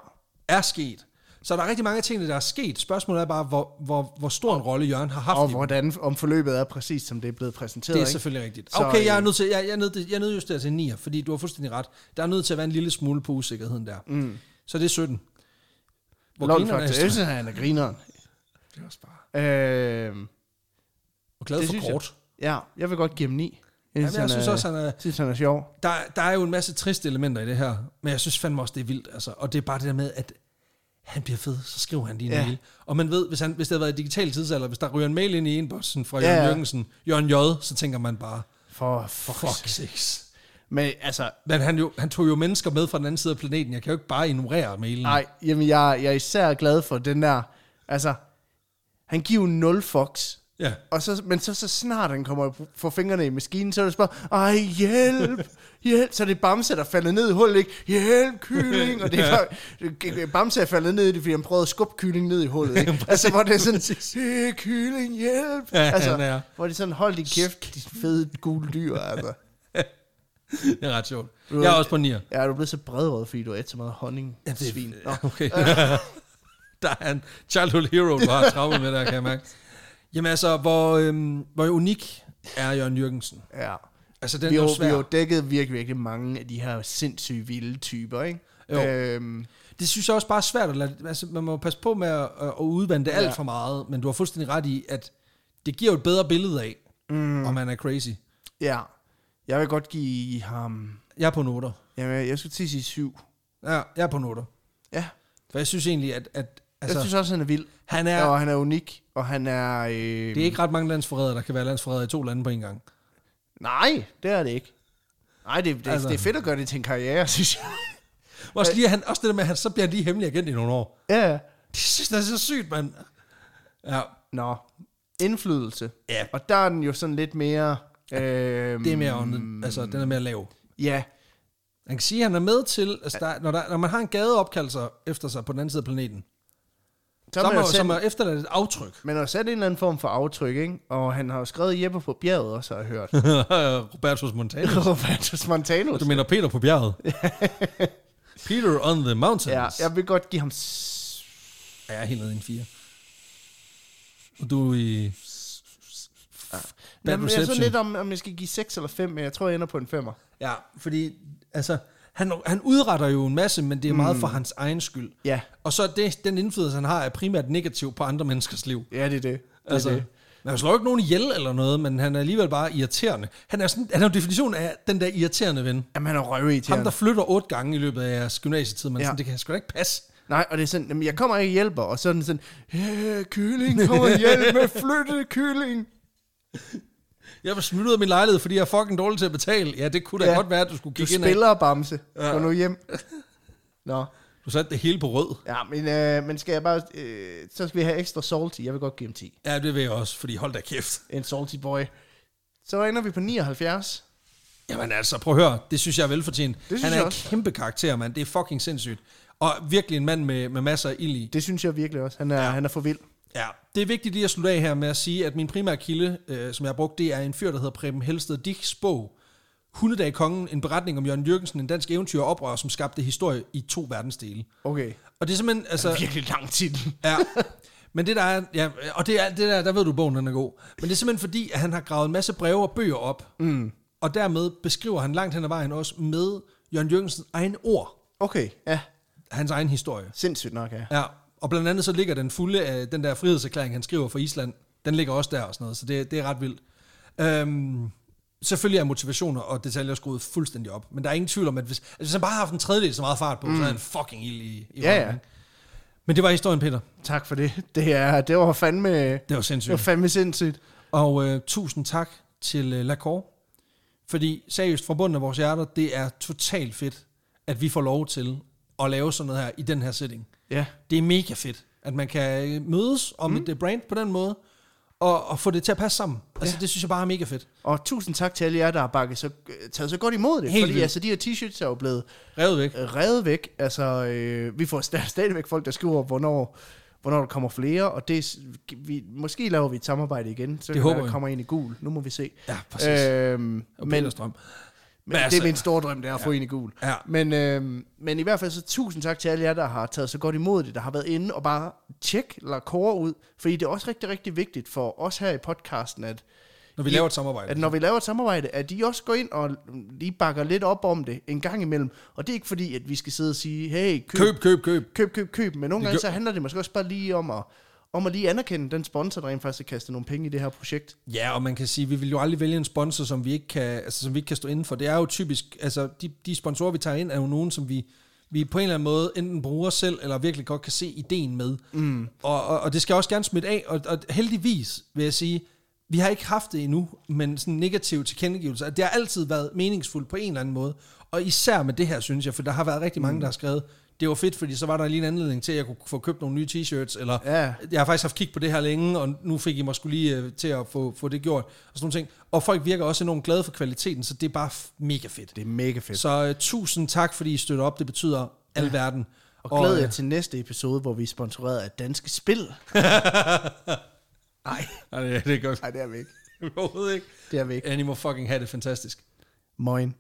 Speaker 2: er sket. Så der er rigtig mange af tingene, der er sket. Spørgsmålet er bare, hvor, hvor, hvor stor en rolle Jørgen har haft
Speaker 1: Og
Speaker 2: i
Speaker 1: hvordan, om forløbet er præcis, som det er blevet præsenteret.
Speaker 2: Det er
Speaker 1: ikke?
Speaker 2: selvfølgelig rigtigt.
Speaker 1: Så,
Speaker 2: Okay, jeg er
Speaker 1: øh,
Speaker 2: nødt til, jeg, jeg er nødt, jeg er nødt til en 9, fordi du har fuldstændig ret. Der er nødt til at være en lille smule på usikkerheden der. Mm. Så det er 17. Hvor
Speaker 1: Lol,
Speaker 2: grineren er
Speaker 1: faktisk.
Speaker 2: jeg?
Speaker 1: Jeg synes, han er grineren.
Speaker 2: Det er også bare...
Speaker 1: Øhm,
Speaker 2: Og glad
Speaker 1: Det
Speaker 2: for
Speaker 1: synes jeg.
Speaker 2: kort.
Speaker 1: ja, jeg vil godt give ham 9. Jeg
Speaker 2: Jamen, jeg synes
Speaker 1: er,
Speaker 2: også, han er...
Speaker 1: jeg synes, han er sjov.
Speaker 2: Der, der er jo en masse triste elementer i det her, men jeg synes fandme også, det er vildt. Altså. Og det er bare det der med, at han bliver fed, så skriver han lige en
Speaker 1: Ja.
Speaker 2: mail. Og man ved, hvis, han, hvis det havde været i digital tidsalder, hvis der ryger en mail ind i inboxen fra
Speaker 1: Ja,
Speaker 2: Jørgen
Speaker 1: ja.
Speaker 2: Jørgensen, Jørgen J., så tænker man bare,
Speaker 1: For fuck.
Speaker 2: fuck sakes.
Speaker 1: Men altså,
Speaker 2: Men han, jo, han tog jo mennesker med fra den anden side af planeten. Jeg kan jo ikke bare ignorere mailen.
Speaker 1: nej, jamen, jeg, jeg er især glad for den der, altså, han giver jo 0 fucks.
Speaker 2: Ja.
Speaker 1: Og så, men så, så snart han kommer for fingrene i maskinen, så er det bare, ej hjælp, hjælp. Så er det Bamse, der falder ned i hullet, ikke? Hjælp, kylling. Og det er bare, Bamse er faldet ned i det, fordi han prøvede at skubbe kylling ned i hullet. Ikke? altså, hvor det er sådan, øh, kylling, hjælp.
Speaker 2: Ja,
Speaker 1: altså,
Speaker 2: han er.
Speaker 1: Hvor det er sådan, hold din kæft, dit fede gule dyr, altså.
Speaker 2: Det er ret sjovt. Jeg er også på nier.
Speaker 1: Ja, du er blevet så bredrød, fordi du har et så meget honning. Ja,
Speaker 2: det er-
Speaker 1: svin. Nå.
Speaker 2: Okay. der er en childhood hero, du har travlt med der, kan jeg mærke. Jamen altså, hvor, øhm, hvor unik er Jørgen Jørgensen?
Speaker 1: Ja.
Speaker 2: Altså, den
Speaker 1: Vi
Speaker 2: er
Speaker 1: har,
Speaker 2: jo
Speaker 1: jo- vi har jo
Speaker 2: svær.
Speaker 1: dækket virkelig, virkelig mange af de her sindssyge vilde typer, ikke?
Speaker 2: Jo.
Speaker 1: Øhm,
Speaker 2: Det synes jeg også bare er svært. At lade, altså, man må passe på med at, at udvande det alt
Speaker 1: Ja.
Speaker 2: for meget, men du har fuldstændig ret i, at det giver jo et bedre billede af, mm. om man er crazy.
Speaker 1: ja. Jeg vil godt give ham...
Speaker 2: Jeg er på noter.
Speaker 1: Jamen, jeg skulle til at sige syv.
Speaker 2: Ja, jeg er på noter.
Speaker 1: Ja,
Speaker 2: For jeg synes egentlig, at, at
Speaker 1: altså,
Speaker 2: altså,
Speaker 1: jeg synes også, han er vild.
Speaker 2: han
Speaker 1: Ja.
Speaker 2: er...
Speaker 1: Og han er unik, og han er... Øh...
Speaker 2: Det er ikke ret mange landsforrædere, der kan være landsforrædere i to lande på en gang.
Speaker 1: Nej, det er det ikke. Nej, det, det,
Speaker 2: Altså.
Speaker 1: altså. det er fedt at gøre det til en karriere, synes jeg.
Speaker 2: Også, lige, at han, også det der med, at han så bliver han lige hemmelig agent i nogle år.
Speaker 1: ja.
Speaker 2: Det synes jeg er så sygt, mand. Ja,
Speaker 1: Nå, indflydelse.
Speaker 2: Ja.
Speaker 1: Og der er den jo sådan lidt mere... Øh...
Speaker 2: det er mere ånden. Altså, den er mere lav.
Speaker 1: Ja,
Speaker 2: Man kan sige, at han er med til, altså, der, når, der, når man har en gade opkaldt sig efter sig på den anden side af planeten,
Speaker 1: så,
Speaker 2: der
Speaker 1: er man
Speaker 2: må,
Speaker 1: jo selv...
Speaker 2: som er efterladt et aftryk.
Speaker 1: Men der er sat en eller anden form for aftryk, ikke? Og han har jo skrevet Jeppe på bjerget også, har jeg hørt.
Speaker 2: Robertus Montanus.
Speaker 1: Robertus Montanus.
Speaker 2: Du mener Peter på bjerget? Peter on the mountains.
Speaker 1: Ja, jeg vil godt give ham... s-
Speaker 2: Ja, jeg er helt nede i en fire. Og du er i... Bad
Speaker 1: Jamen, jeg er
Speaker 2: reception.
Speaker 1: sådan lidt om, om jeg skal give 6 eller 5, men jeg tror, jeg ender på en 5'er.
Speaker 2: Ja, fordi altså, han, han udretter jo en masse, men det er meget for hans egen skyld.
Speaker 1: Ja.
Speaker 2: Og så er det, den indflydelse, han har, er primært negativ på andre menneskers liv.
Speaker 1: Ja, det er det. det, er
Speaker 2: Altså,
Speaker 1: det.
Speaker 2: man slår jo ikke nogen ihjel eller noget, men han er alligevel bare irriterende. Han er, sådan, han er jo definitionen af den der irriterende ven.
Speaker 1: Jamen, han er røvirriterende.
Speaker 2: Ham, der flytter otte gange i løbet af jeres gymnasietid, men ja.
Speaker 1: Ja.
Speaker 2: sådan, det kan sgu da ikke passe.
Speaker 1: Nej, og det er sådan, jamen, jeg kommer ikke og hjælper, og sådan sådan, "Øh, kylling, kom og hjælp med flytte, kylling.
Speaker 2: Jeg var smidt ud af min lejlighed, fordi jeg er fucking dårlig til at betale. Ja, det kunne da ja.
Speaker 1: Ja.
Speaker 2: godt være, at du skulle
Speaker 1: Du
Speaker 2: kigge ind
Speaker 1: spiller, Bamse. Gå nu hjem. Nå,
Speaker 2: Du satte det hele på rød.
Speaker 1: ja, men, øh, men skal jeg bare, øh, så skal vi have ekstra salty. Jeg vil godt give ham 10.
Speaker 2: Ja, det vil jeg også, fordi hold da kæft.
Speaker 1: En salty boy. Så ender vi på 79.
Speaker 2: Jamen altså, prøv at høre. Det synes jeg er velfortjent.
Speaker 1: synes
Speaker 2: han er
Speaker 1: jeg
Speaker 2: en
Speaker 1: også.
Speaker 2: kæmpe karakter, mand. Det er fucking sindssygt. Og virkelig en mand med, med masser af ild i.
Speaker 1: Det synes jeg virkelig også. Han er, ja. han er for vild.
Speaker 2: Ja, det er vigtigt lige at slutte af her med at sige, at min primære kilde, øh, som jeg har brugt, det er en fyr, der hedder Preben Helsted Dicks bog, Hundedag Kongen, en beretning om Jørgen Jørgensen, en dansk eventyr og oprør, som skabte historie i to verdensdele.
Speaker 1: Okay.
Speaker 2: Og det er simpelthen, altså...
Speaker 1: Virkelig lang titel.
Speaker 2: Ja. Men det der er, ja, og det er, det der, der ved du, bogen den er god. Men det er simpelthen fordi, at han har gravet en masse breve og bøger op. Mm. Og dermed beskriver han langt hen ad vejen også med Jørgen Jørgensens egen ord,
Speaker 1: Okay, ja.
Speaker 2: hans egen historie.
Speaker 1: Sindssygt nok, ja.
Speaker 2: Ja, og blandt andet så ligger den fulde af den der frihedserklæring, han skriver for Island, den ligger også der og sådan noget, så det, det er ret vildt. Øhm, selvfølgelig er motivationer og detaljer skruet fuldstændig op, men der er ingen tvivl om, at hvis, altså, hvis han bare har haft en tredjedel så meget fart på, mm. så er han fucking ild i, i
Speaker 1: Ja,
Speaker 2: røven,
Speaker 1: ja.
Speaker 2: ikke? Men det var historien, Peter.
Speaker 1: Tak for det. Det, er, det var fandme, det
Speaker 2: Det var sindssygt.
Speaker 1: var fandme sindssygt.
Speaker 2: Og øh, tusind tak til øh, Lacor, fordi seriøst fra bunden af vores hjerter, det er totalt fedt, at vi får lov til at lave sådan noget her i den her setting.
Speaker 1: Ja.
Speaker 2: Det er mega fedt, at man kan øh, mødes om mm. et øh, brand på den måde, og, og få det til at passe sammen. Altså, ja. det synes jeg bare er mega fedt.
Speaker 1: Og tusind tak til alle jer, der har bakket så, taget så godt imod det.
Speaker 2: Helt
Speaker 1: fordi
Speaker 2: vildt.
Speaker 1: altså, de her t-shirts er jo blevet
Speaker 2: Revet væk.
Speaker 1: øh, revet væk. Altså, øh, vi får sta- stadigvæk folk, der skriver, hvornår, hvornår der kommer flere. Og det, er s- vi, måske laver vi et samarbejde igen. Så
Speaker 2: Det
Speaker 1: kan
Speaker 2: håber
Speaker 1: være, der
Speaker 2: jeg.
Speaker 1: kommer en i gul. Nu må vi se.
Speaker 2: Ja, præcis. Øh,
Speaker 1: Øhm,
Speaker 2: og
Speaker 1: men,
Speaker 2: Peterstrøm.
Speaker 1: men det
Speaker 2: altså-
Speaker 1: er min store drøm, det er at få en i gul.
Speaker 2: Ja.
Speaker 1: Men, øhm, men i hvert fald så tusind tak til alle jer, der har taget så godt imod det, der har været inde og bare tjek Lakora ud. Fordi det er også rigtig, rigtig vigtigt for os her i podcasten, at,
Speaker 2: Når vi
Speaker 1: I-
Speaker 2: laver et samarbejde.
Speaker 1: at når vi laver et samarbejde, at de også går ind og lige bakker lidt op om det en gang imellem. Og det er ikke fordi, at vi skal sidde og sige, hey, køb,
Speaker 2: Køb, køb, køb.
Speaker 1: køb, køb, køb. Men nogle
Speaker 2: Vi
Speaker 1: gange
Speaker 2: gør-
Speaker 1: så handler det måske også bare lige om at, om at lige anerkende den sponsor, der rent faktisk har kastet nogle penge i det her projekt.
Speaker 2: Ja, og man kan sige, vi vil jo aldrig vælge en sponsor, som vi ikke kan, altså, som vi ikke kan stå inden for. Det er jo typisk, altså de, de sponsorer, vi tager ind, er jo nogen, som vi, vi på en eller anden måde enten bruger selv, eller virkelig godt kan se ideen med. Mm. Og, og, og det skal også gerne smitte af, og, og heldigvis vil jeg sige, vi har ikke haft det endnu, men sådan negative tilkendegivelser. Det har altid været meningsfuldt på en eller anden måde. Og især med det her, synes jeg, for der har været rigtig mange, der har skrevet, det var fedt, fordi så var der lige en anledning til, at jeg kunne få købt nogle nye t-shirts, eller
Speaker 1: Ja.
Speaker 2: jeg har faktisk haft kig på det her længe, og nu fik I mig skulle lige øh, til at få, få det gjort, og sådan nogle ting. Og folk virker også enormt glade for kvaliteten, så det er bare f- mega fedt.
Speaker 1: Det er mega fedt.
Speaker 2: Så øh, tusind tak, fordi I støtter op. Det betyder alverden.
Speaker 1: Og glæder
Speaker 2: øh,
Speaker 1: jer til næste episode, hvor vi er sponsoreret af Danske Spil. Nej,
Speaker 2: Nej, det, det er godt.
Speaker 1: nej, det er vi ikke. Øh.
Speaker 2: Overhovedet ikke.
Speaker 1: Det er vi ikke.
Speaker 2: Animal fucking have det fantastisk.
Speaker 1: Moin.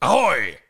Speaker 2: Ahoj!